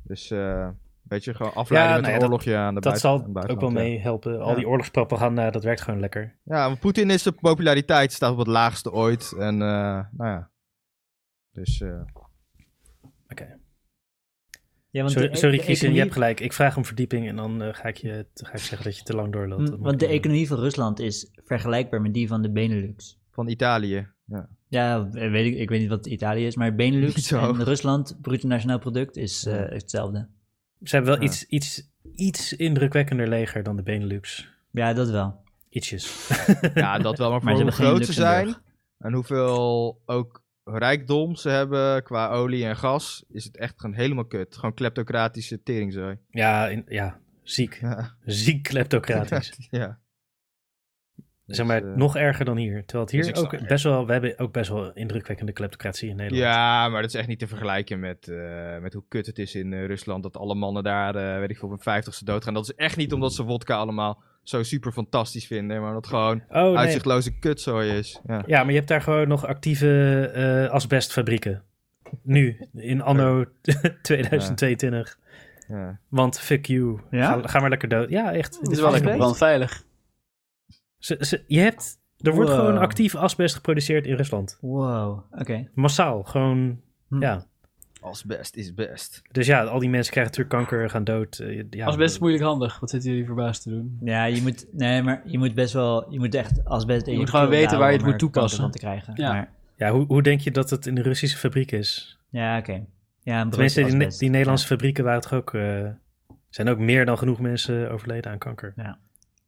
Speaker 5: Dus eh, een beetje gewoon afleiden
Speaker 2: Ja, nou
Speaker 5: met een
Speaker 2: ja, dat-
Speaker 5: oorlogje aan de
Speaker 2: Dat
Speaker 5: buiten-
Speaker 2: zal
Speaker 5: aan het
Speaker 2: ook
Speaker 5: buitenland,
Speaker 2: wel
Speaker 5: ja.
Speaker 2: meehelpen. Al
Speaker 5: Ja.
Speaker 2: die oorlogspropaganda, dat werkt gewoon lekker.
Speaker 5: Ja, want Poetin is de populariteit staat op het laagste ooit. En eh, nou ja. Dus eh,
Speaker 3: Ja, want
Speaker 2: Sorry,
Speaker 3: de- e-
Speaker 2: sorry
Speaker 3: de
Speaker 2: Christian,
Speaker 3: economie-
Speaker 2: je hebt gelijk. Ik vraag om verdieping en dan eh, ga, ik je, ga ik zeggen dat je te lang doorloopt.
Speaker 3: Hm,
Speaker 2: Dat mag
Speaker 3: Want de
Speaker 2: niet.
Speaker 3: economie van Rusland is vergelijkbaar met die van de Benelux.
Speaker 5: van Italië. Ja.
Speaker 3: Ja, eh, weet ik, ik weet niet wat Italië is, maar
Speaker 5: Niet
Speaker 3: Benelux
Speaker 5: zo.
Speaker 3: en Rusland, bruto nationaal product, is eh, hetzelfde.
Speaker 2: Ze hebben wel
Speaker 5: Ja.
Speaker 2: iets, iets, iets indrukwekkender leger dan de Benelux.
Speaker 3: Ja, dat wel.
Speaker 2: Ietsjes.
Speaker 5: ja, dat wel. Maar,
Speaker 3: Maar
Speaker 5: voor
Speaker 3: ze dus
Speaker 5: hoe
Speaker 3: hebben
Speaker 5: groot
Speaker 3: geen
Speaker 5: ze
Speaker 3: Luxemburg.
Speaker 5: zijn en hoeveel ook rijkdom ze hebben qua olie en gas, is het echt gewoon helemaal kut. Gewoon kleptocratische teringzooi.
Speaker 2: Ja, in- ja ziek.
Speaker 5: Ja.
Speaker 2: Ziek kleptocratisch.
Speaker 5: ja.
Speaker 2: zeg maar,
Speaker 5: Dus, eh,
Speaker 2: nog erger dan hier. Terwijl het
Speaker 5: dus
Speaker 2: hier
Speaker 5: ik snap
Speaker 2: ook best wel... We hebben ook best wel indrukwekkende kleptocratie in Nederland.
Speaker 5: Ja, maar dat is echt niet te vergelijken met, eh, met hoe kut het is in eh, Rusland. Dat alle mannen daar, eh, weet ik veel, op hun vijftigste doodgaan. Dat is echt niet omdat ze wodka allemaal zo super fantastisch vinden. Maar dat gewoon
Speaker 2: Oh, nee.
Speaker 5: uitzichtloze kutzooi is. Ja.
Speaker 2: Ja, maar je hebt daar gewoon nog actieve eh, asbestfabrieken. Nu, in anno 2022.
Speaker 5: Ja.
Speaker 2: Want fuck you.
Speaker 3: Ja?
Speaker 2: Ga, ga maar lekker dood. Ja, echt.
Speaker 4: Het is wel lekker
Speaker 2: brand.
Speaker 4: brandveilig.
Speaker 2: Ze, ze- je hebt, er wordt
Speaker 3: Wow.
Speaker 2: gewoon actief asbest geproduceerd in Rusland.
Speaker 3: Wow, oké.
Speaker 2: Massaal, gewoon,
Speaker 3: Hm.
Speaker 2: ja.
Speaker 5: Asbest is best.
Speaker 2: Dus ja, al die mensen krijgen natuurlijk kanker, gaan dood. eh, ja,
Speaker 4: Als best moeilijk handig. Wat zitten jullie verbaasd te doen?
Speaker 3: Ja, je moet, nee, maar je moet best wel, je moet echt als best
Speaker 4: Je moet gewoon weten waar je het moet toepassen.
Speaker 3: te krijgen.
Speaker 4: Ja.
Speaker 3: Ja, maar,
Speaker 2: Ja, hoe, hoe denk je dat het in de Russische fabriek is?
Speaker 3: ja oké. Ja, een
Speaker 2: Tenminste, die,
Speaker 3: broodje
Speaker 2: Ne-
Speaker 3: asbest.
Speaker 2: die Nederlandse fabrieken waren toch ook... eh, zijn ook meer dan genoeg mensen overleden aan kanker.
Speaker 3: Ja,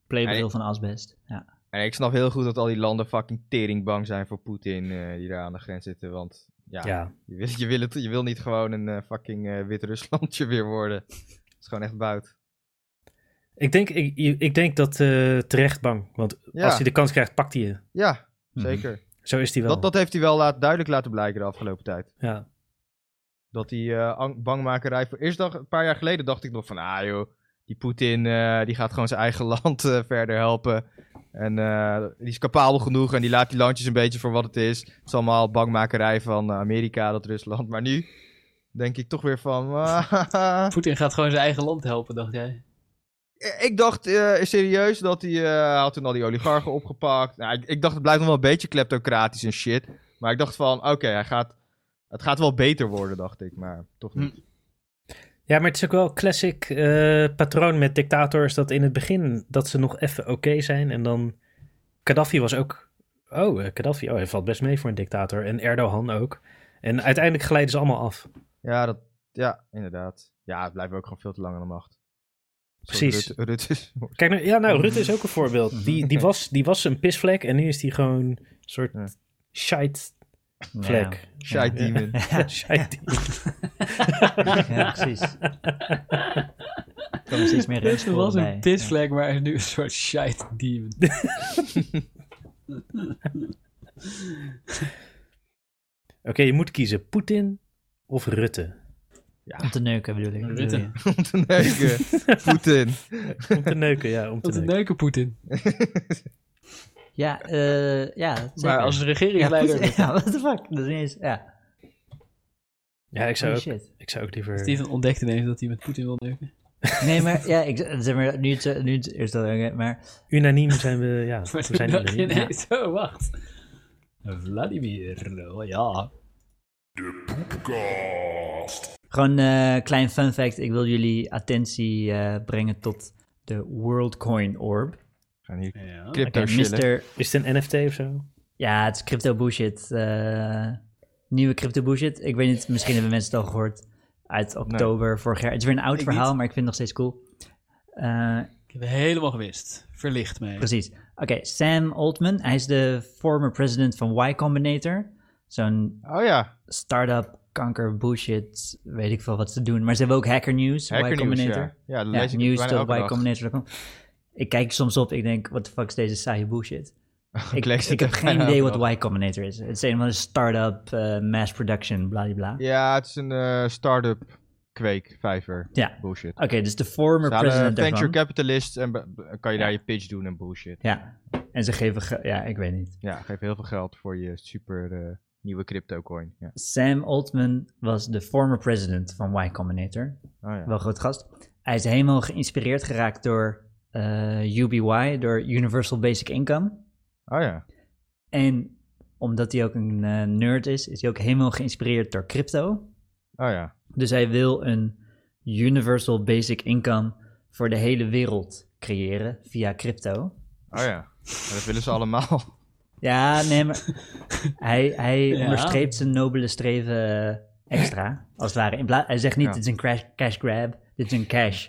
Speaker 3: playbril van asbest. Ja.
Speaker 5: En ik snap heel goed dat al die landen fucking teringbang zijn voor Poetin eh, die daar aan de grens zitten. Want ja,
Speaker 2: Ja,
Speaker 5: Je, wil, je, wil het, je wil niet gewoon een eh, fucking eh, Wit-Ruslandje weer worden. Het is gewoon echt buit.
Speaker 2: Ik, denk, ik, ik denk dat eh, terecht bang. Want
Speaker 5: Ja.
Speaker 2: als hij de kans krijgt, pakt hij je.
Speaker 5: Ja, zeker.
Speaker 2: Zo is hij Mhm. wel.
Speaker 5: Dat, dat heeft hij wel laat, duidelijk laten blijken de afgelopen tijd.
Speaker 2: Ja.
Speaker 5: Dat die eh, ang- bangmakerij. Voor... Eerst dacht, een paar jaar geleden dacht ik nog van, ah joh, die Poetin eh, die gaat gewoon zijn eigen land eh, verder helpen. En eh, die is capabel genoeg en die laat die landjes een beetje voor wat het is. Het is allemaal bangmakerij van eh, Amerika, dat Rusland. Maar nu denk ik toch weer van. ah,
Speaker 4: Poetin gaat gewoon zijn eigen land helpen, dacht jij.
Speaker 5: ik dacht eh, serieus dat hij. eh, had toen al die oligarchen opgepakt. Nou, ik, ik dacht het blijft nog wel een beetje kleptocratisch en shit. Maar ik dacht van, oké, hij gaat. Het gaat wel beter worden, dacht ik. Maar toch niet.
Speaker 2: Ja, maar het is ook wel classic eh, patroon met dictators dat in het begin dat ze nog even oké zijn en dan Gaddafi was ook oh eh, Gaddafi oh hij valt best mee voor een dictator en Erdogan ook en uiteindelijk glijden ze allemaal af.
Speaker 5: Ja, dat, ja, inderdaad. Ja, het blijft ook gewoon veel te lang aan de macht. Zoals
Speaker 2: Precies.
Speaker 5: Rutte, Rutte is-
Speaker 2: Kijk nou, ja nou Rutte is ook een voorbeeld. Die, die, was, die was een pisvlek en nu is die gewoon een soort
Speaker 5: Ja.
Speaker 2: shite
Speaker 3: Ja.
Speaker 2: vlek.
Speaker 5: Shite
Speaker 2: Ja.
Speaker 5: demon.
Speaker 2: Shite.
Speaker 3: Ja, precies. Er komen steeds meer
Speaker 4: Het
Speaker 3: rechtsporen
Speaker 4: was
Speaker 3: bij.
Speaker 4: een pisvlek, maar hij is nu een soort shite demon.
Speaker 2: Oké, je moet kiezen Poetin of Rutte.
Speaker 3: Ja. Om te neuken bedoel ik.
Speaker 4: Rutte.
Speaker 3: bedoel je.
Speaker 5: Om te neuken. Poetin.
Speaker 2: Om te neuken, ja, om te
Speaker 4: Wat een
Speaker 2: neuken.
Speaker 4: neuken Poetin.
Speaker 3: Ja, eh ja zeker.
Speaker 4: Maar als
Speaker 3: ja,
Speaker 4: regeringsleider...
Speaker 3: goed. Ja, what the fuck? Dat is ineens, ja.
Speaker 2: Ja, ik zou
Speaker 3: Oh,
Speaker 2: ook,
Speaker 3: shit.
Speaker 2: ik zou ook liever
Speaker 4: Steven ontdekt ineens dat hij met Poetin wil neuken.
Speaker 3: Nee, maar ja, ik, zeg maar, nu het, zo- nu het eerst dat, oké, maar
Speaker 2: Unaniem zijn we, ja.
Speaker 4: Maar
Speaker 2: we
Speaker 4: toen
Speaker 2: zijn
Speaker 4: dacht je
Speaker 2: unaniem.
Speaker 4: ineens, oh wacht. Vladimir, oh ja.
Speaker 3: gewoon eh klein fun fact. Ik wil jullie attentie eh, brengen tot de WorldCoin Orb.
Speaker 5: Gaan hier
Speaker 4: Ja.
Speaker 5: crypto
Speaker 3: Oh, Oké,
Speaker 5: shillen.
Speaker 3: Mr.
Speaker 2: Is het een NFT of zo?
Speaker 3: Ja, het is crypto bullshit. eh, nieuwe crypto bullshit. Ik weet niet, misschien hebben mensen het al gehoord uit oktober vorig jaar. Het is weer een oud
Speaker 5: Ik
Speaker 3: verhaal,
Speaker 5: niet.
Speaker 3: maar ik vind het nog steeds cool. Eh,
Speaker 4: Ik heb het helemaal gewist. Verlicht mee.
Speaker 3: precies. Oké, Sam Altman. Hij is de former president van Y Combinator. Zo'n
Speaker 5: Oh ja,
Speaker 3: start-up kanker bullshit, weet ik veel wat ze doen. Maar ze hebben ook Hacker News,
Speaker 5: hacker
Speaker 3: Y
Speaker 5: news,
Speaker 3: Combinator.
Speaker 5: ja. Ja, dat
Speaker 3: Ja,
Speaker 5: lees ik
Speaker 3: news
Speaker 5: bijna elke
Speaker 3: tot
Speaker 5: dag.
Speaker 3: ycombinator.com. Ik kijk soms op, ik denk, wat de fuck is deze saaie bullshit? ik
Speaker 5: lees het
Speaker 3: ik heb
Speaker 5: ook
Speaker 3: geen
Speaker 5: bijna
Speaker 3: idee
Speaker 5: elke
Speaker 3: wat Y Combinator is. Het is een van de start-up, eh, mass production, bladibla. Ja.
Speaker 5: Ja, het is een eh, start-up kweek, vijver, bullshit.
Speaker 3: Oké, dus de former
Speaker 5: Ze hadden
Speaker 3: president
Speaker 5: venture
Speaker 3: daarvan.
Speaker 5: capitalists en be- be- kan je daar je pitch doen en bullshit.
Speaker 3: Ja, en ze geven, ge- ja, ik weet niet.
Speaker 5: Ja, geef heel veel geld voor je super eh, nieuwe crypto coin. Ja.
Speaker 3: Sam Altman was de former president van Y Combinator.
Speaker 5: Oh ja.
Speaker 3: Wel een groot gast. Hij is helemaal geïnspireerd geraakt door eh, UBY, door Universal Basic Income.
Speaker 5: Oh ja.
Speaker 3: En omdat hij ook een eh, nerd is, is hij ook helemaal geïnspireerd door crypto.
Speaker 5: Oh ja.
Speaker 3: Dus hij wil een universal basic income voor de hele wereld creëren via crypto.
Speaker 5: Oh ja. Maar dat willen ze allemaal.
Speaker 3: Ja, nee, maar hij, hij
Speaker 4: Ja.
Speaker 3: onderstreept zijn nobele streven eh, extra, als het ware. In plaats- hij zegt niet,
Speaker 5: Ja.
Speaker 3: dit is een crash, cash grab, dit is een cash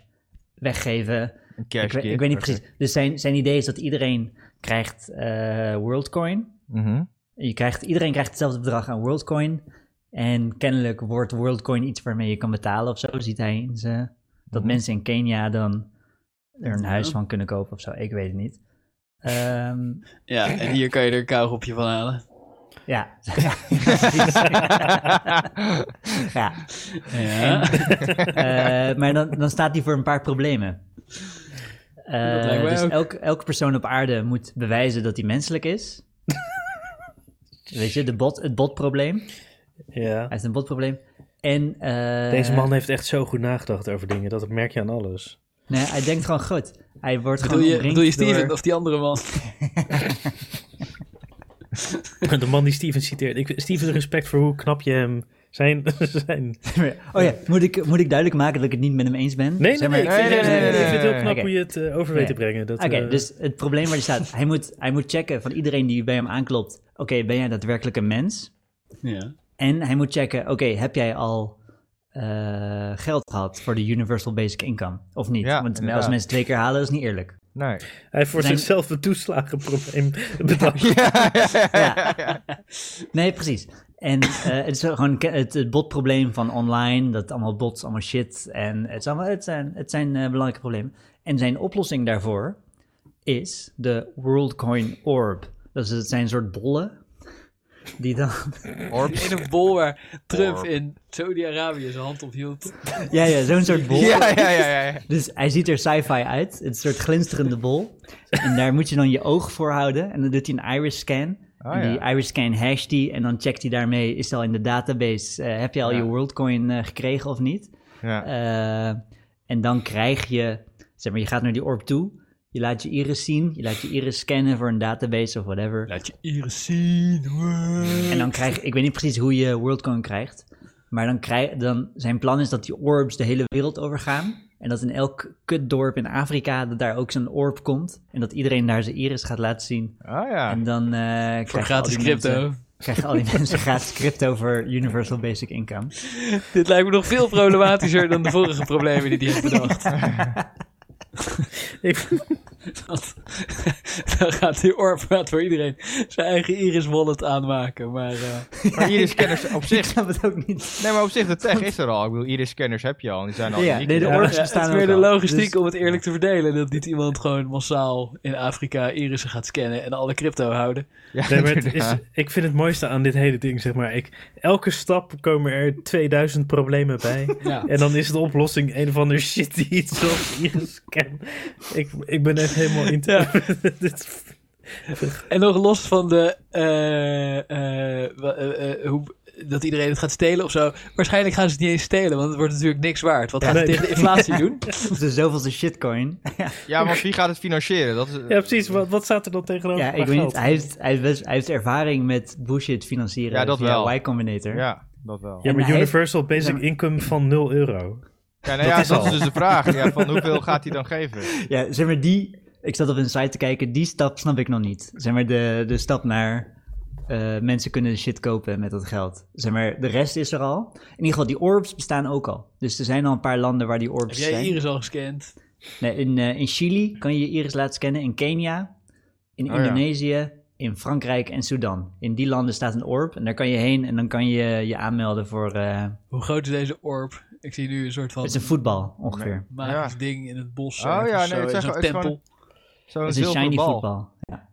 Speaker 3: weggeven.
Speaker 5: Een cash
Speaker 3: ik, weet-
Speaker 5: kid.
Speaker 3: ik weet niet precies. Dus zijn, zijn idee is dat iedereen krijgt eh, WorldCoin.
Speaker 5: Mhm.
Speaker 3: Je krijgt, iedereen krijgt hetzelfde bedrag aan WorldCoin. En kennelijk wordt WorldCoin iets waarmee je kan betalen of zo, ziet hij in ze. Dat
Speaker 5: Mhm.
Speaker 3: mensen in Kenia dan er een
Speaker 4: Ja.
Speaker 3: huis van kunnen kopen of zo, ik weet het niet. Ehm,
Speaker 4: Ja, en hier kan je er een kauwgopje van halen.
Speaker 3: ja. ja, precies. ja.
Speaker 4: Ja,
Speaker 3: Eh, maar dan, dan staat die voor een paar problemen. Eh,
Speaker 4: Dat lijkt mij
Speaker 3: dus
Speaker 4: ook.
Speaker 3: elk, elke persoon op aarde moet bewijzen dat hij menselijk is. Weet je, de bot, het botprobleem.
Speaker 2: Ja.
Speaker 3: Hij heeft een botprobleem. En eh,
Speaker 2: Deze man heeft echt zo goed nagedacht over dingen. Dat merk je aan alles.
Speaker 3: nee, hij denkt gewoon groot. Hij wordt
Speaker 4: bedoel,
Speaker 3: gewoon
Speaker 4: je,
Speaker 3: omringd
Speaker 4: bedoel je Steven
Speaker 3: door...
Speaker 4: of die andere man?
Speaker 2: De man die Steven citeert. Ik, Steven's respect voor hoe knap je hem zijn. zijn.
Speaker 3: Oh ja, moet ik, moet ik duidelijk maken dat ik het niet met hem eens ben?
Speaker 2: Nee, nee,
Speaker 3: Zeg
Speaker 2: nee.
Speaker 3: maar-
Speaker 2: Ik vind
Speaker 5: nee,
Speaker 2: het-
Speaker 5: nee, nee,
Speaker 2: ik vind het heel
Speaker 5: nee,
Speaker 2: knap
Speaker 3: oké.
Speaker 2: hoe je het eh, over weet te brengen. Dat,
Speaker 3: Oké,
Speaker 2: eh,
Speaker 3: dus het probleem waar hij staat, hij moet, hij moet checken van iedereen die bij hem aanklopt. Oké, ben jij daadwerkelijk een mens?
Speaker 4: Ja.
Speaker 3: En hij moet checken, oké, heb jij al eh, geld gehad voor de Universal Basic Income? Of niet?
Speaker 5: Ja,
Speaker 3: Want als
Speaker 5: inderdaad.
Speaker 3: mensen twee keer halen, dat is niet eerlijk.
Speaker 5: Nee.
Speaker 2: Hij heeft voor
Speaker 3: zijn-
Speaker 2: zichzelf een toeslagenprobleem bedacht.
Speaker 3: ja. Nee, precies. En eh, het is gewoon ke- het, het botprobleem van online, dat allemaal bots, allemaal shit. En het, is allemaal, het zijn, het zijn eh, belangrijke problemen. En zijn oplossing daarvoor is de WorldCoin Orb. Dus het zijn een soort bollen die dan...
Speaker 5: Orbs.
Speaker 4: In een bol waar Trump
Speaker 5: Orp.
Speaker 4: in Saudi-Arabië zijn hand op hield.
Speaker 3: ja, ja, zo'n soort bol.
Speaker 5: Ja, ja, ja, ja. ja.
Speaker 3: Dus hij ziet er sci-fi uit. Het is een soort glinsterende bol. En daar moet je dan je oog voor houden. En dan doet hij een iris scan.
Speaker 5: Oh,
Speaker 3: en die
Speaker 5: ja.
Speaker 3: iris scan hasht hij. En dan checkt hij daarmee, is het al in de database. eh, heb je al
Speaker 5: Ja.
Speaker 3: je WorldCoin eh, gekregen of niet?
Speaker 5: Ja.
Speaker 3: Eh, en dan krijg je, zeg maar, je gaat naar die orb toe. Je laat je iris zien. Je laat je iris scannen voor een database of whatever.
Speaker 4: Laat je iris zien.
Speaker 3: En dan krijg ik weet niet precies hoe je WorldCoin krijgt. Maar dan krijg, dan, zijn plan is dat die orbs de hele wereld overgaan. En dat in elk kutdorp in Afrika dat daar ook zo'n orb komt. En dat iedereen daar zijn iris gaat laten zien.
Speaker 5: Oh ja.
Speaker 3: En dan eh krijgen
Speaker 4: Voor
Speaker 3: al die
Speaker 4: gratis crypto.
Speaker 3: Mensen, krijgen al die mensen gratis crypto voor Universal Basic Income.
Speaker 4: Dit lijkt me nog veel problematischer dan de vorige problemen die hij heeft bedacht.
Speaker 2: Ik-
Speaker 4: Want dan gaat die Orpraat voor iedereen zijn eigen Iris Wallet aanmaken. Maar eh,
Speaker 5: Maar iris-scanners op
Speaker 3: Ik
Speaker 5: zich...
Speaker 3: snap het ook niet.
Speaker 5: Nee, maar op zich, de tech is er al. Ik bedoel, iris-scanners heb je al. Die zijn al
Speaker 3: Ja,
Speaker 5: uniek.
Speaker 3: nee, de
Speaker 2: Ja.
Speaker 3: orbs
Speaker 4: ja, het
Speaker 3: bestaan
Speaker 4: is
Speaker 3: ook
Speaker 4: meer de
Speaker 3: al.
Speaker 4: logistiek
Speaker 3: Dus-
Speaker 4: om het eerlijk te verdelen. Dat niet iemand gewoon massaal in Afrika Irissen gaat scannen en alle crypto houden.
Speaker 5: Ja,
Speaker 2: Nee, maar het is,
Speaker 5: inderdaad.
Speaker 2: ik vind het mooiste aan dit hele ding, zeg maar. Ik, elke stap komen er 2000 problemen bij.
Speaker 4: Ja.
Speaker 2: En dan is de oplossing een of ander shit die iets zelfs ingescand. Ik, ik ben echt helemaal in.
Speaker 4: Ja.
Speaker 2: Dit-
Speaker 4: En nog los van de. eh, eh, wa- eh, eh, hoe, dat iedereen het gaat stelen of zo. Waarschijnlijk gaan ze het niet eens stelen, want het wordt natuurlijk niks waard. Wat gaan
Speaker 2: Nee.
Speaker 4: ze tegen de inflatie doen?
Speaker 3: De zoveelste shitcoin.
Speaker 5: ja, want wie gaat het financieren? Dat is,
Speaker 2: ja, precies. Wat, wat staat er dan tegenover?
Speaker 3: Ja,
Speaker 2: qua
Speaker 3: ik weet
Speaker 2: geld?
Speaker 3: niet. Hij heeft, hij, heeft best- hij heeft ervaring met bullshit financieren
Speaker 5: Ja, dat
Speaker 3: via
Speaker 5: wel.
Speaker 3: Y Combinator.
Speaker 5: Ja, dat wel.
Speaker 2: Ja, maar
Speaker 3: En hij-
Speaker 2: Universal
Speaker 3: Ja,
Speaker 2: Basic
Speaker 3: maar-
Speaker 2: Income van 0 euro.
Speaker 5: Ja, nou ja,
Speaker 3: is
Speaker 5: dat,
Speaker 3: al.
Speaker 5: is dus de vraag. Ja, van hoeveel gaat hij dan geven?
Speaker 3: Ja, zeg maar die... Ik zat op een site te kijken, die stap snap ik nog niet. Zeg maar de, de stap naar eh, mensen kunnen shit kopen met dat geld. Zeg maar, de rest is er al. In ieder geval, die orbs bestaan ook al. Dus er zijn al een paar landen waar die
Speaker 4: Heb
Speaker 3: orbs
Speaker 4: jij
Speaker 3: zijn.
Speaker 4: je iris al gescand?
Speaker 3: Nee, in, eh, in Chili kan je je iris laten scannen, in Kenia, in
Speaker 5: Oh ja.
Speaker 3: Indonesië, in Frankrijk en Sudan. In die landen staat een orb en daar kan je heen en dan kan je je aanmelden voor... eh,
Speaker 4: Hoe groot is deze orb? Ik zie nu een soort van
Speaker 3: het is een voetbal ongeveer.
Speaker 4: magisch
Speaker 5: Ja.
Speaker 4: ding in het bos.
Speaker 5: Oh ja,
Speaker 4: ergens
Speaker 5: nee,
Speaker 4: zo,
Speaker 5: het
Speaker 4: in zo'n
Speaker 5: zijn gewoon- het is
Speaker 4: tempel.
Speaker 5: Zo'n
Speaker 3: Het is een
Speaker 5: zilveren
Speaker 3: shiny
Speaker 5: bal.
Speaker 3: voetbal. Ja.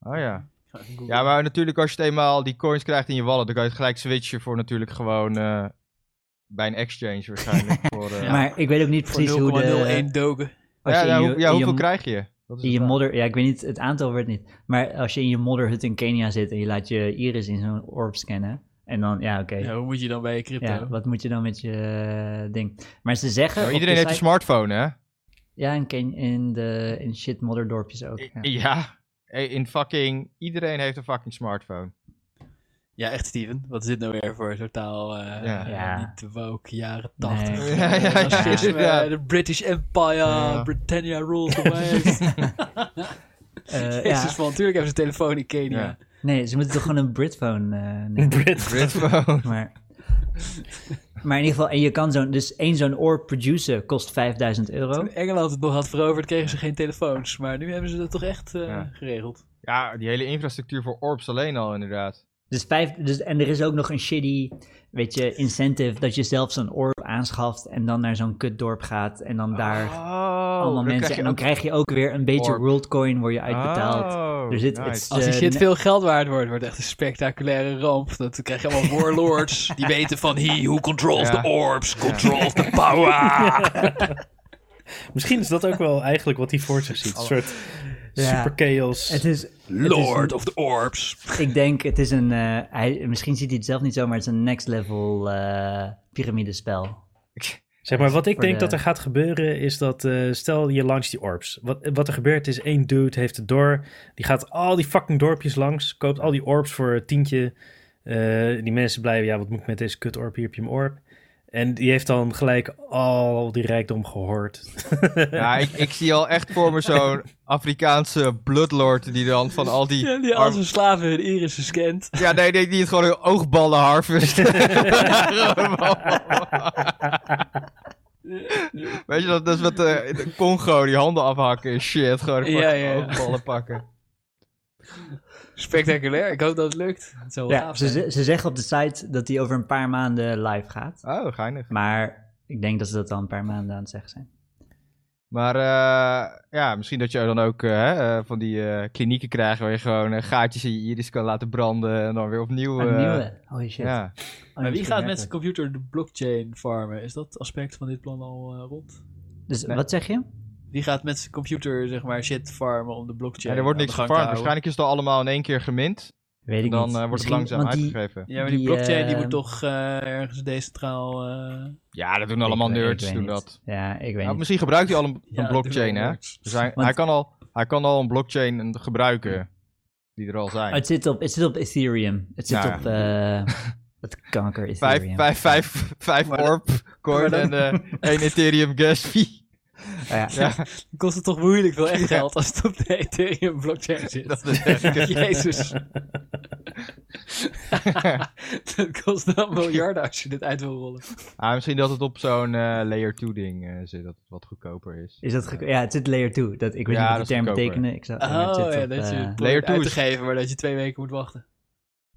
Speaker 5: Oh ja. Ja, maar natuurlijk als je het eenmaal die coins krijgt in je wallet, dan kan je het gelijk switchen voor natuurlijk gewoon eh, bij een exchange waarschijnlijk. voor, eh,
Speaker 3: Maar ik weet ook niet
Speaker 4: Voor
Speaker 3: precies hoe de...
Speaker 4: 0,01 dogen.
Speaker 3: als
Speaker 5: ja,
Speaker 3: je
Speaker 5: ja,
Speaker 3: in je-
Speaker 5: hoe-
Speaker 3: in
Speaker 5: ja,
Speaker 3: je-
Speaker 5: hoeveel krijg je? Dat is
Speaker 3: In je
Speaker 5: de vraag.
Speaker 3: modder, ja, ik weet niet, het aantal wordt niet. Maar als je in je modderhut in Kenia zit en je laat je iris in zo'n orb scannen. En dan, ja, oké.
Speaker 4: Ja,
Speaker 3: Ja,
Speaker 4: hoe moet je dan bij je crypto?
Speaker 3: wat moet je dan met je eh, ding? Maar ze zeggen.
Speaker 5: Nou,
Speaker 3: op
Speaker 5: iedereen
Speaker 3: de
Speaker 5: heeft
Speaker 3: site-
Speaker 5: een smartphone, hè?
Speaker 3: Ja, in, Ken in, de, in shit modderdorpjes ook. Ja.
Speaker 5: Ja. Eh, In fucking... Iedereen heeft een fucking smartphone.
Speaker 4: Ja, echt Steven. Wat is dit nou weer voor totaal eh
Speaker 5: Ja.
Speaker 3: Ja.
Speaker 4: niet te woke, jaren tachtig.
Speaker 3: Nee.
Speaker 5: Ja, ja, ja.
Speaker 4: Fascisme,
Speaker 5: Ja.
Speaker 4: de British Empire,
Speaker 5: Ja.
Speaker 4: Britannia rules the waves.
Speaker 3: Eh,
Speaker 4: Jezus
Speaker 3: ja.
Speaker 4: man, natuurlijk hebben ze een telefoon in Kenia.
Speaker 5: Ja.
Speaker 3: Nee, ze moeten toch gewoon een Britphone eh nemen.
Speaker 2: Brit.
Speaker 5: Smartphone.
Speaker 3: Maar, maar in ieder geval, en je kan zo'n, dus één zo'n orb produceren kost 5000 euro.
Speaker 4: Toen Engeland het nog had veroverd, kregen ze geen telefoons. Maar nu hebben ze dat toch echt eh,
Speaker 5: Ja.
Speaker 4: geregeld.
Speaker 5: Ja, die hele infrastructuur voor orbs alleen al inderdaad.
Speaker 3: Dus vijf, dus, en er is ook nog een shitty, weet je, incentive dat je zelf zo'n orb aanschaft en dan naar zo'n kutdorp gaat en dan daar
Speaker 5: Oh,
Speaker 3: allemaal mensen. en dan krijg je ook weer een beetje
Speaker 5: orb.
Speaker 3: worldcoin word je uitbetaald.
Speaker 5: Oh,
Speaker 3: er zit,
Speaker 5: nice.
Speaker 3: het is,
Speaker 4: Als die
Speaker 3: eh,
Speaker 4: shit
Speaker 3: ne-
Speaker 4: veel geld waard wordt, wordt het echt een spectaculaire ramp. Dat dan krijg je allemaal warlords die weten van he who controls
Speaker 5: Ja.
Speaker 4: the orbs, controls the power.
Speaker 2: Misschien is dat ook wel eigenlijk wat hij voor zich ziet. Een soort
Speaker 3: Ja.
Speaker 2: super chaos.
Speaker 3: Het is,
Speaker 4: Lord of the orbs.
Speaker 3: ik denk, het is een, eh, hij, misschien ziet hij het zelf niet zo, maar het is een next level eh piramidespel.
Speaker 2: Zeg maar, wat ik
Speaker 3: Voor
Speaker 2: denk
Speaker 3: de-
Speaker 2: dat er gaat gebeuren is dat, eh, stel je launcht die orbs. Wat, wat er gebeurt is, één dude heeft het door. Die gaat al die fucking dorpjes langs, koopt al die orbs voor een tientje. Eh, die mensen blijven, ja, wat moet ik met deze kut orb? Hier heb je hem orb. En die heeft dan gelijk al die rijkdom gehoord.
Speaker 5: Ja, ik, ik zie al echt voor me zo'n Afrikaanse bloodlord die dan van al die...
Speaker 4: Ja, die
Speaker 5: arm-
Speaker 4: als een slaven hun irissen scant.
Speaker 5: Ja, nee, nee, die het gewoon hun oogballen harvest. Weet je, dat, dat is wat de, de Congo, die handen afhakken en shit. Gewoon
Speaker 4: Ja,
Speaker 5: ja,
Speaker 4: ja, ja.
Speaker 5: oogballen pakken.
Speaker 4: Spectaculair, ik hoop dat het lukt. Het zou wel
Speaker 3: Ja,
Speaker 4: gaaf
Speaker 3: ze,
Speaker 4: zijn.
Speaker 3: ze- ze zeggen op de site dat hij over een paar maanden live gaat.
Speaker 5: Oh, geinig.
Speaker 3: Maar ik denk dat ze dat al een paar maanden aan het zeggen zijn.
Speaker 5: Maar eh, ja, misschien dat je dan ook eh, hè, eh, van die eh, klinieken krijgt waar je gewoon eh, gaatjes in je iris kan laten branden en dan weer opnieuw...
Speaker 3: Een
Speaker 5: eh,
Speaker 3: nieuwe. Holy shit.
Speaker 5: Ja.
Speaker 3: Oh,
Speaker 4: Maar wie
Speaker 3: misschien
Speaker 4: gaat
Speaker 3: werkt
Speaker 4: met
Speaker 3: het.
Speaker 4: zijn computer de blockchain farmen? Is dat aspect van dit plan al eh, rond?
Speaker 3: Dus
Speaker 5: Nee.
Speaker 3: wat zeg je?
Speaker 4: Wie gaat met zijn computer, zeg maar, shit farmen om de blockchain
Speaker 5: ja, er wordt
Speaker 4: aan
Speaker 5: niks
Speaker 4: de gang
Speaker 5: gefarmd.
Speaker 4: te houden?
Speaker 5: Waarschijnlijk is het al allemaal in één keer gemint.
Speaker 3: Weet
Speaker 5: En
Speaker 3: ik
Speaker 5: dan
Speaker 3: niet.
Speaker 5: eh, wordt het
Speaker 3: Misschien-
Speaker 5: langzaam
Speaker 3: want die-
Speaker 5: uitgegeven.
Speaker 4: Ja, maar die,
Speaker 3: Die,
Speaker 4: blockchain die
Speaker 3: eh,
Speaker 4: moet toch eh, ergens decentraal... eh,
Speaker 5: Ja, dat doen
Speaker 3: Ik
Speaker 5: allemaal
Speaker 3: weet- ik
Speaker 5: nerds,
Speaker 3: weet
Speaker 5: doen
Speaker 3: niet.
Speaker 5: dat.
Speaker 3: Ja, ik weet
Speaker 5: Nou,
Speaker 3: niet.
Speaker 5: misschien gebruikt hij al een, een
Speaker 4: ja,
Speaker 5: blockchain, hè?
Speaker 4: developers.
Speaker 5: Dus hij,
Speaker 3: Want-
Speaker 5: hij, kan al, hij kan al een blockchain gebruiken die er al
Speaker 3: Oh,
Speaker 5: zijn.
Speaker 3: het, zit op, het zit op Ethereum. Het zit
Speaker 5: Nou ja.
Speaker 3: op eh het kanker
Speaker 5: Vijf,
Speaker 3: Ethereum.
Speaker 5: vijf, vijf, vijf
Speaker 4: Maar dat-
Speaker 5: orb coin en eh één Ethereum gas fee.
Speaker 3: Oh ja.
Speaker 5: Ja,
Speaker 4: Dan kost het toch moeilijk veel echt
Speaker 5: Ja.
Speaker 4: geld als het op de Ethereum blockchain zit.
Speaker 5: dat is echt...
Speaker 4: Jezus. dat kost dan miljarden als je dit uit wil rollen.
Speaker 5: Ah, misschien dat het op zo'n eh, layer 2 ding eh, zit, dat het wat goedkoper is.
Speaker 3: Is dat gek- ja, het zit layer 2. Dat, ik weet
Speaker 5: Ja,
Speaker 3: niet wat
Speaker 5: dat
Speaker 3: die
Speaker 5: is
Speaker 3: term
Speaker 5: goedkoper.
Speaker 3: betekenen. Ik zou, maar
Speaker 4: Oh
Speaker 3: het zit
Speaker 4: ja,
Speaker 3: op,
Speaker 4: dat je
Speaker 3: eh,
Speaker 4: het
Speaker 5: layer
Speaker 4: probeert
Speaker 5: two
Speaker 4: uit te
Speaker 5: is-
Speaker 4: geven, maar dat je twee weken moet wachten.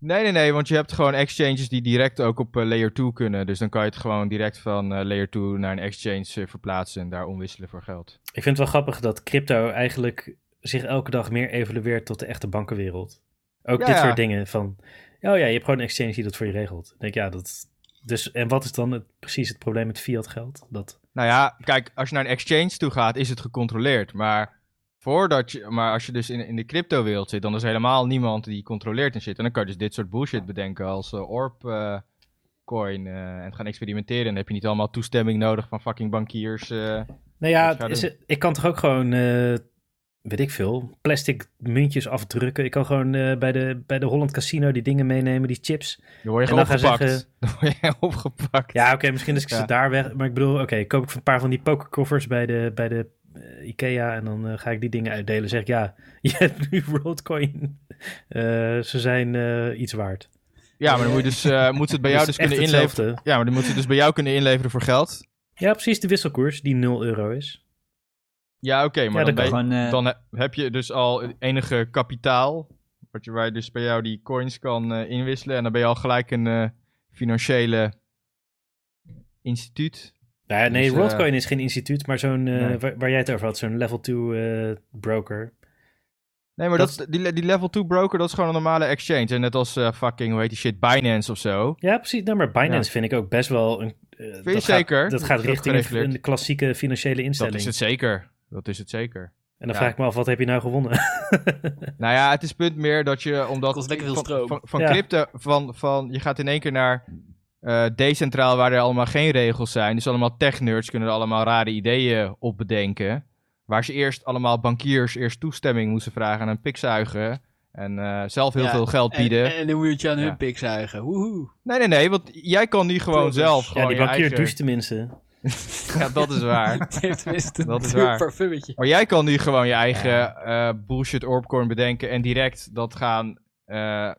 Speaker 5: Nee, nee, nee, want je hebt gewoon exchanges die direct ook op eh, layer 2 kunnen. Dus dan kan je het gewoon direct van eh, layer 2 naar een exchange eh, verplaatsen en daar omwisselen voor geld.
Speaker 2: Ik vind het wel grappig dat crypto eigenlijk zich elke dag meer evolueert tot de echte bankenwereld. Ook
Speaker 5: Ja,
Speaker 2: dit
Speaker 5: ja.
Speaker 2: soort dingen van, oh ja, je hebt gewoon een exchange die dat voor je regelt. Ik denk, ja, dat... Dus, en wat is dan het, precies het probleem met fiat geld? Dat,
Speaker 5: Nou ja, kijk, als je naar een exchange toe gaat, is het gecontroleerd. Maar, voordat je, maar als je dus in, in de crypto-wereld zit, dan is er helemaal niemand die controleert en shit. En dan kan je dus dit soort bullshit bedenken als eh, Orb eh, coin eh, en gaan experimenteren. En dan heb je niet allemaal toestemming nodig van fucking bankiers. eh.
Speaker 2: nou ja,
Speaker 5: Dat zou
Speaker 2: is- ik kan toch ook gewoon eh, weet ik veel, plastic muntjes afdrukken. Ik kan gewoon eh, bij, de, bij de Holland Casino die dingen meenemen, die chips.
Speaker 5: Dan word je
Speaker 2: En
Speaker 5: gewoon
Speaker 2: dan gaan
Speaker 5: opgepakt.
Speaker 2: zeggen-
Speaker 5: Dan word je opgepakt.
Speaker 2: Ja, oké, misschien is ik
Speaker 5: Ja.
Speaker 2: ze daar weg. Maar ik bedoel, oké, koop ik een paar van die pokerkoffers bij de, bij de eh, Ikea en dan eh, ga ik die dingen uitdelen. Zeg ik, ja, je hebt nu Roadcoin. Eh, ze zijn eh, iets waard.
Speaker 5: Ja, maar dan moet je dus, eh, moet ze het bij jou dus
Speaker 2: echt
Speaker 5: kunnen inleveren.
Speaker 2: hetzelfde.
Speaker 5: Ja, maar dan moet ze het dus bij jou kunnen inleveren voor geld.
Speaker 2: Ja, precies, de wisselkoers die 0 euro is.
Speaker 5: Ja, oké, maar
Speaker 2: Ja,
Speaker 5: dan,
Speaker 2: dat
Speaker 5: ben je-
Speaker 3: Gewoon, eh,
Speaker 5: dan he- heb je dus al het enige kapitaal. Wat je, waar je dus bij jou die coins kan eh, inwisselen. En dan ben je al gelijk een eh, financiële instituut.
Speaker 2: Nou, ja, nee,
Speaker 5: Dus, eh,
Speaker 2: Roadcoin is geen instituut, maar zo'n, eh,
Speaker 5: nee.
Speaker 2: waar, waar jij het over had, zo'n level 2 eh, broker.
Speaker 5: Nee, maar
Speaker 2: Dat
Speaker 5: dat, die, die level 2 broker, dat is gewoon een normale exchange. En net als eh, fucking, hoe heet die shit, Binance of zo.
Speaker 2: Ja, precies. Nou, maar Binance vind ik ook best wel een. eh,
Speaker 5: je
Speaker 2: dat
Speaker 5: zeker?
Speaker 2: Gaat, dat
Speaker 5: Dat
Speaker 2: gaat
Speaker 5: is
Speaker 2: richting een,
Speaker 5: gereguleerd.
Speaker 2: een klassieke financiële
Speaker 5: Dat
Speaker 2: instelling.
Speaker 5: is het zeker. Dat is het zeker.
Speaker 2: En dan
Speaker 5: ja.
Speaker 2: vraag ik me af, wat heb je nou gewonnen?
Speaker 5: Nou ja, het is punt meer dat je, omdat...
Speaker 4: Kost lekker veel
Speaker 5: van-
Speaker 4: stroom.
Speaker 5: Van, van
Speaker 2: Ja.
Speaker 5: crypto, van, van, je gaat in één keer naar eh, decentraal, waar er allemaal geen regels zijn. Dus allemaal tech-nerds kunnen er allemaal rare ideeën op bedenken. Waar ze eerst allemaal bankiers eerst toestemming moesten vragen aan een pikzuigen. En eh, zelf heel
Speaker 4: Ja,
Speaker 5: veel geld bieden.
Speaker 4: En, en dan moet je aan hun
Speaker 5: Ja.
Speaker 4: pik zuigen. Woehoe.
Speaker 5: Nee, nee, nee, want jij kan nu gewoon
Speaker 4: Progress.
Speaker 5: zelf...
Speaker 2: ja,
Speaker 5: Gewoon
Speaker 2: die
Speaker 5: Oh, je
Speaker 2: bankier
Speaker 5: eigen-
Speaker 2: doucht tenminste.
Speaker 5: Ja, dat is waar.
Speaker 4: Het heeft tenminste
Speaker 5: Dat is
Speaker 4: een duur
Speaker 5: waar.
Speaker 4: parfummetje.
Speaker 5: Maar jij kan nu gewoon je eigen eh, bullshit orbcorn bedenken en direct dat gaan eh,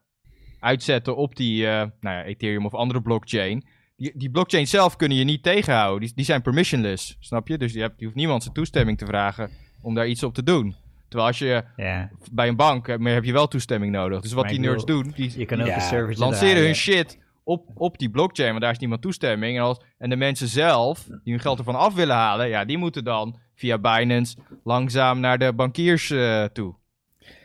Speaker 5: uitzetten op die eh, nou ja, Ethereum of andere blockchain. Die, die blockchain zelf kunnen je niet tegenhouden. Die, die zijn permissionless, snap je? Dus je, hebt, je hoeft niemand zijn toestemming te vragen om daar iets op te doen. Terwijl als je
Speaker 3: ja,
Speaker 5: bij een bank, eh, maar heb je wel toestemming nodig. Dus wat
Speaker 3: Maar
Speaker 5: die
Speaker 3: ik
Speaker 5: nerds
Speaker 3: bedoel,
Speaker 5: doen, die
Speaker 3: je kan ook
Speaker 2: Ja,
Speaker 3: een servertje
Speaker 5: lanceren
Speaker 3: draaien.
Speaker 5: hun shit op, op die blockchain, want daar is niemand toestemming. En, als, en de mensen zelf, die hun geld ervan af willen halen, ja, die moeten dan via Binance langzaam naar de bankiers eh, toe.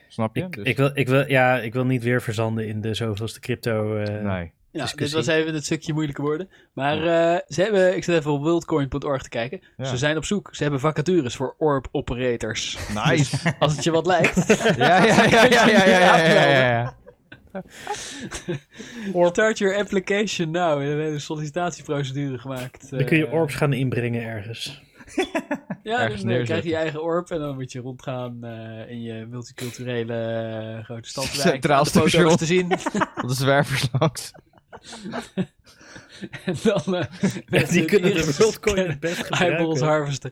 Speaker 5: Snap je?
Speaker 2: Ik,
Speaker 5: Dus-
Speaker 2: ik, wil, ik, wil, ja, ik wil niet weer verzanden in de zoveelste crypto. eh,
Speaker 5: nee.
Speaker 4: Ja, dit
Speaker 2: discussie.
Speaker 4: was even het stukje moeilijke woorden. Maar eh, ze hebben, ik zit even op worldcoin.org te kijken.
Speaker 5: Ja.
Speaker 4: Ze zijn op zoek. Ze hebben vacatures voor orb operators.
Speaker 5: Nice.
Speaker 4: Als het je wat lijkt.
Speaker 5: ja, ja, ja, ja, ja, ja, ja, ja, ja, ja.
Speaker 4: Start your application now. We hebben een sollicitatieprocedure gemaakt.
Speaker 2: Dan kun je
Speaker 4: Eh,
Speaker 2: orbs gaan inbrengen ergens.
Speaker 4: Ja,
Speaker 5: ergens
Speaker 4: dan eh,
Speaker 5: neerzetten.
Speaker 4: krijg je je eigen orb en dan moet je rondgaan eh, in je multiculturele eh, grote stad.
Speaker 5: Centraal
Speaker 4: de foto's
Speaker 5: station.
Speaker 4: te zien.
Speaker 5: Dat is zwervers langs.
Speaker 4: en dan eh,
Speaker 2: Ja,
Speaker 4: mensen
Speaker 2: die kunnen
Speaker 4: iris
Speaker 2: de Worldcoin
Speaker 4: scannen,
Speaker 2: het best
Speaker 4: eyeballs
Speaker 2: gebruiken.
Speaker 4: harvesten.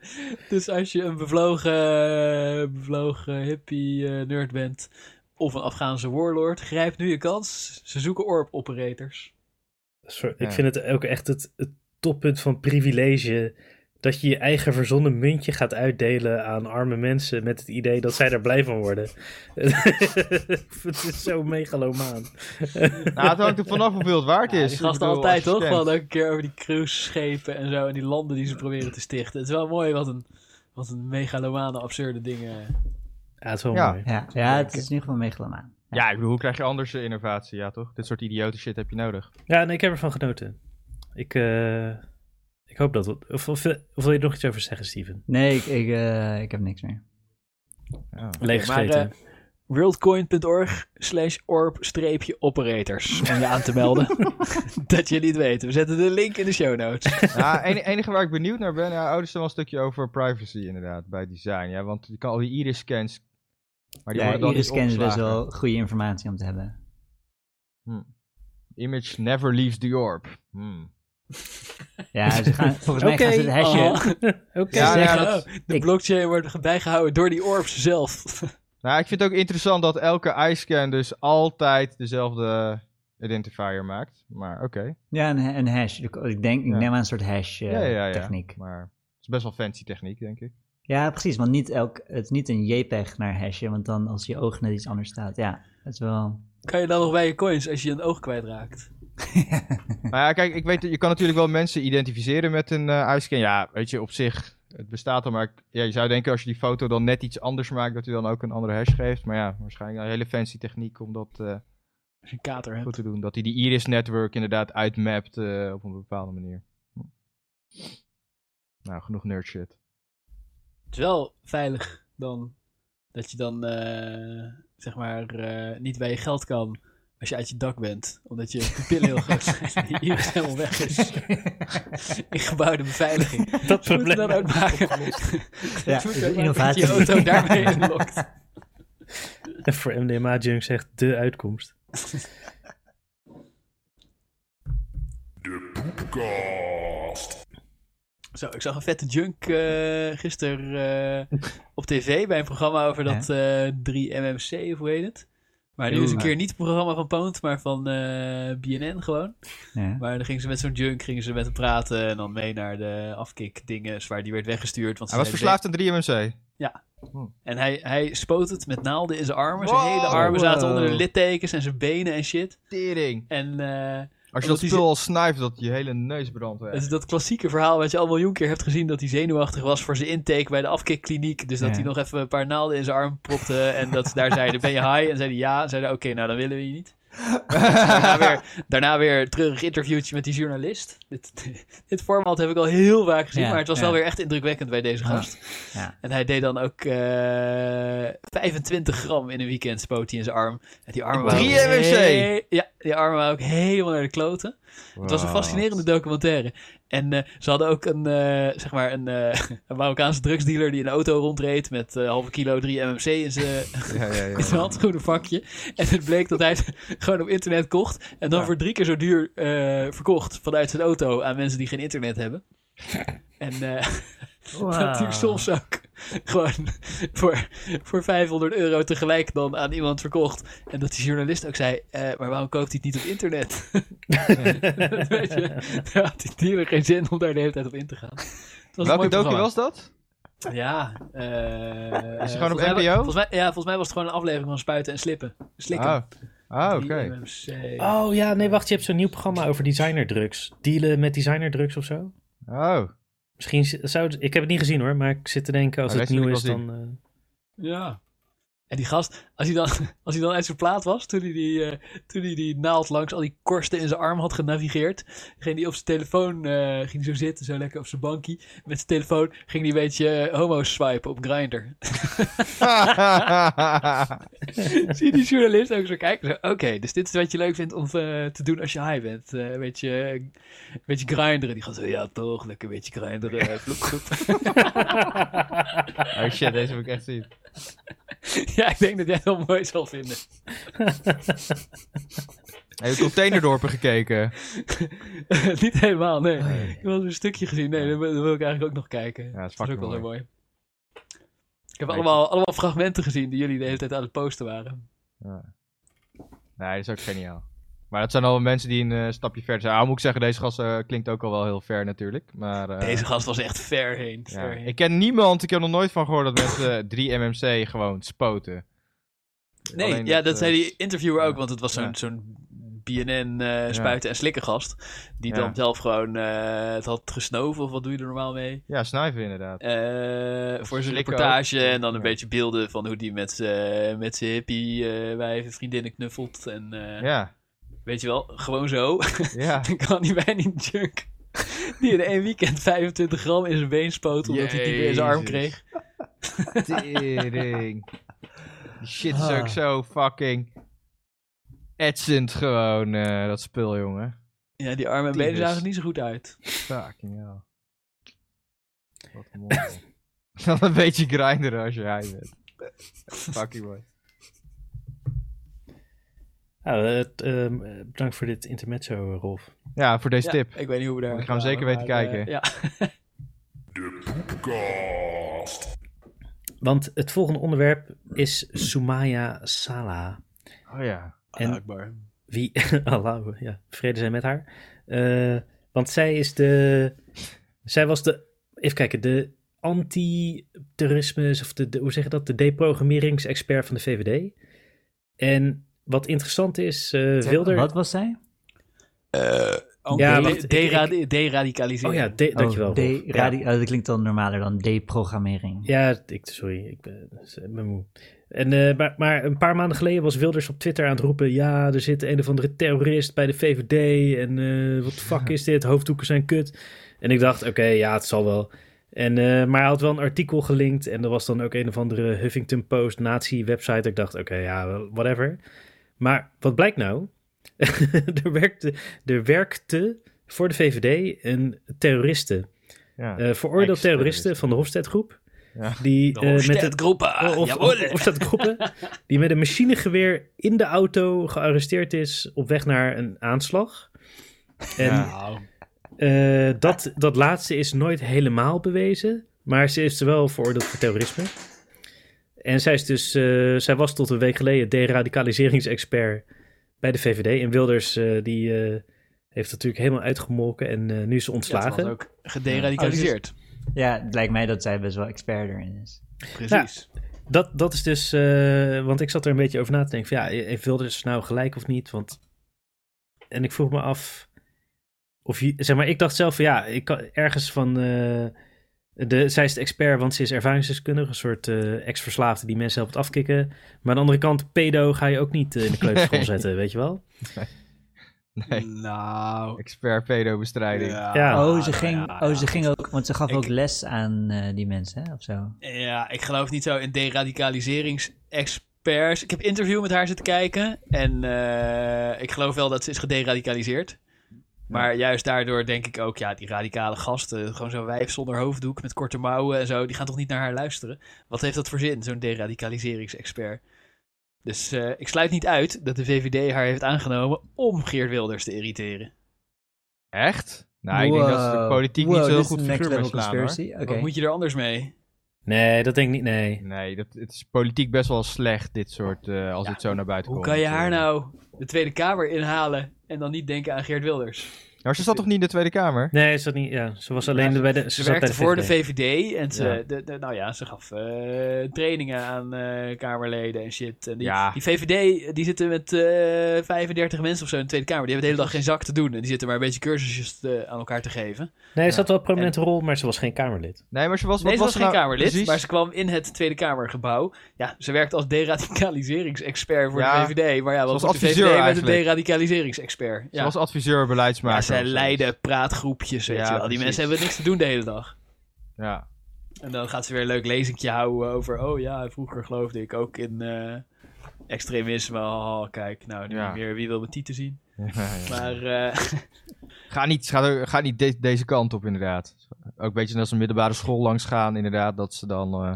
Speaker 4: Dus als je een bevlogen, eh, bevlogen hippie eh, nerd bent of een Afghaanse warlord, grijp nu je kans. Ze zoeken orb operators.
Speaker 2: Sorry,
Speaker 5: Ja.
Speaker 2: Ik vind het ook echt het, het toppunt van privilege. Dat je je eigen verzonnen muntje gaat uitdelen aan arme mensen. met het idee dat zij daar blij van worden. het is zo megalomaan.
Speaker 5: Nou, het hangt er vanaf hoeveel het waard
Speaker 4: Ja,
Speaker 5: is.
Speaker 4: die
Speaker 5: Ik
Speaker 4: gasten
Speaker 5: bedoel,
Speaker 4: altijd
Speaker 5: als je
Speaker 4: toch?
Speaker 5: scant.
Speaker 4: Wel elke keer over die cruiseschepen en zo en die landen die ze proberen te stichten. Het is wel mooi wat een, wat een megalomane absurde dingen...
Speaker 2: Ja, het is wel
Speaker 5: Ja.
Speaker 2: mooi.
Speaker 3: Ja, ja, het is in ieder geval megalomaan.
Speaker 5: Ja, ik bedoel, hoe krijg je anders eh, innovatie, ja toch? Dit soort idiote shit heb je nodig.
Speaker 2: Ja, nee, ik heb ervan genoten. Ik, eh, ik hoop dat. we- Of, of, of wil je er nog iets over zeggen, Steven?
Speaker 3: Nee, ik, ik, eh, ik heb niks meer.
Speaker 2: Leeggescheten.
Speaker 5: eh,
Speaker 4: maar, worldcoin.org slash orb-operators om je aan te melden. dat je niet weet. We zetten de link in de show notes.
Speaker 5: Ja, het enige waar ik benieuwd naar ben, ja, oh, er is wel een stukje over privacy inderdaad, bij design. Ja, want je kan al die iris scans, maar die
Speaker 3: Ja,
Speaker 5: worden dan
Speaker 3: iris
Speaker 5: niet
Speaker 3: scan is best
Speaker 5: opgeslagen.
Speaker 3: wel goede informatie om te hebben.
Speaker 5: Image never leaves the orb. Hmm.
Speaker 3: Ja, ze gaan, volgens mij
Speaker 2: Oké,
Speaker 3: gaan ze het hashje...
Speaker 4: Oh,
Speaker 2: Oké.
Speaker 5: Ja,
Speaker 3: ze
Speaker 5: ja,
Speaker 3: zeggen,
Speaker 5: dat-
Speaker 4: oh, de
Speaker 3: ik-
Speaker 4: blockchain wordt bijgehouden door die orbs zelf.
Speaker 5: Nou, ik vind het ook interessant dat elke eye-scan dus altijd dezelfde identifier maakt. Maar oké.
Speaker 3: Ja, een, een hash. Ik- Ik denk, ik
Speaker 5: Ja.
Speaker 3: neem aan een soort hash eh,
Speaker 5: Ja, ja, ja.
Speaker 3: techniek.
Speaker 5: Maar het is best wel fancy techniek, denk ik.
Speaker 3: Ja, precies. Want niet elk, het is niet een JPEG naar hashen, want dan als je oog net iets anders staat. Ja, dat is wel...
Speaker 4: kan je dan nog bij je coins als je een oog kwijtraakt?
Speaker 5: Maar ja, kijk, ik weet, dat- je kan natuurlijk wel mensen identificeren met een eh eye-scan. Ja, weet je, op zich, het bestaat al. Maar ik- ja, je zou denken als je die foto dan net iets anders maakt, dat hij dan ook een andere hash geeft. Maar ja, waarschijnlijk een hele fancy techniek om dat eh,
Speaker 4: Als je een kater hebt.
Speaker 5: goed te doen. Dat hij die iris network inderdaad uitmapt eh, op een bepaalde manier. Hm. Nou, genoeg nerd shit.
Speaker 4: Het is wel veilig dan dat je dan eh, zeg maar eh, niet bij je geld kan. als je uit je dak bent. Omdat je pupillen heel groot zijn. en Je iris helemaal weg is. In gebouwde beveiliging.
Speaker 2: Dat
Speaker 4: Ze moeten dat
Speaker 2: probleem.
Speaker 4: uitmaken.
Speaker 3: Ja,
Speaker 4: Ze moeten
Speaker 3: is
Speaker 4: uitmaken dat
Speaker 3: innovatie.
Speaker 4: je auto daarmee unlockt.
Speaker 2: En voor MDMA Junk zegt de uitkomst.
Speaker 4: Zo, ik zag een vette junk eh gisteren eh, op tv bij een programma over dat eh 3MMC, of hoe heet het? Maar nu is een
Speaker 5: Oeh.
Speaker 4: keer niet het programma van Pound, maar van eh, BNN gewoon.
Speaker 3: Ja.
Speaker 4: Maar dan gingen ze met zo'n junk gingen ze met hem praten en dan mee naar de afkick dingen. Zwaar, die werd weggestuurd. Want ze
Speaker 5: Hij was
Speaker 4: zeiden,
Speaker 5: verslaafd aan 3MC.
Speaker 4: En hij, hij spoot het met naalden in zijn armen. Zijn
Speaker 5: Wow.
Speaker 4: hele armen zaten onder de
Speaker 5: Wow.
Speaker 4: littekens en zijn benen en shit.
Speaker 5: Tering.
Speaker 4: En eh,
Speaker 5: Als je
Speaker 4: Omdat
Speaker 5: dat
Speaker 4: die
Speaker 5: spul al snuift, dat je hele neus brandt weg.
Speaker 4: het is dat klassieke verhaal wat je al een miljoen keer hebt gezien... dat hij zenuwachtig was voor zijn intake bij de afkikkliniek. Dus dat
Speaker 3: Ja.
Speaker 4: hij nog even een paar naalden in zijn arm propte. En dat ze daar zeiden, ben je high? En zeiden ja. En zeiden, oké, nou dan willen we je niet. daarna, weer, daarna weer een treurig interviewtje met die journalist. Dit, dit format heb ik al heel vaak gezien,
Speaker 3: Ja,
Speaker 4: maar het was
Speaker 3: ja.
Speaker 4: wel weer echt indrukwekkend bij deze
Speaker 3: Ja.
Speaker 4: gast.
Speaker 3: Ja.
Speaker 4: En hij deed dan ook eh, 25 gram in een weekend, spoot hij in zijn arm. En die armen waren
Speaker 5: Drie
Speaker 4: ook
Speaker 5: MMC.
Speaker 4: he- Ja, die armen waren ook helemaal naar de kloten. Het was een fascinerende documentaire. En eh, ze hadden ook een, eh, zeg maar een, eh, een Marokkaanse drugsdealer die in een auto rondreed met eh, halve kilo 3 MMC in zijn
Speaker 5: Ja, ja, ja.
Speaker 4: in zijn handschoenen vakje. En het bleek dat hij het gewoon op internet kocht. En dan voor drie keer zo duur eh, verkocht vanuit zijn auto aan mensen die geen internet hebben. En eh, dat natuurlijk soms ook gewoon voor, voor 500 euro tegelijk dan aan iemand verkocht. En dat die journalist ook zei, eh, maar waarom koopt hij het niet op internet? Weet je, daar had die dealer geen zin om daar de hele tijd op in te gaan. Het was een
Speaker 5: Welke
Speaker 4: mooi
Speaker 5: docu
Speaker 4: programma.
Speaker 5: was dat?
Speaker 4: Ja. eh,
Speaker 5: Is het gewoon op
Speaker 4: volgens mij-
Speaker 5: NPO?
Speaker 4: Volgens mij, ja, volgens mij was het gewoon een aflevering van Spuiten en Slippen. Slikken.
Speaker 5: Ah, ah oké.
Speaker 4: Die MMC.
Speaker 2: Oh ja, nee, wacht. Je hebt zo'n nieuw programma over designerdrugs. Dealen met designerdrugs of zo.
Speaker 5: Oh,
Speaker 2: Misschien z- zou het- Ik heb het niet gezien hoor, maar ik zit te denken als
Speaker 5: Maar
Speaker 2: het
Speaker 5: deze
Speaker 2: nieuw
Speaker 5: wil Nou,
Speaker 2: is
Speaker 5: ik wel
Speaker 2: dan... eh,
Speaker 4: Ja. En die gast, als hij dan, als hij dan uit zijn plaat was, toen hij, die, eh, toen hij die naald langs al die korsten in zijn arm had genavigeerd, ging hij op zijn telefoon, eh, ging hij zo zitten, zo lekker op zijn bankie, met zijn telefoon ging hij een beetje eh, homo's swipen op Grindr. Zie die journalist ook zo kijken. Zo, Oké, dus dit is wat je leuk vindt om eh, te doen als je high bent. Eh, een, beetje, een beetje grinderen. Die gaat zo, ja toch, lekker een beetje grinderen. eh, vloep, vloep.
Speaker 5: oh shit, deze moet ik echt zien.
Speaker 4: ja, ik denk dat jij het wel mooi zal vinden.
Speaker 5: Heb je containerdorpen gekeken?
Speaker 4: Niet helemaal, nee.
Speaker 5: Oh,
Speaker 4: Ik heb wel eens een stukje gezien. Nee, dat wil dat wil ik eigenlijk ook nog kijken.
Speaker 5: Ja, dat is
Speaker 4: dat is ook
Speaker 5: fucking
Speaker 4: wel zo
Speaker 5: mooi.
Speaker 4: mooi. Ik heb
Speaker 5: Nee,
Speaker 4: allemaal, allemaal fragmenten gezien die jullie de hele tijd aan het posten waren.
Speaker 5: Nee, dat is ook geniaal. Maar dat zijn al mensen die een eh, stapje verder zijn. Ah, moet ik zeggen, deze gast eh, klinkt ook al wel heel ver natuurlijk. Maar, eh,
Speaker 4: Deze gast was echt ver heen.
Speaker 5: ja.
Speaker 4: ver heen.
Speaker 5: Ik ken niemand, ik heb nog nooit van gehoord dat mensen 3MMC gewoon spoten.
Speaker 4: Nee,
Speaker 5: Alleen
Speaker 4: ja, dat,
Speaker 5: eh,
Speaker 4: zei die interviewer ook,
Speaker 5: ja.
Speaker 4: want het was zo'n
Speaker 5: Ja.
Speaker 4: zo'n BNN eh, spuiten en slikken gast. Die
Speaker 5: Ja.
Speaker 4: dan zelf gewoon eh, het had gesnoven, of wat doe je er normaal mee?
Speaker 5: Ja, snuiven inderdaad.
Speaker 4: Eh, voor zijn
Speaker 5: slikken
Speaker 4: reportage
Speaker 5: ook.
Speaker 4: en dan een
Speaker 5: Ja.
Speaker 4: beetje beelden van hoe die met z'n- met zijn hippie eh wijven vriendinnen knuffelt. En eh,
Speaker 5: Ja,
Speaker 4: weet je wel, gewoon zo.
Speaker 5: ja.
Speaker 4: Dan kan hij bijna niet junk. Die in één weekend 25 gram in zijn been spoot, omdat hij die weer in zijn arm
Speaker 5: Jezus.
Speaker 4: kreeg.
Speaker 5: Tering. Die shit is
Speaker 3: Ah.
Speaker 5: ook zo fucking etsend gewoon, eh, dat spul, jongen.
Speaker 4: Ja, die armen en benen
Speaker 5: Tyfus.
Speaker 4: zagen er niet zo goed uit.
Speaker 5: Fucking hell. Wat een mooi. Dan een beetje grinderen als je hij bent. Fucking mooi.
Speaker 2: nou, het, ehm, eh, bedankt voor dit intermezzo, eh, Rolf.
Speaker 5: Ja, voor deze
Speaker 4: Ja,
Speaker 5: tip.
Speaker 4: Ik weet niet hoe we daar.
Speaker 5: Ik ga hem zeker weten
Speaker 4: maar, eh,
Speaker 5: kijken.
Speaker 4: ja.
Speaker 2: Want het volgende onderwerp is Soumaya Salah.
Speaker 5: Oh ja.
Speaker 2: En- Wie? Allah, ja. Vrede zijn met haar. Eh, want zij is de. Zij was de. Even kijken, de anti-terrorisme. Of de, de- hoe zeg je dat? De deprogrammeringsexpert van de VVD. En wat interessant is, eh, Wilder.
Speaker 3: Wat was zij?
Speaker 2: Ja,
Speaker 4: Eh, ja,
Speaker 2: wacht, ik-
Speaker 4: deradicaliseren.
Speaker 2: Oh ja, de, dankjewel.
Speaker 3: Oh, de-
Speaker 2: Rolf.
Speaker 3: radi- oh, dat klinkt dan normaler dan deprogrammering.
Speaker 2: Ja, ik, sorry, ik ben, ik ben moe. En, eh, maar, maar een paar maanden geleden was Wilders op Twitter aan het roepen... ja, er zit een of andere terrorist bij de VVD... en eh, wat de fuck is dit, hoofddoeken zijn kut. En ik dacht, oké, ja, het zal wel. En, eh, maar hij had wel een artikel gelinkt... en er was dan ook een of andere Huffington Post nazi-website. Ik dacht, oké, ja, whatever. Maar wat blijkt nou? er, werkte, er werkte voor de VVD een terroriste.
Speaker 5: Ja.
Speaker 2: eh veroordeeld
Speaker 5: Ex-terroristen.
Speaker 2: terroristen van de Hofstedgroep.
Speaker 5: Ja.
Speaker 2: Die,
Speaker 4: De
Speaker 2: eh, met
Speaker 4: Hofstede
Speaker 2: het,
Speaker 4: Groepa,
Speaker 2: of, of,
Speaker 4: jawohl.
Speaker 2: Hofstedegroepen, die met een machinegeweer in de auto gearresteerd is op weg naar een aanslag. En
Speaker 5: Ja.
Speaker 4: Nou,
Speaker 2: eh, dat, dat laatste is nooit helemaal bewezen, maar ze is wel veroordeeld voor terrorisme. En zij, is dus, eh, zij was tot een week geleden deradicaliseringsexpert bij de VVD. En Wilders eh, die, eh, heeft dat natuurlijk helemaal uitgemolken en eh, nu is ze
Speaker 4: ja, het was
Speaker 2: ontslagen.
Speaker 4: ook
Speaker 2: Oh,
Speaker 4: gederadicaliseerd.
Speaker 3: Ja, het lijkt mij dat zij best wel expert erin is.
Speaker 2: dus-
Speaker 4: Precies.
Speaker 2: Dat, dat is dus, eh, want ik zat er een beetje over na te denken. Van, ja, heeft Wilders nou gelijk of niet? Want, en ik vroeg me af, of je, zeg maar, ik dacht zelf van ja, ik kan ergens van, eh, de, zij is de expert, want ze is ervaringsdeskundige, een soort eh, ex-verslaafde die mensen helpt afkicken. Maar aan de andere kant, pedo ga je ook niet eh, in de kleuterschool
Speaker 5: Nee.
Speaker 2: zetten, weet je wel?
Speaker 5: Nee.
Speaker 4: Nou,
Speaker 5: Expert pedobestrijding.
Speaker 2: Ja.
Speaker 3: oh,
Speaker 4: nou
Speaker 3: ze ging,
Speaker 4: ja.
Speaker 3: oh, ze ging ook, want ze gaf
Speaker 4: Ik- Nou,
Speaker 3: ook les aan eh, die mensen, hè, of zo.
Speaker 4: Ja, ik geloof niet zo in deradicaliseringsexperts. Ik heb interview met haar zitten kijken en eh, ik geloof wel dat ze is gederadicaliseerd. Maar juist daardoor denk ik ook, ja, die radicale gasten, gewoon zo'n wijf zonder hoofddoek met korte mouwen en zo, die gaan toch niet naar haar luisteren? Wat heeft dat voor zin, zo'n deradicaliseringsexpert? Dus eh, ik sluit niet uit dat de VVD haar heeft aangenomen om Geert Wilders te irriteren.
Speaker 5: Echt? Nou, ik denk dat ze de
Speaker 3: Wow.
Speaker 5: politiek
Speaker 3: Wow,
Speaker 5: niet zo
Speaker 3: dit is
Speaker 5: goed
Speaker 3: een
Speaker 5: figuur
Speaker 3: next
Speaker 5: bij
Speaker 3: level
Speaker 5: slaan, hoor.
Speaker 3: conspiracy. Oké.
Speaker 4: Wat moet je er anders mee?
Speaker 2: Nee, dat denk ik niet, nee.
Speaker 5: Nee, dat, het is politiek best wel slecht, dit soort, eh, als
Speaker 4: Ja,
Speaker 5: dit zo naar buiten
Speaker 4: Hoe
Speaker 5: komt.
Speaker 4: kan je haar
Speaker 5: eh.
Speaker 4: nou de Tweede Kamer inhalen en dan niet denken aan Geert Wilders?
Speaker 5: Maar Nou, ze zat toch niet in de Tweede Kamer?
Speaker 2: Nee, ze, zat niet, ja, ze was alleen
Speaker 4: Ja,
Speaker 2: bij de, ze
Speaker 4: Ze
Speaker 2: zat bij
Speaker 4: werkte
Speaker 2: de
Speaker 4: voor de
Speaker 2: VVD.
Speaker 4: VVD en ze,
Speaker 5: Ja.
Speaker 4: de, de- nou ja, ze gaf eh, trainingen aan eh, Kamerleden en shit. En die,
Speaker 5: Ja.
Speaker 4: die VVD, die zitten met eh, 35 mensen of zo in de Tweede Kamer. Die hebben de hele dag geen zak te doen en die zitten maar een beetje cursusjes te- aan elkaar te geven.
Speaker 2: Nee, ze had wel een prominente rol, maar ze was geen Kamerlid.
Speaker 5: Nee, maar ze was, Dus wat
Speaker 4: Nee, ze was,
Speaker 5: ze
Speaker 4: geen
Speaker 5: nou
Speaker 4: Kamerlid,
Speaker 5: precies?
Speaker 4: maar ze kwam in het Tweede Kamergebouw. Ja, ze werkt als deradicaliseringsexpert voor
Speaker 5: Ja,
Speaker 4: de VVD. Maar ja, wat
Speaker 5: ze was
Speaker 4: was de
Speaker 5: adviseur
Speaker 4: VVD met een
Speaker 5: eigenlijk.
Speaker 4: deradicaliseringsexpert?
Speaker 5: Ze
Speaker 4: Ja.
Speaker 5: was adviseur
Speaker 4: Ja,
Speaker 5: beleidsmaker.
Speaker 4: zij
Speaker 5: of zo.
Speaker 4: leiden praatgroepjes, weet
Speaker 5: Ja,
Speaker 4: je wel. Die
Speaker 5: precies.
Speaker 4: mensen hebben niks te doen de hele dag.
Speaker 5: Ja.
Speaker 4: En dan gaat ze weer een leuk lezingje houden over... Oh ja, vroeger geloofde ik ook in eh, extremisme. Oh, kijk, nou nu
Speaker 5: Ja.
Speaker 4: niet meer. Wie wil mijn tieten zien?
Speaker 5: Ja, ja.
Speaker 4: Maar eh,
Speaker 5: Ga niet, ga, er- ga niet de- deze kant op, inderdaad. Ook een beetje als een middelbare school langs gaan, inderdaad, dat ze dan eh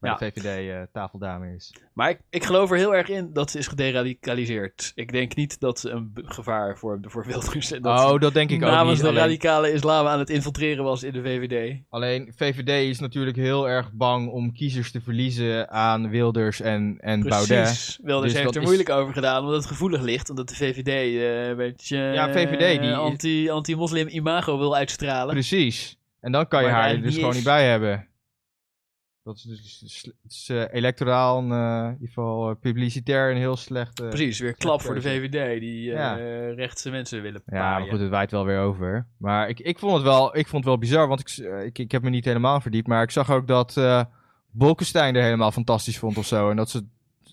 Speaker 5: bij
Speaker 4: Ja.
Speaker 5: de VVD-tafeldame eh, is.
Speaker 4: maar ik, ik geloof er heel erg in dat ze is gederadicaliseerd. Ik denk niet dat ze een b- gevaar vormde voor Wilders. En Dus dat
Speaker 5: oh, dat denk
Speaker 4: ze
Speaker 5: ik ook
Speaker 4: namens
Speaker 5: niet.
Speaker 4: de
Speaker 5: Alleen,
Speaker 4: radicale islam aan het infiltreren was in de VVD.
Speaker 5: alleen VVD is natuurlijk heel erg bang om kiezers te verliezen aan Wilders en, en Baudet.
Speaker 4: Precies. Wilders
Speaker 5: Dus
Speaker 4: heeft
Speaker 5: dat
Speaker 4: er
Speaker 5: is-
Speaker 4: moeilijk over gedaan, omdat het gevoelig ligt. Omdat de VVD eh, een beetje eh,
Speaker 5: Ja, VVD die-
Speaker 4: anti, anti-moslim imago wil uitstralen.
Speaker 5: Precies. En dan kan je
Speaker 4: Maar
Speaker 5: haar
Speaker 4: hij
Speaker 5: er dus
Speaker 4: niet
Speaker 5: gewoon
Speaker 4: is.
Speaker 5: niet bij hebben. Dat is dus het is, eh, electoraal, een, eh, in ieder geval eh, publicitair, een heel slecht... eh,
Speaker 4: Precies, weer klap voor de VVD die eh,
Speaker 5: Ja.
Speaker 4: rechtse mensen willen paaien.
Speaker 5: Ja, maar goed, het waait wel weer over. Maar ik, ik, vond, het wel, ik vond het wel bizar, want ik, s- eh, ik, ik heb me niet helemaal verdiept. Maar ik zag ook dat eh Bolkestein er helemaal fantastisch vond of zo. En dat ze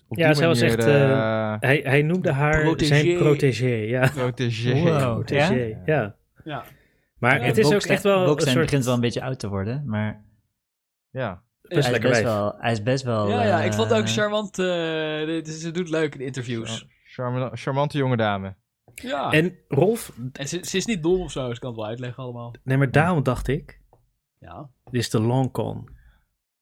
Speaker 5: op
Speaker 2: Ja,
Speaker 5: die
Speaker 2: zij was
Speaker 5: manier...
Speaker 2: echt,
Speaker 5: eh,
Speaker 2: Hij, hij noemde haar
Speaker 4: Protégé.
Speaker 2: zijn protégé, ja.
Speaker 5: protégé.
Speaker 3: Wow.
Speaker 2: Protégé, ja.
Speaker 5: Ja?
Speaker 4: Ja.
Speaker 2: Maar
Speaker 3: Ja,
Speaker 2: het is ook
Speaker 3: Bokstein-
Speaker 2: echt wel een
Speaker 3: Bokstein
Speaker 2: soort...
Speaker 3: begint wel een beetje oud te worden, maar
Speaker 5: Ja.
Speaker 2: best
Speaker 3: hij is
Speaker 2: lekker
Speaker 3: best,
Speaker 2: wijf.
Speaker 3: wel, hij is best wel...
Speaker 4: Ja, ja, ik
Speaker 3: eh,
Speaker 4: vond het ook charmant. eh, dit- ze doet leuk in interviews.
Speaker 5: Charmant- charmante jonge dame.
Speaker 4: Ja. En,
Speaker 2: En Rolf,
Speaker 4: ze, ze is niet dom of zo, dus ik kan het wel uitleggen allemaal.
Speaker 2: nee, maar daarom dacht ik,
Speaker 4: Ja.
Speaker 2: dit is de long con.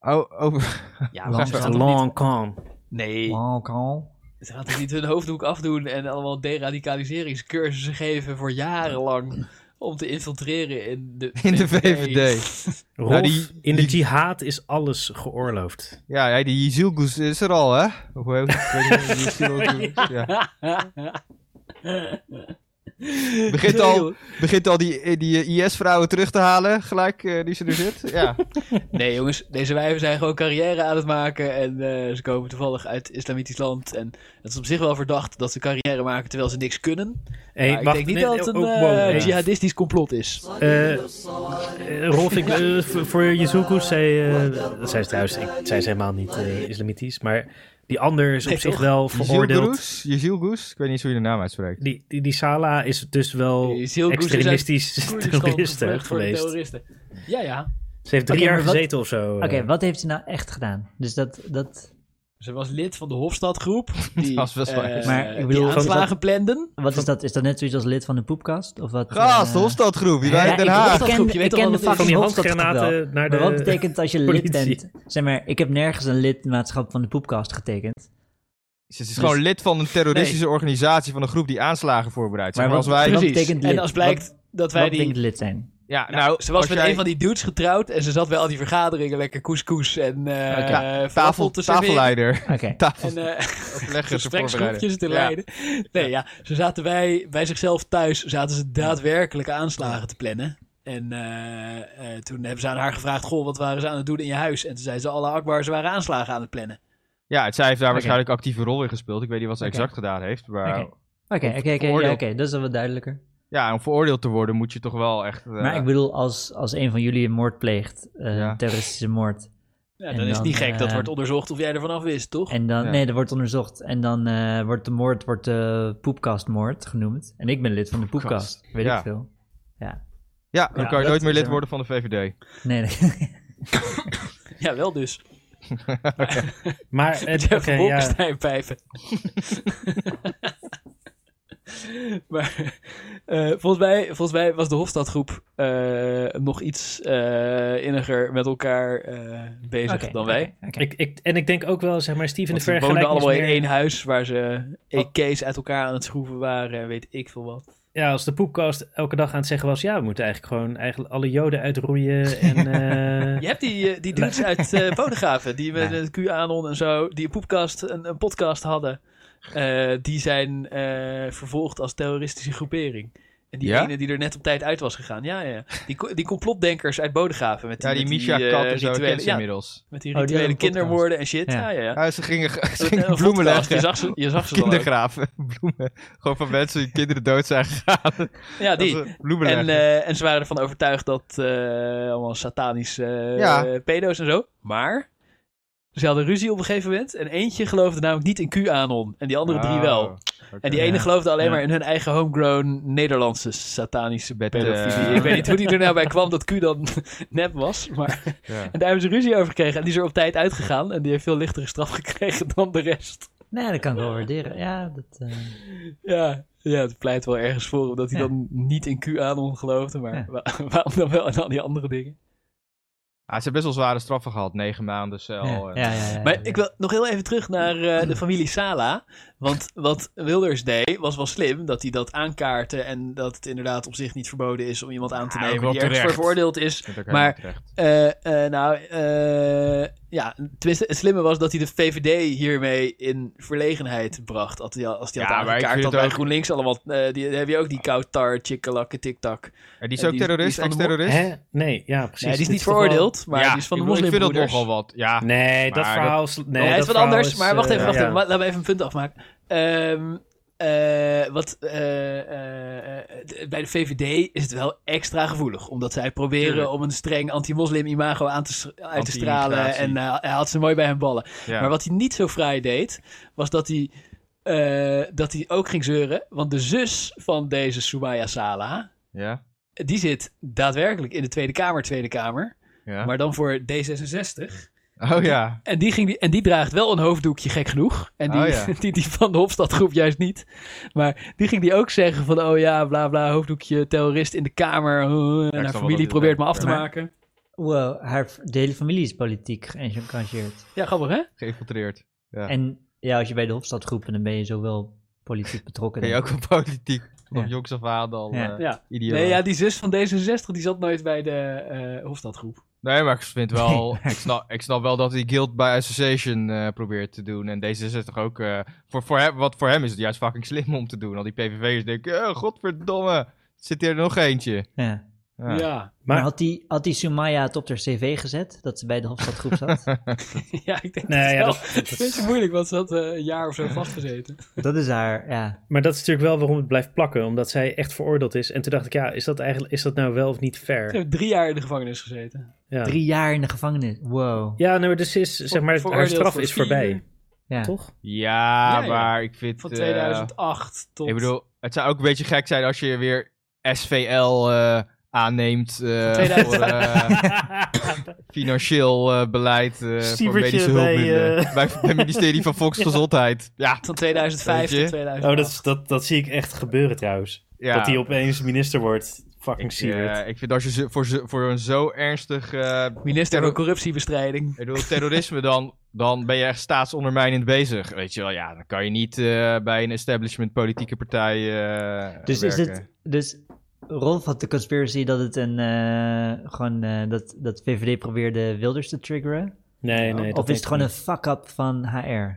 Speaker 5: Oh, oh.
Speaker 4: Ja,
Speaker 3: Lang
Speaker 4: maar ze
Speaker 3: verhaal.
Speaker 4: gaat
Speaker 2: De
Speaker 4: toch niet...
Speaker 2: long con.
Speaker 4: Nee,
Speaker 3: Wow, Carl.
Speaker 4: ze gaat toch niet hun hoofddoek afdoen en allemaal deradicaliseringscursussen geven voor jarenlang om te infiltreren in de
Speaker 5: In de VVD.
Speaker 2: Rolf,
Speaker 5: Nou, die-
Speaker 2: in de
Speaker 5: die-
Speaker 2: jihad is alles geoorloofd.
Speaker 5: Ja, ja, die Jezilgus is er al, hè? Of eh, hoe heet het? Ik weet niet, Jezilgus, ja. Begint al, begint al die, eh, die IS-vrouwen terug te halen, gelijk, eh, die ze er zit. Ja.
Speaker 4: Nee, jongens, deze wijven zijn gewoon carrière aan het maken. En eh, ze komen toevallig uit islamitisch land. En het is op zich wel verdacht dat ze carrière maken terwijl ze niks kunnen.
Speaker 2: Hey,
Speaker 4: maar ik
Speaker 2: wacht,
Speaker 4: denk niet
Speaker 2: nee,
Speaker 4: dat
Speaker 2: oh,
Speaker 4: het een
Speaker 2: wow,
Speaker 4: eh,
Speaker 2: hey.
Speaker 4: jihadistisch complot is.
Speaker 2: Eh, eh, Rolf, ik, eh, voor- voor Jezoekoes, zij, eh, dat zij is trouwens, ik, zij is helemaal niet eh, islamitisch, maar die ander is op
Speaker 4: Nee,
Speaker 2: zich
Speaker 4: toch?
Speaker 2: wel veroordeeld.
Speaker 5: Jezilgus? Jezilgus? Ik weet niet hoe je de naam uitspreekt.
Speaker 2: Die, die, die Sala is dus wel
Speaker 4: Jezilkoes is uit
Speaker 2: extremistisch
Speaker 4: Koerdistan
Speaker 2: terrorist
Speaker 4: gevlucht voor de
Speaker 2: geweest.
Speaker 4: terroristen. Ja, ja.
Speaker 2: Ze heeft drie
Speaker 3: Oké,
Speaker 2: jaar
Speaker 3: maar wat-
Speaker 2: gezeten of zo. eh.
Speaker 3: Oké, wat heeft hij nou echt gedaan? Dus dat, dat
Speaker 4: Ze was lid van de Hofstadgroep. Die,
Speaker 5: was best waar.
Speaker 4: eh,
Speaker 3: Maar ik
Speaker 4: die
Speaker 3: bedoel, van-
Speaker 4: aanslagen planden.
Speaker 3: Wat is dat? Is dat net zoiets als lid van de poepkast? Of wat,
Speaker 5: Gast,
Speaker 3: eh,
Speaker 5: Hofstadgroep, die
Speaker 3: ja,
Speaker 5: waren
Speaker 3: ik,
Speaker 5: in Den
Speaker 3: ik
Speaker 5: Haag.
Speaker 4: Hofstadgroep,
Speaker 3: ken,
Speaker 4: je weet
Speaker 3: ik
Speaker 4: toch
Speaker 3: ken
Speaker 4: wel
Speaker 3: de
Speaker 4: wat het is?
Speaker 2: Van
Speaker 3: fucking
Speaker 2: die
Speaker 3: Hofstadgroep wel.
Speaker 2: handgranaten naar de...
Speaker 3: Maar wat betekent als je lid
Speaker 2: politie.
Speaker 3: bent? Zeg maar, ik heb nergens een lidmaatschap van de poepkast getekend.
Speaker 5: Ze is gewoon lid van een terroristische organisatie van een groep die aanslagen voorbereidt. Zeg
Speaker 3: Maar
Speaker 5: maar als wij...
Speaker 3: Wat
Speaker 4: Precies.
Speaker 3: betekent lid?
Speaker 4: En als blijkt dat wij
Speaker 3: Wat
Speaker 4: die...
Speaker 3: betekent lid zijn?
Speaker 5: Ja, nou,
Speaker 4: Nou, ze was
Speaker 5: als
Speaker 4: met
Speaker 5: jij
Speaker 4: een van die dudes getrouwd en ze zat bij al die vergaderingen lekker couscous en eh falafel
Speaker 5: tafel,
Speaker 4: te serveren
Speaker 5: tafelleider...
Speaker 3: Oké.
Speaker 5: Tafel,
Speaker 4: En eh,
Speaker 5: overleggen, ze
Speaker 4: gespreksgroepjes
Speaker 5: voorbereiden.
Speaker 4: te
Speaker 5: Ja.
Speaker 4: leiden. Nee, ja. Ze zaten bij, bij zichzelf thuis, zaten ze daadwerkelijke aanslagen te plannen. En eh, eh, toen hebben ze aan haar gevraagd, goh, wat waren ze aan het doen in je huis? En toen zei ze, alle akbar, ze waren aanslagen aan het plannen.
Speaker 5: Ja, het- zij heeft daar waarschijnlijk actieve rol in gespeeld. Ik weet niet wat ze
Speaker 3: Oké.
Speaker 5: exact gedaan heeft. Maar
Speaker 3: Oké. Oké, oké, oké, ja,
Speaker 5: veroordeeld.
Speaker 3: oké, dat is wel wat duidelijker.
Speaker 5: ja, om veroordeeld te worden moet je toch wel echt... eh,
Speaker 3: Maar ik bedoel, als, als een van jullie een moord pleegt, eh,
Speaker 5: Ja.
Speaker 3: een terroristische moord,
Speaker 4: Ja,
Speaker 3: En
Speaker 4: dan, is het niet
Speaker 3: dan,
Speaker 4: gek, dat
Speaker 3: eh,
Speaker 4: wordt onderzocht of jij ervan af wist, toch?
Speaker 3: en dan,
Speaker 5: Ja.
Speaker 3: nee, er wordt onderzocht, en dan eh, wordt de moord wordt de poepkastmoord genoemd, en ik ben lid van de poepkast, weet
Speaker 5: Ja.
Speaker 3: ik veel.
Speaker 5: Ja, dan
Speaker 3: Ja,
Speaker 5: kan je
Speaker 3: dat
Speaker 5: nooit meer
Speaker 3: is
Speaker 5: lid
Speaker 3: waar.
Speaker 5: worden van de VVD.
Speaker 3: Nee, nee.
Speaker 4: Ja, wel dus.
Speaker 2: Maar, eh,
Speaker 4: Jeff
Speaker 2: oké, ja.
Speaker 4: Bolkestein pijpen. maar eh, volgens, mij, volgens mij was de Hofstadgroep eh, nog iets eh, inniger met elkaar eh, bezig
Speaker 3: Oké,
Speaker 4: dan
Speaker 3: oké,
Speaker 4: wij.
Speaker 3: oké.
Speaker 2: Ik, ik, en ik denk ook wel, zeg maar, Steven
Speaker 4: Want
Speaker 2: de
Speaker 4: ze woonden
Speaker 2: vergelijking is
Speaker 4: allemaal in
Speaker 2: meer-
Speaker 4: één huis waar ze EK's uit elkaar aan het schroeven waren en weet ik veel wat.
Speaker 2: Ja, als de poepkast elke dag aan het zeggen was... ja, we moeten eigenlijk gewoon eigenlijk alle joden uitroeien en... eh,
Speaker 4: Je hebt die, eh, die dudes uit eh Bodegraven, die met het QAnon en zo, die een, poepkast, een, een podcast hadden. Eh, die zijn eh, vervolgd als terroristische groepering. En die
Speaker 5: Ja?
Speaker 4: ene die er net op tijd uit was gegaan. Ja, ja. Die, co- die complotdenkers uit Bodegraven. Met die,
Speaker 5: Ja, die
Speaker 4: met
Speaker 5: Misha
Speaker 4: eh,
Speaker 5: Kat en zo
Speaker 4: rituele-
Speaker 5: kent ze
Speaker 4: ja,
Speaker 5: inmiddels.
Speaker 4: met die
Speaker 3: Oh, die
Speaker 4: rituele
Speaker 3: hadden een
Speaker 4: kindermoorden en shit.
Speaker 3: Ja.
Speaker 4: Ja, ja, ja.
Speaker 5: Ja, ze gingen, ze
Speaker 4: Een-
Speaker 5: gingen
Speaker 4: een
Speaker 5: bloemen
Speaker 4: podcast. Je
Speaker 5: leggen.
Speaker 4: zag ze, je zag ze dan ook.
Speaker 5: Kindergraven. Bloemen. Gewoon van mensen die kinderen dood zijn gegaan.
Speaker 4: Ja,
Speaker 5: Dat
Speaker 4: die.
Speaker 5: ze bloemen
Speaker 4: En,
Speaker 5: leggen.
Speaker 4: eh, en ze waren ervan overtuigd dat eh, allemaal satanische eh,
Speaker 5: Ja.
Speaker 4: pedo's en zo. Maar ze hadden ruzie op een gegeven moment. En eentje geloofde namelijk niet in QAnon. En die andere drie
Speaker 5: Oh,
Speaker 4: wel.
Speaker 5: oké.
Speaker 4: En die ene
Speaker 3: Ja.
Speaker 4: geloofde alleen
Speaker 3: Ja.
Speaker 4: maar in hun eigen homegrown Nederlandse satanische
Speaker 5: Met,
Speaker 4: pedofilie.
Speaker 5: eh,
Speaker 4: Ik weet niet hoe die er nou bij kwam dat Q dan nep was. Maar
Speaker 5: Ja.
Speaker 4: en daar hebben ze ruzie over gekregen. En die is er op tijd uitgegaan. En die heeft veel lichtere straf gekregen dan de rest.
Speaker 3: nee, dat kan ik wel waarderen. Ja, dat, eh,
Speaker 4: Ja, ja het pleit wel ergens voor. Omdat hij
Speaker 3: Ja.
Speaker 4: dan niet in QAnon geloofde. Maar
Speaker 3: Ja.
Speaker 4: wa- waarom dan wel in al die andere dingen?
Speaker 5: Ah, ze hebben best wel zware straffen gehad. Negen maanden cel.
Speaker 3: ja,
Speaker 5: en-
Speaker 3: ja, ja, ja, ja.
Speaker 4: Maar ik wil nog heel even terug naar eh, de familie Sala. Want wat Wilders deed, was wel slim. Dat hij dat aankaartte. En dat het inderdaad op zich niet verboden is om iemand aan te
Speaker 5: Ja, ook
Speaker 4: nemen.
Speaker 5: wel
Speaker 4: die ergens voor
Speaker 5: terecht.
Speaker 4: veroordeeld is.
Speaker 5: Dat vind ik ook
Speaker 4: Maar-
Speaker 5: helemaal terecht.
Speaker 4: Eh, eh, nou, eh, ja. Tenminste, het slimme was dat hij de VVD hiermee in verlegenheid bracht. Als hij, als hij had
Speaker 5: Ja, maar ik
Speaker 4: aangekaart
Speaker 5: vind
Speaker 4: dat
Speaker 5: het
Speaker 4: bij
Speaker 5: ook- Ah.
Speaker 4: GroenLinks allemaal. eh, die, heb je ook die koutar, chikkelakke, tiktak.
Speaker 5: En die is
Speaker 4: eh, die-
Speaker 5: ook
Speaker 4: die is
Speaker 5: terrorist,
Speaker 4: van de mo-
Speaker 5: ex-terrorist.
Speaker 2: hè? Nee, ja, precies.
Speaker 4: dus? Nee, die is
Speaker 2: Dit
Speaker 4: niet veroordeeld, maar
Speaker 5: ja,
Speaker 4: die is van de
Speaker 5: ik bedoel, ik vind dat
Speaker 4: moslimbroeders.
Speaker 5: nogal wat. Ja,
Speaker 2: Nee, dat
Speaker 5: Maar
Speaker 2: verhaal is... Nee, dat
Speaker 4: hij is wat
Speaker 2: verhaal
Speaker 4: anders,
Speaker 2: is,
Speaker 4: maar wacht even,
Speaker 2: eh,
Speaker 4: wacht
Speaker 2: ja.
Speaker 4: even. Laten we even een punt afmaken. Ehm, eh, wat, eh, eh, eh, d- bij de VVD is het wel extra gevoelig. Omdat zij proberen
Speaker 5: Tuurlijk.
Speaker 4: om een streng anti-moslim imago aan te, s- uit te stralen.
Speaker 5: Anti-immigratie.
Speaker 4: En eh, hij had ze mooi bij hem ballen.
Speaker 5: ja.
Speaker 4: Maar wat hij niet zo vrij deed, was dat hij, eh, dat hij ook ging zeuren. Want de zus van deze Soumaya Sala,
Speaker 5: ja,
Speaker 4: die zit daadwerkelijk in de Tweede Kamer, Tweede Kamer.
Speaker 5: ja.
Speaker 4: Maar dan voor D66.
Speaker 5: Oh ja.
Speaker 4: En die, ging, die- en die draagt wel een hoofddoekje, gek genoeg. En die,
Speaker 5: Oh ja.
Speaker 4: die, die van de Hofstadgroep juist niet. Maar die ging die ook zeggen van... oh ja, bla bla, hoofddoekje, terrorist in de kamer. eh, en haar
Speaker 5: wel dat
Speaker 4: familie
Speaker 5: die
Speaker 4: probeert me
Speaker 5: denkt,
Speaker 4: af te
Speaker 5: ja.
Speaker 4: maken.
Speaker 3: Wow, haar v- de hele familie is politiek geëngageerd.
Speaker 4: Ja, grappig hè?
Speaker 5: Geïnfiltreerd. Ja.
Speaker 3: En ja, als je bij de Hofstadgroep bent, dan ben je zowel politiek betrokken.
Speaker 5: Ben je
Speaker 3: denk
Speaker 5: ook wel politiek?
Speaker 3: Ja.
Speaker 5: Of jongs af aan al
Speaker 3: Ja.
Speaker 5: eh,
Speaker 4: Ja.
Speaker 5: idioot.
Speaker 4: Nee, ja, die zus van D66, die zat nooit bij de eh Hofstadgroep.
Speaker 5: Nee, maar ik vind wel. ik, snap, ik snap wel dat hij Guild by Association eh, probeert te doen. En D66 ook. eh, voor, voor hem, wat voor hem is het juist fucking slim om te doen. Al die PVV'ers denken: eh godverdomme, zit hier nog eentje.
Speaker 3: ik. Ja.
Speaker 5: Ja.
Speaker 4: Ja.
Speaker 5: Ja.
Speaker 4: Ja.
Speaker 3: Maar,
Speaker 2: Maar-
Speaker 3: had, die, had die Sumaya het op haar cv gezet? Dat ze bij de Hofstadgroep zat?
Speaker 4: ik denk
Speaker 2: Nee, ja,
Speaker 4: dat, Dus wel.
Speaker 2: dat- dat
Speaker 4: Het is
Speaker 2: is-
Speaker 4: moeilijk, want ze had eh, een jaar of zo vastgezeten.
Speaker 3: dat is haar, ja.
Speaker 2: Maar dat is natuurlijk wel waarom het blijft plakken. Omdat zij echt veroordeeld is. En toen dacht ik, ja, is dat, eigenlijk, is dat nou wel of niet
Speaker 4: Ze
Speaker 2: fair?
Speaker 4: heeft drie jaar in de gevangenis gezeten.
Speaker 2: Ja,
Speaker 3: Drie jaar in de gevangenis. Wow.
Speaker 2: ja nou, dus ze is, zeg maar, haar
Speaker 4: veroordeeld
Speaker 2: straf
Speaker 4: voor
Speaker 2: is
Speaker 4: vier,
Speaker 2: voorbij,
Speaker 3: Ja.
Speaker 2: toch?
Speaker 4: ja.
Speaker 5: maar ik vind.
Speaker 4: Van
Speaker 5: eh,
Speaker 4: 2008 tot...
Speaker 5: ik bedoel, het zou ook een beetje gek zijn als je weer SVL eh, aanneemt eh,
Speaker 4: 2000.
Speaker 5: voor eh, financieel eh, beleid eh, voor
Speaker 2: Stiebertje
Speaker 5: medische hulp
Speaker 2: bij,
Speaker 5: in de-
Speaker 2: eh,
Speaker 5: bij het ministerie van Volksgezondheid. Ja,
Speaker 4: Van 2005
Speaker 5: Weet je?
Speaker 4: tot 2000.
Speaker 2: Oh, dat, is- dat, dat zie ik echt gebeuren trouwens.
Speaker 5: ja.
Speaker 2: Dat hij opeens minister wordt. Fucking
Speaker 5: Ik, eh,
Speaker 2: Siebert.
Speaker 5: ik vind als je zo- voor, zo- voor een zo ernstig eh,
Speaker 4: Minister
Speaker 5: Terror-
Speaker 4: van Corruptiebestrijding.
Speaker 5: ik bedoel, terrorisme dan, dan ben je echt staatsondermijnend bezig. Weet je wel, ja, dan kan je niet eh, bij een establishment politieke partij eh,
Speaker 3: Dus is
Speaker 5: werken.
Speaker 3: het. Dus Rolf had de conspiracy dat het een. eh, gewoon eh, dat, dat VVD probeerde Wilders te triggeren.
Speaker 2: Nee, nee. dat
Speaker 3: of is
Speaker 2: denk
Speaker 3: het
Speaker 2: ik
Speaker 3: gewoon
Speaker 2: niet.
Speaker 3: een fuck-up van HR?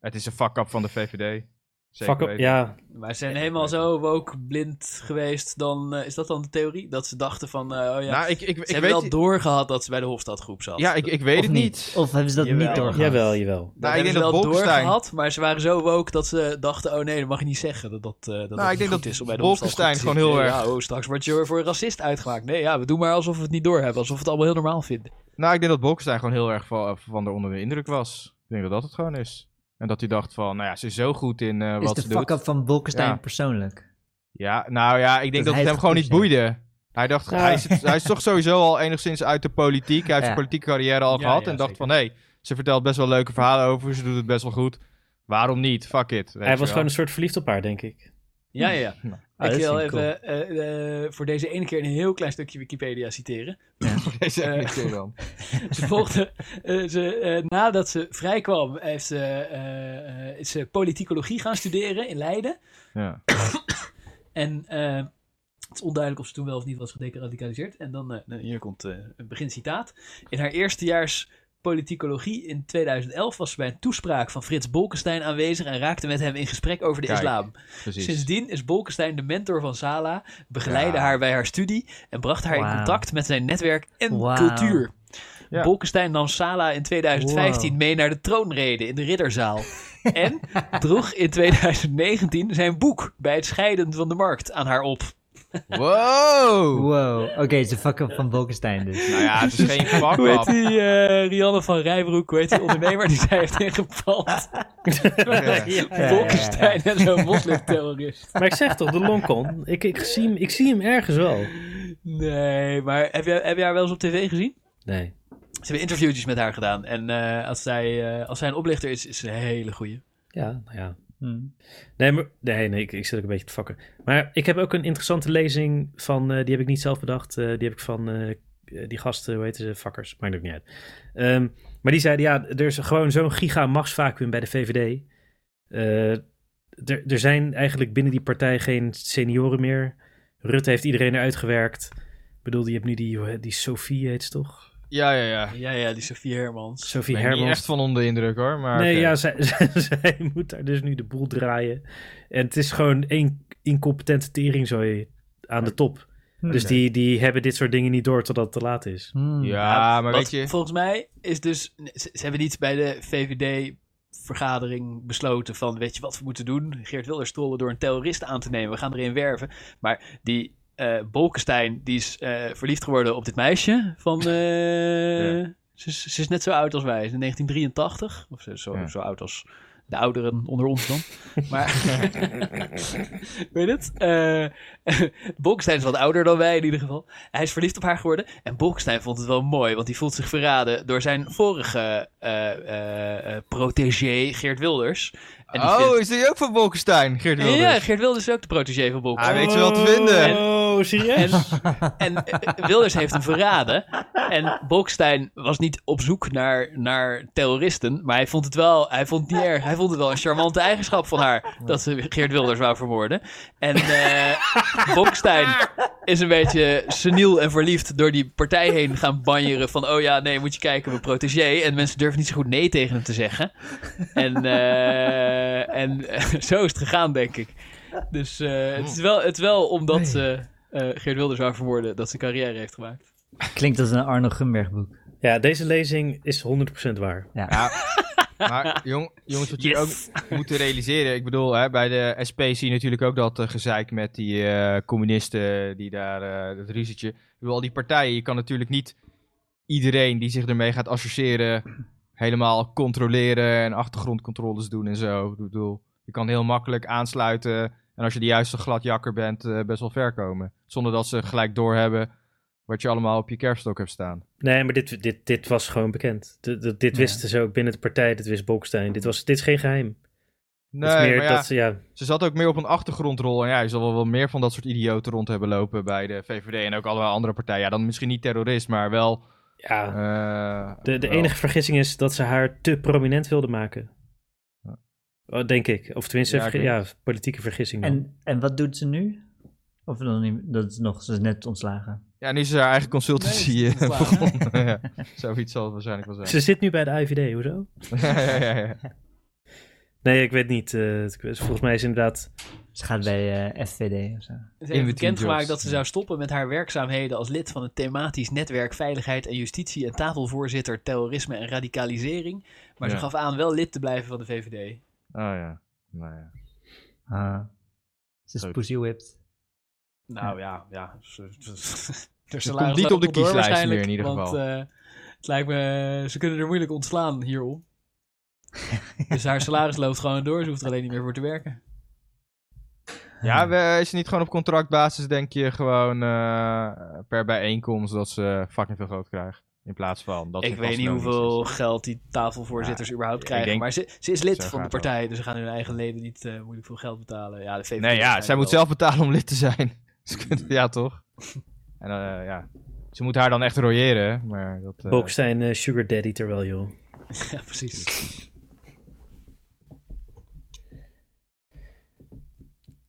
Speaker 5: Het is een fuck-up van de VVD. Zeker
Speaker 2: Fuck up,
Speaker 5: weten.
Speaker 2: ja.
Speaker 4: Wij zijn helemaal zo ook blind geweest. Dan eh, is dat dan de theorie? Dat ze dachten van, eh, oh ja,
Speaker 5: Nou, ik, ik, ik
Speaker 4: ze
Speaker 5: weet,
Speaker 4: hebben wel doorgehad dat ze bij de Hofstadgroep zat.
Speaker 5: ja, ik, ik weet
Speaker 3: Of
Speaker 5: het niet.
Speaker 3: Of hebben ze dat
Speaker 4: Jawel.
Speaker 3: niet doorgehad?
Speaker 2: Jawel, jawel.
Speaker 4: Dat
Speaker 5: Nou, ik
Speaker 4: hebben
Speaker 5: denk
Speaker 4: ze
Speaker 5: dat
Speaker 4: wel
Speaker 5: Bolkestein,
Speaker 4: doorgehad, maar ze waren zo woke dat ze dachten, oh nee, dat mag je niet zeggen. Dat, dat, eh, dat,
Speaker 5: Nou, ik
Speaker 4: niet
Speaker 5: denk
Speaker 4: goed
Speaker 5: dat
Speaker 4: is om bij de
Speaker 5: Bolkestein
Speaker 4: Hofstadgroep te
Speaker 5: gewoon
Speaker 4: zitten.
Speaker 5: heel
Speaker 4: Ja, oh, straks word je weer voor een racist uitgemaakt. Nee, ja, we doen maar alsof we het niet doorhebben. Alsof we het allemaal heel normaal vinden.
Speaker 5: nou, ik denk dat Bolkestein gewoon heel erg van, van de onder de indruk was. Ik denk dat dat het gewoon is. En dat hij dacht van, nou ja, ze is zo goed in eh,
Speaker 3: Is
Speaker 5: wat
Speaker 3: de
Speaker 5: ze doet.
Speaker 3: fuck-up van Bolkestein
Speaker 5: Ja.
Speaker 3: persoonlijk?
Speaker 5: Ja, nou ja, ik denk
Speaker 3: Dat
Speaker 5: dat,
Speaker 3: hij
Speaker 5: het hem
Speaker 3: het
Speaker 5: gewoon niet
Speaker 3: gepusht
Speaker 5: boeide. Hij dacht, hij, is, hij is toch sowieso al enigszins uit de politiek. Hij heeft
Speaker 3: Ja.
Speaker 5: zijn politieke carrière al
Speaker 4: Ja,
Speaker 5: gehad.
Speaker 4: ja,
Speaker 5: en dacht
Speaker 4: zeker.
Speaker 5: van, hé, hey, ze vertelt best wel leuke verhalen over. Ze doet het best wel goed. Waarom niet? Fuck it.
Speaker 2: Hij
Speaker 5: weet je
Speaker 2: was
Speaker 5: wel.
Speaker 2: gewoon een soort verliefd op haar, denk ik.
Speaker 4: Ja, ja, ja.
Speaker 5: Nou,
Speaker 3: Ah,
Speaker 4: ik
Speaker 3: dat
Speaker 4: wil
Speaker 3: vind ik
Speaker 4: even eh, eh, voor deze ene keer een heel klein stukje Wikipedia citeren.
Speaker 5: Deze
Speaker 4: eh,
Speaker 5: ene keer dan.
Speaker 4: Ze volgde, eh, ze, eh, nadat ze vrijkwam, heeft ze, eh, eh, is ze politicologie gaan studeren in Leiden.
Speaker 5: Ja.
Speaker 4: En eh, het is onduidelijk of ze toen wel of niet was gederadicaliseerd. En dan, eh, nou, hier komt eh, een begincitaat. In haar eerstejaars politicologie in 2011 was ze bij een toespraak van Frits Bolkestein aanwezig en raakte met hem in gesprek over de
Speaker 5: Kijk,
Speaker 4: islam.
Speaker 5: Precies.
Speaker 4: Sindsdien is Bolkestein de mentor van Sala, begeleidde
Speaker 5: Ja.
Speaker 4: haar bij haar studie en bracht haar in
Speaker 3: Wauw.
Speaker 4: contact met zijn netwerk en
Speaker 3: Wauw.
Speaker 4: cultuur.
Speaker 5: Ja.
Speaker 4: Bolkestein nam Sala in 2015
Speaker 3: Wow.
Speaker 4: mee naar de troonrede in de Ridderzaal. en droeg in 2019 zijn boek bij het scheiden van de markt aan haar op.
Speaker 5: Wow!
Speaker 3: Wow, oké, het is de fuck-up van Bolkestein dus.
Speaker 5: Nou ja, het is geen fuck
Speaker 4: Hoe heet
Speaker 5: up.
Speaker 4: die eh, Rianne van Rijbroek, hoe heet die ondernemer die zij heeft ingepald?
Speaker 5: Eh,
Speaker 3: ja, ja.
Speaker 4: Bolkestein en zo'n moslimterrorist.
Speaker 2: Maar ik zeg toch, de longcon. Ik, ik, zie hem, ik zie hem ergens wel.
Speaker 4: Nee, maar heb jij, heb jij haar wel eens op tv gezien?
Speaker 2: Nee.
Speaker 4: Ze hebben interviewtjes met haar gedaan. En eh, als, zij, eh, als zij een oplichter is, is ze een hele goeie.
Speaker 2: Ja, nou ja.
Speaker 3: Hm.
Speaker 2: Nee, maar, nee, nee ik, ik zit ook een beetje te fakken. Maar ik heb ook een interessante lezing van, eh, die heb ik niet zelf bedacht. eh, die heb ik van eh, die gasten, hoe heten ze, fakkers, maakt ook niet uit. Ehm, maar die zeiden, ja, er is gewoon zo'n giga machtsvacuum bij de VVD. Eh, er, er zijn eigenlijk binnen die partij geen senioren meer. Rutte heeft iedereen eruit gewerkt. Ik bedoel, die hebt nu die, die Sophie heet ze toch?
Speaker 5: Ja, ja, ja.
Speaker 4: Ja, ja, die Sophie Hermans.
Speaker 2: Sophie
Speaker 5: Ik ben
Speaker 2: Hermans.
Speaker 5: niet echt van onder de indruk hoor. Maar
Speaker 2: nee,
Speaker 5: Ah, oké.
Speaker 2: ja, zij, zij, zij moet daar dus nu de boel draaien. En het is gewoon één incompetente teringzooi aan de top. Dus
Speaker 3: Hmm.
Speaker 2: die, die hebben dit soort dingen niet door totdat het te laat is.
Speaker 3: Hm.
Speaker 5: Ja, maar
Speaker 4: Wat
Speaker 5: weet je...
Speaker 4: Volgens mij is dus. nee, Ze, ze hebben niet bij de VVD-vergadering besloten van. Weet je wat we moeten doen? Geert Wilders trollen door een terrorist aan te nemen. We gaan erin werven. Maar die. eh Bolkestein, die is eh, verliefd geworden op dit meisje. Van, eh, ze, is- ze is net zo oud als wij. Ze is in 1983. Of ze is zo,
Speaker 5: Ja.
Speaker 4: zo oud als de ouderen onder ons dan. Maar weet het? Eh Bolkestein is wat ouder dan wij in ieder geval. Hij is verliefd op haar geworden. En Bolkestein vond het wel mooi, want hij voelt zich verraden door zijn vorige eh eh, eh, protégé Geert Wilders. En die
Speaker 5: Oh,
Speaker 4: vindt-
Speaker 5: is die ook van Bolkestein, Geert Wilders?
Speaker 4: Ja, Geert Wilders is ook de protégé van
Speaker 5: Hij
Speaker 4: Bolkestein.
Speaker 5: weet ze wel te vinden.
Speaker 2: Oh, serieus?
Speaker 4: En, en eh, Wilders heeft hem verraden. En Bolkestein was niet op zoek naar, naar terroristen. Maar hij vond het wel, hij vond het niet erg. Hij vond het wel een charmante eigenschap van haar. Dat ze Geert Wilders wou vermoorden. En eh Bolkestein is een beetje seniel en verliefd door die partij heen gaan banjeren. Van oh ja, nee, moet je kijken, mijn protégé. En mensen durven niet zo goed nee tegen hem te zeggen. En, eh, en eh, zo is het gegaan, denk ik. Dus eh, het, is wel, het is wel omdat ze eh, Geert Wilders wou vermoorden dat ze een carrière heeft gemaakt.
Speaker 3: Klinkt als een Arno Gumberg boek.
Speaker 2: Ja, deze lezing is 100% waar.
Speaker 5: Maar jong, jongens, wat
Speaker 4: Yes.
Speaker 5: jullie ook moeten realiseren. Ik bedoel, hè, bij de SP zie je natuurlijk ook dat eh, gezeik met die eh, communisten die daar eh, dat ruzietje. Ik bedoel, al die partijen, je kan natuurlijk niet iedereen die zich ermee gaat associëren helemaal controleren en achtergrondcontroles doen en zo. Ik bedoel, je kan heel makkelijk aansluiten en als je de juiste gladjakker bent, eh, best wel ver komen. Zonder dat ze gelijk doorhebben Wat je allemaal op je kerfstok hebt staan.
Speaker 2: Nee, maar dit, dit, dit was gewoon bekend. Dit, dit, dit wisten ze ook binnen de partij, dit wist Bolkestein. Dit, was, dit is geen geheim.
Speaker 5: Nee,
Speaker 2: Het is meer
Speaker 5: maar ja,
Speaker 2: dat ze- ja,
Speaker 5: ze zat ook meer op een achtergrondrol. En ja, je zal wel, wel meer van dat soort idioten rond hebben lopen bij de VVD en ook allerlei andere partijen. Ja, dan misschien niet terrorist, maar wel...
Speaker 2: ja,
Speaker 5: eh,
Speaker 2: De, de
Speaker 5: wel-
Speaker 2: enige vergissing is dat ze haar te prominent wilden maken.
Speaker 5: Ja.
Speaker 2: Oh, denk ik. Of tenminste,
Speaker 5: Ja,
Speaker 2: vergi-
Speaker 5: ik
Speaker 2: ja, politieke vergissing. dan.
Speaker 3: En, en wat doet ze nu? Of dan, niet- dat is nog, ze is net ontslagen.
Speaker 5: Ja, nu is ze haar eigen consultancy
Speaker 4: Nee,
Speaker 5: eh,
Speaker 4: dat is waar,
Speaker 5: begonnen. ja, zoiets zal het waarschijnlijk wel zijn.
Speaker 2: Ze zit nu bij de IVD, hoezo?
Speaker 5: ja, ja, ja, ja.
Speaker 2: Nee, ik weet niet. eh, het- volgens mij is inderdaad...
Speaker 3: Ze gaat bij eh, FVD of zo.
Speaker 4: Ze heeft
Speaker 5: In-between
Speaker 4: bekendgemaakt
Speaker 5: jobs.
Speaker 4: dat ze zou stoppen met haar werkzaamheden als lid van het thematisch netwerk Veiligheid en Justitie en tafelvoorzitter Terrorisme en Radicalisering. Maar ze
Speaker 5: Ja.
Speaker 4: gaf aan wel lid te blijven van de VVD.
Speaker 5: Oh ja. Nou ja.
Speaker 3: Ah. ze is
Speaker 5: Leuk.
Speaker 3: pussywhipped.
Speaker 4: Nou ja, ja. ze- ze- Haar
Speaker 5: Dus komt
Speaker 4: salaris
Speaker 5: niet
Speaker 4: gaat
Speaker 5: op de
Speaker 4: door dus,
Speaker 5: kieslijst meer
Speaker 4: waarschijnlijk,
Speaker 5: in ieder
Speaker 4: want,
Speaker 5: geval.
Speaker 4: eh, het lijkt me, ze kunnen er moeilijk ontslaan hierom. dus haar salaris loopt gewoon door, ze hoeft er alleen niet meer voor te werken.
Speaker 5: Ja, we, is het niet gewoon op contractbasis, denk je, gewoon eh, per bijeenkomst dat ze fucking veel geld krijgt? In plaats van dat ze
Speaker 4: Ik weet
Speaker 5: vast
Speaker 4: niet
Speaker 5: loon is.
Speaker 4: hoeveel geld die tafelvoorzitters überhaupt
Speaker 5: ik
Speaker 4: krijgen,
Speaker 5: denk-
Speaker 4: maar ze, ze is lid
Speaker 5: Zo
Speaker 4: van de
Speaker 5: gaat dat.
Speaker 4: partij, dus ze gaan hun eigen leden niet eh, moeilijk veel geld betalen. Ja, de VVD
Speaker 5: Nee, ja, zij
Speaker 4: waarschijnlijk
Speaker 5: moet
Speaker 4: wel.
Speaker 5: zelf betalen om lid te zijn. Ze kunt- ja, toch? En eh, ja, ze moet haar dan echt royeren, maar dat... eh,
Speaker 2: Bolkestein eh, sugar daddy terwijl, joh.
Speaker 4: Ja, precies.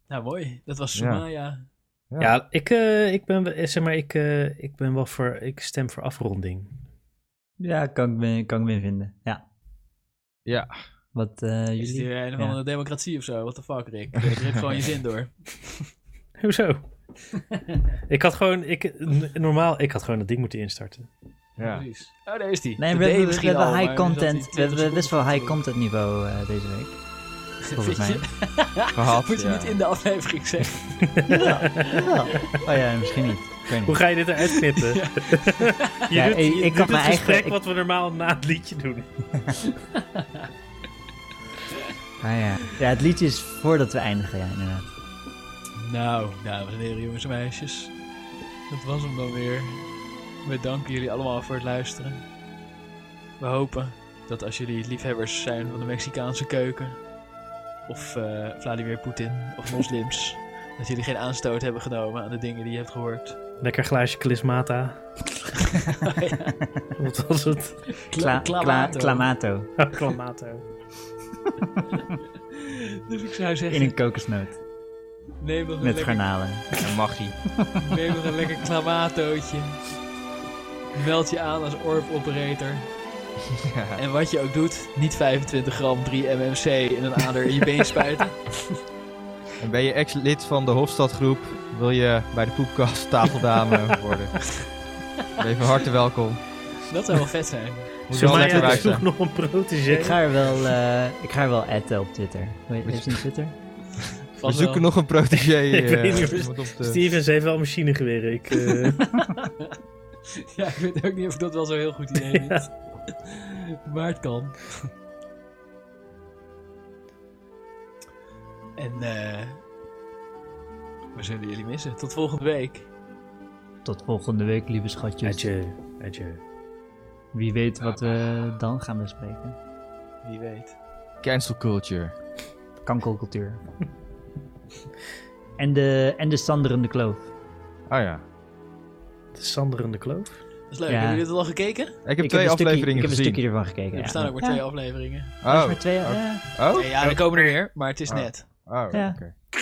Speaker 4: Nou, mooi. Dat was
Speaker 5: Ja.
Speaker 4: Sumaya.
Speaker 5: Ja.
Speaker 2: Ja, ik, eh, ik, ben, wel- eh, zeg maar, ik, eh, ik ben wel voor... Ik stem voor afronding.
Speaker 3: Ja, kan ik me, kan ik me in vinden. Ja.
Speaker 5: Ja.
Speaker 3: Wat eh,
Speaker 4: Is het
Speaker 3: jullie?
Speaker 4: hier een of
Speaker 3: Ja.
Speaker 4: andere democratie of zo? What the fuck, Rick? Je hebt gewoon je zin door.
Speaker 2: Hoezo? ik had gewoon... Ik, n- normaal, ik had gewoon dat ding moeten instarten.
Speaker 5: ja.
Speaker 4: Precies. Oh, daar is die.
Speaker 3: Nee,
Speaker 4: De
Speaker 3: we,
Speaker 4: D
Speaker 3: hebben- we,
Speaker 4: misschien
Speaker 3: hebben
Speaker 4: al,
Speaker 3: high
Speaker 4: maar
Speaker 3: content.
Speaker 4: zat
Speaker 3: We
Speaker 4: die
Speaker 3: hebben best wel high
Speaker 4: 20
Speaker 3: content niveau eh, deze week.
Speaker 4: seconden.
Speaker 3: Volgens mij.
Speaker 5: Gehad,
Speaker 4: Moet je
Speaker 5: ja.
Speaker 4: niet in de aflevering zeggen.
Speaker 3: Jawel. Oh ja, misschien niet. Ik weet niet.
Speaker 2: Hoe ga je dit eruit knippen? Je
Speaker 3: Ja,
Speaker 2: doet,
Speaker 3: ik-
Speaker 2: je
Speaker 3: ik
Speaker 2: doet
Speaker 3: had
Speaker 2: het
Speaker 3: mijn eigen-
Speaker 2: gesprek
Speaker 3: ik-
Speaker 2: wat we normaal na het liedje doen.
Speaker 3: Ah, ja. ja, het liedje is voordat we eindigen, ja, inderdaad.
Speaker 4: Nou, dames en heren, jongens en meisjes. Dat was hem dan weer. We danken jullie allemaal voor het luisteren. We hopen dat als jullie liefhebbers zijn van de Mexicaanse keuken... of eh, Vladimir Poetin of moslims... dat jullie geen aanstoot hebben genomen aan de dingen die je hebt gehoord.
Speaker 2: Lekker glaasje klismata. Wat was het?
Speaker 3: Kla- kla-
Speaker 4: Clamato.
Speaker 3: Clamato.
Speaker 2: Clamato.
Speaker 4: Dus ik zou
Speaker 3: In
Speaker 4: zeggen,
Speaker 3: een kokosnoot.
Speaker 4: neem nog een
Speaker 3: Met
Speaker 4: lekker
Speaker 3: garnalen.
Speaker 5: En magie.
Speaker 4: Neem nog een lekker klamatootje. Meld je aan als orb operator. En wat je ook doet, niet 25 gram 3 MMC in een ader in je been spuiten.
Speaker 5: En ben je ex-lid van de Hofstadgroep? Wil je bij de poepkast tafeldame worden? Ben je van harte welkom.
Speaker 4: Dat zou wel vet zijn.
Speaker 5: Moet je wel lekker
Speaker 2: Sumaya
Speaker 5: bij
Speaker 2: is
Speaker 5: zijn.
Speaker 2: nog nog een protégé.
Speaker 3: Ik ga er wel, eh, ik ga er wel atten op Twitter. Weet je, heeft ze een Twitter?
Speaker 5: We
Speaker 4: Vast
Speaker 5: zoeken
Speaker 4: wel.
Speaker 5: nog een protégé.
Speaker 2: Ik
Speaker 5: eh,
Speaker 2: weet niet of-
Speaker 5: iemand op de-
Speaker 2: Stevens heeft wel machinegeweren. Ik, eh,
Speaker 4: Ja, ik weet ook niet of ik dat wel zo'n heel goed idee vind. Maar het kan. En eh, we zullen jullie missen. Tot volgende week.
Speaker 3: Tot volgende week, lieve schatjes.
Speaker 2: Adieu. Adieu.
Speaker 3: Wie weet wat we dan gaan bespreken.
Speaker 4: Wie weet.
Speaker 5: Cancel culture.
Speaker 3: Kankelcultuur. en, de, en de sanderende kloof.
Speaker 5: Ah ja.
Speaker 2: De sanderende kloof.
Speaker 4: Dat is leuk.
Speaker 3: Ja.
Speaker 4: Hebben jullie dat al gekeken? Er
Speaker 5: Ik heb
Speaker 3: Ik
Speaker 5: twee
Speaker 3: een stukje-
Speaker 5: afleveringen
Speaker 3: Ik heb een
Speaker 5: gezien.
Speaker 3: stukje ervan gekeken. ja.
Speaker 4: bestaan ook maar
Speaker 3: Ja,
Speaker 4: twee afleveringen.
Speaker 3: er is
Speaker 5: Oh.
Speaker 3: maar twee, ja.
Speaker 5: Oh?
Speaker 4: Nee, ja, er komen er weer, maar het is
Speaker 5: Oh.
Speaker 4: net.
Speaker 5: Oh,
Speaker 3: Ja.
Speaker 5: oké.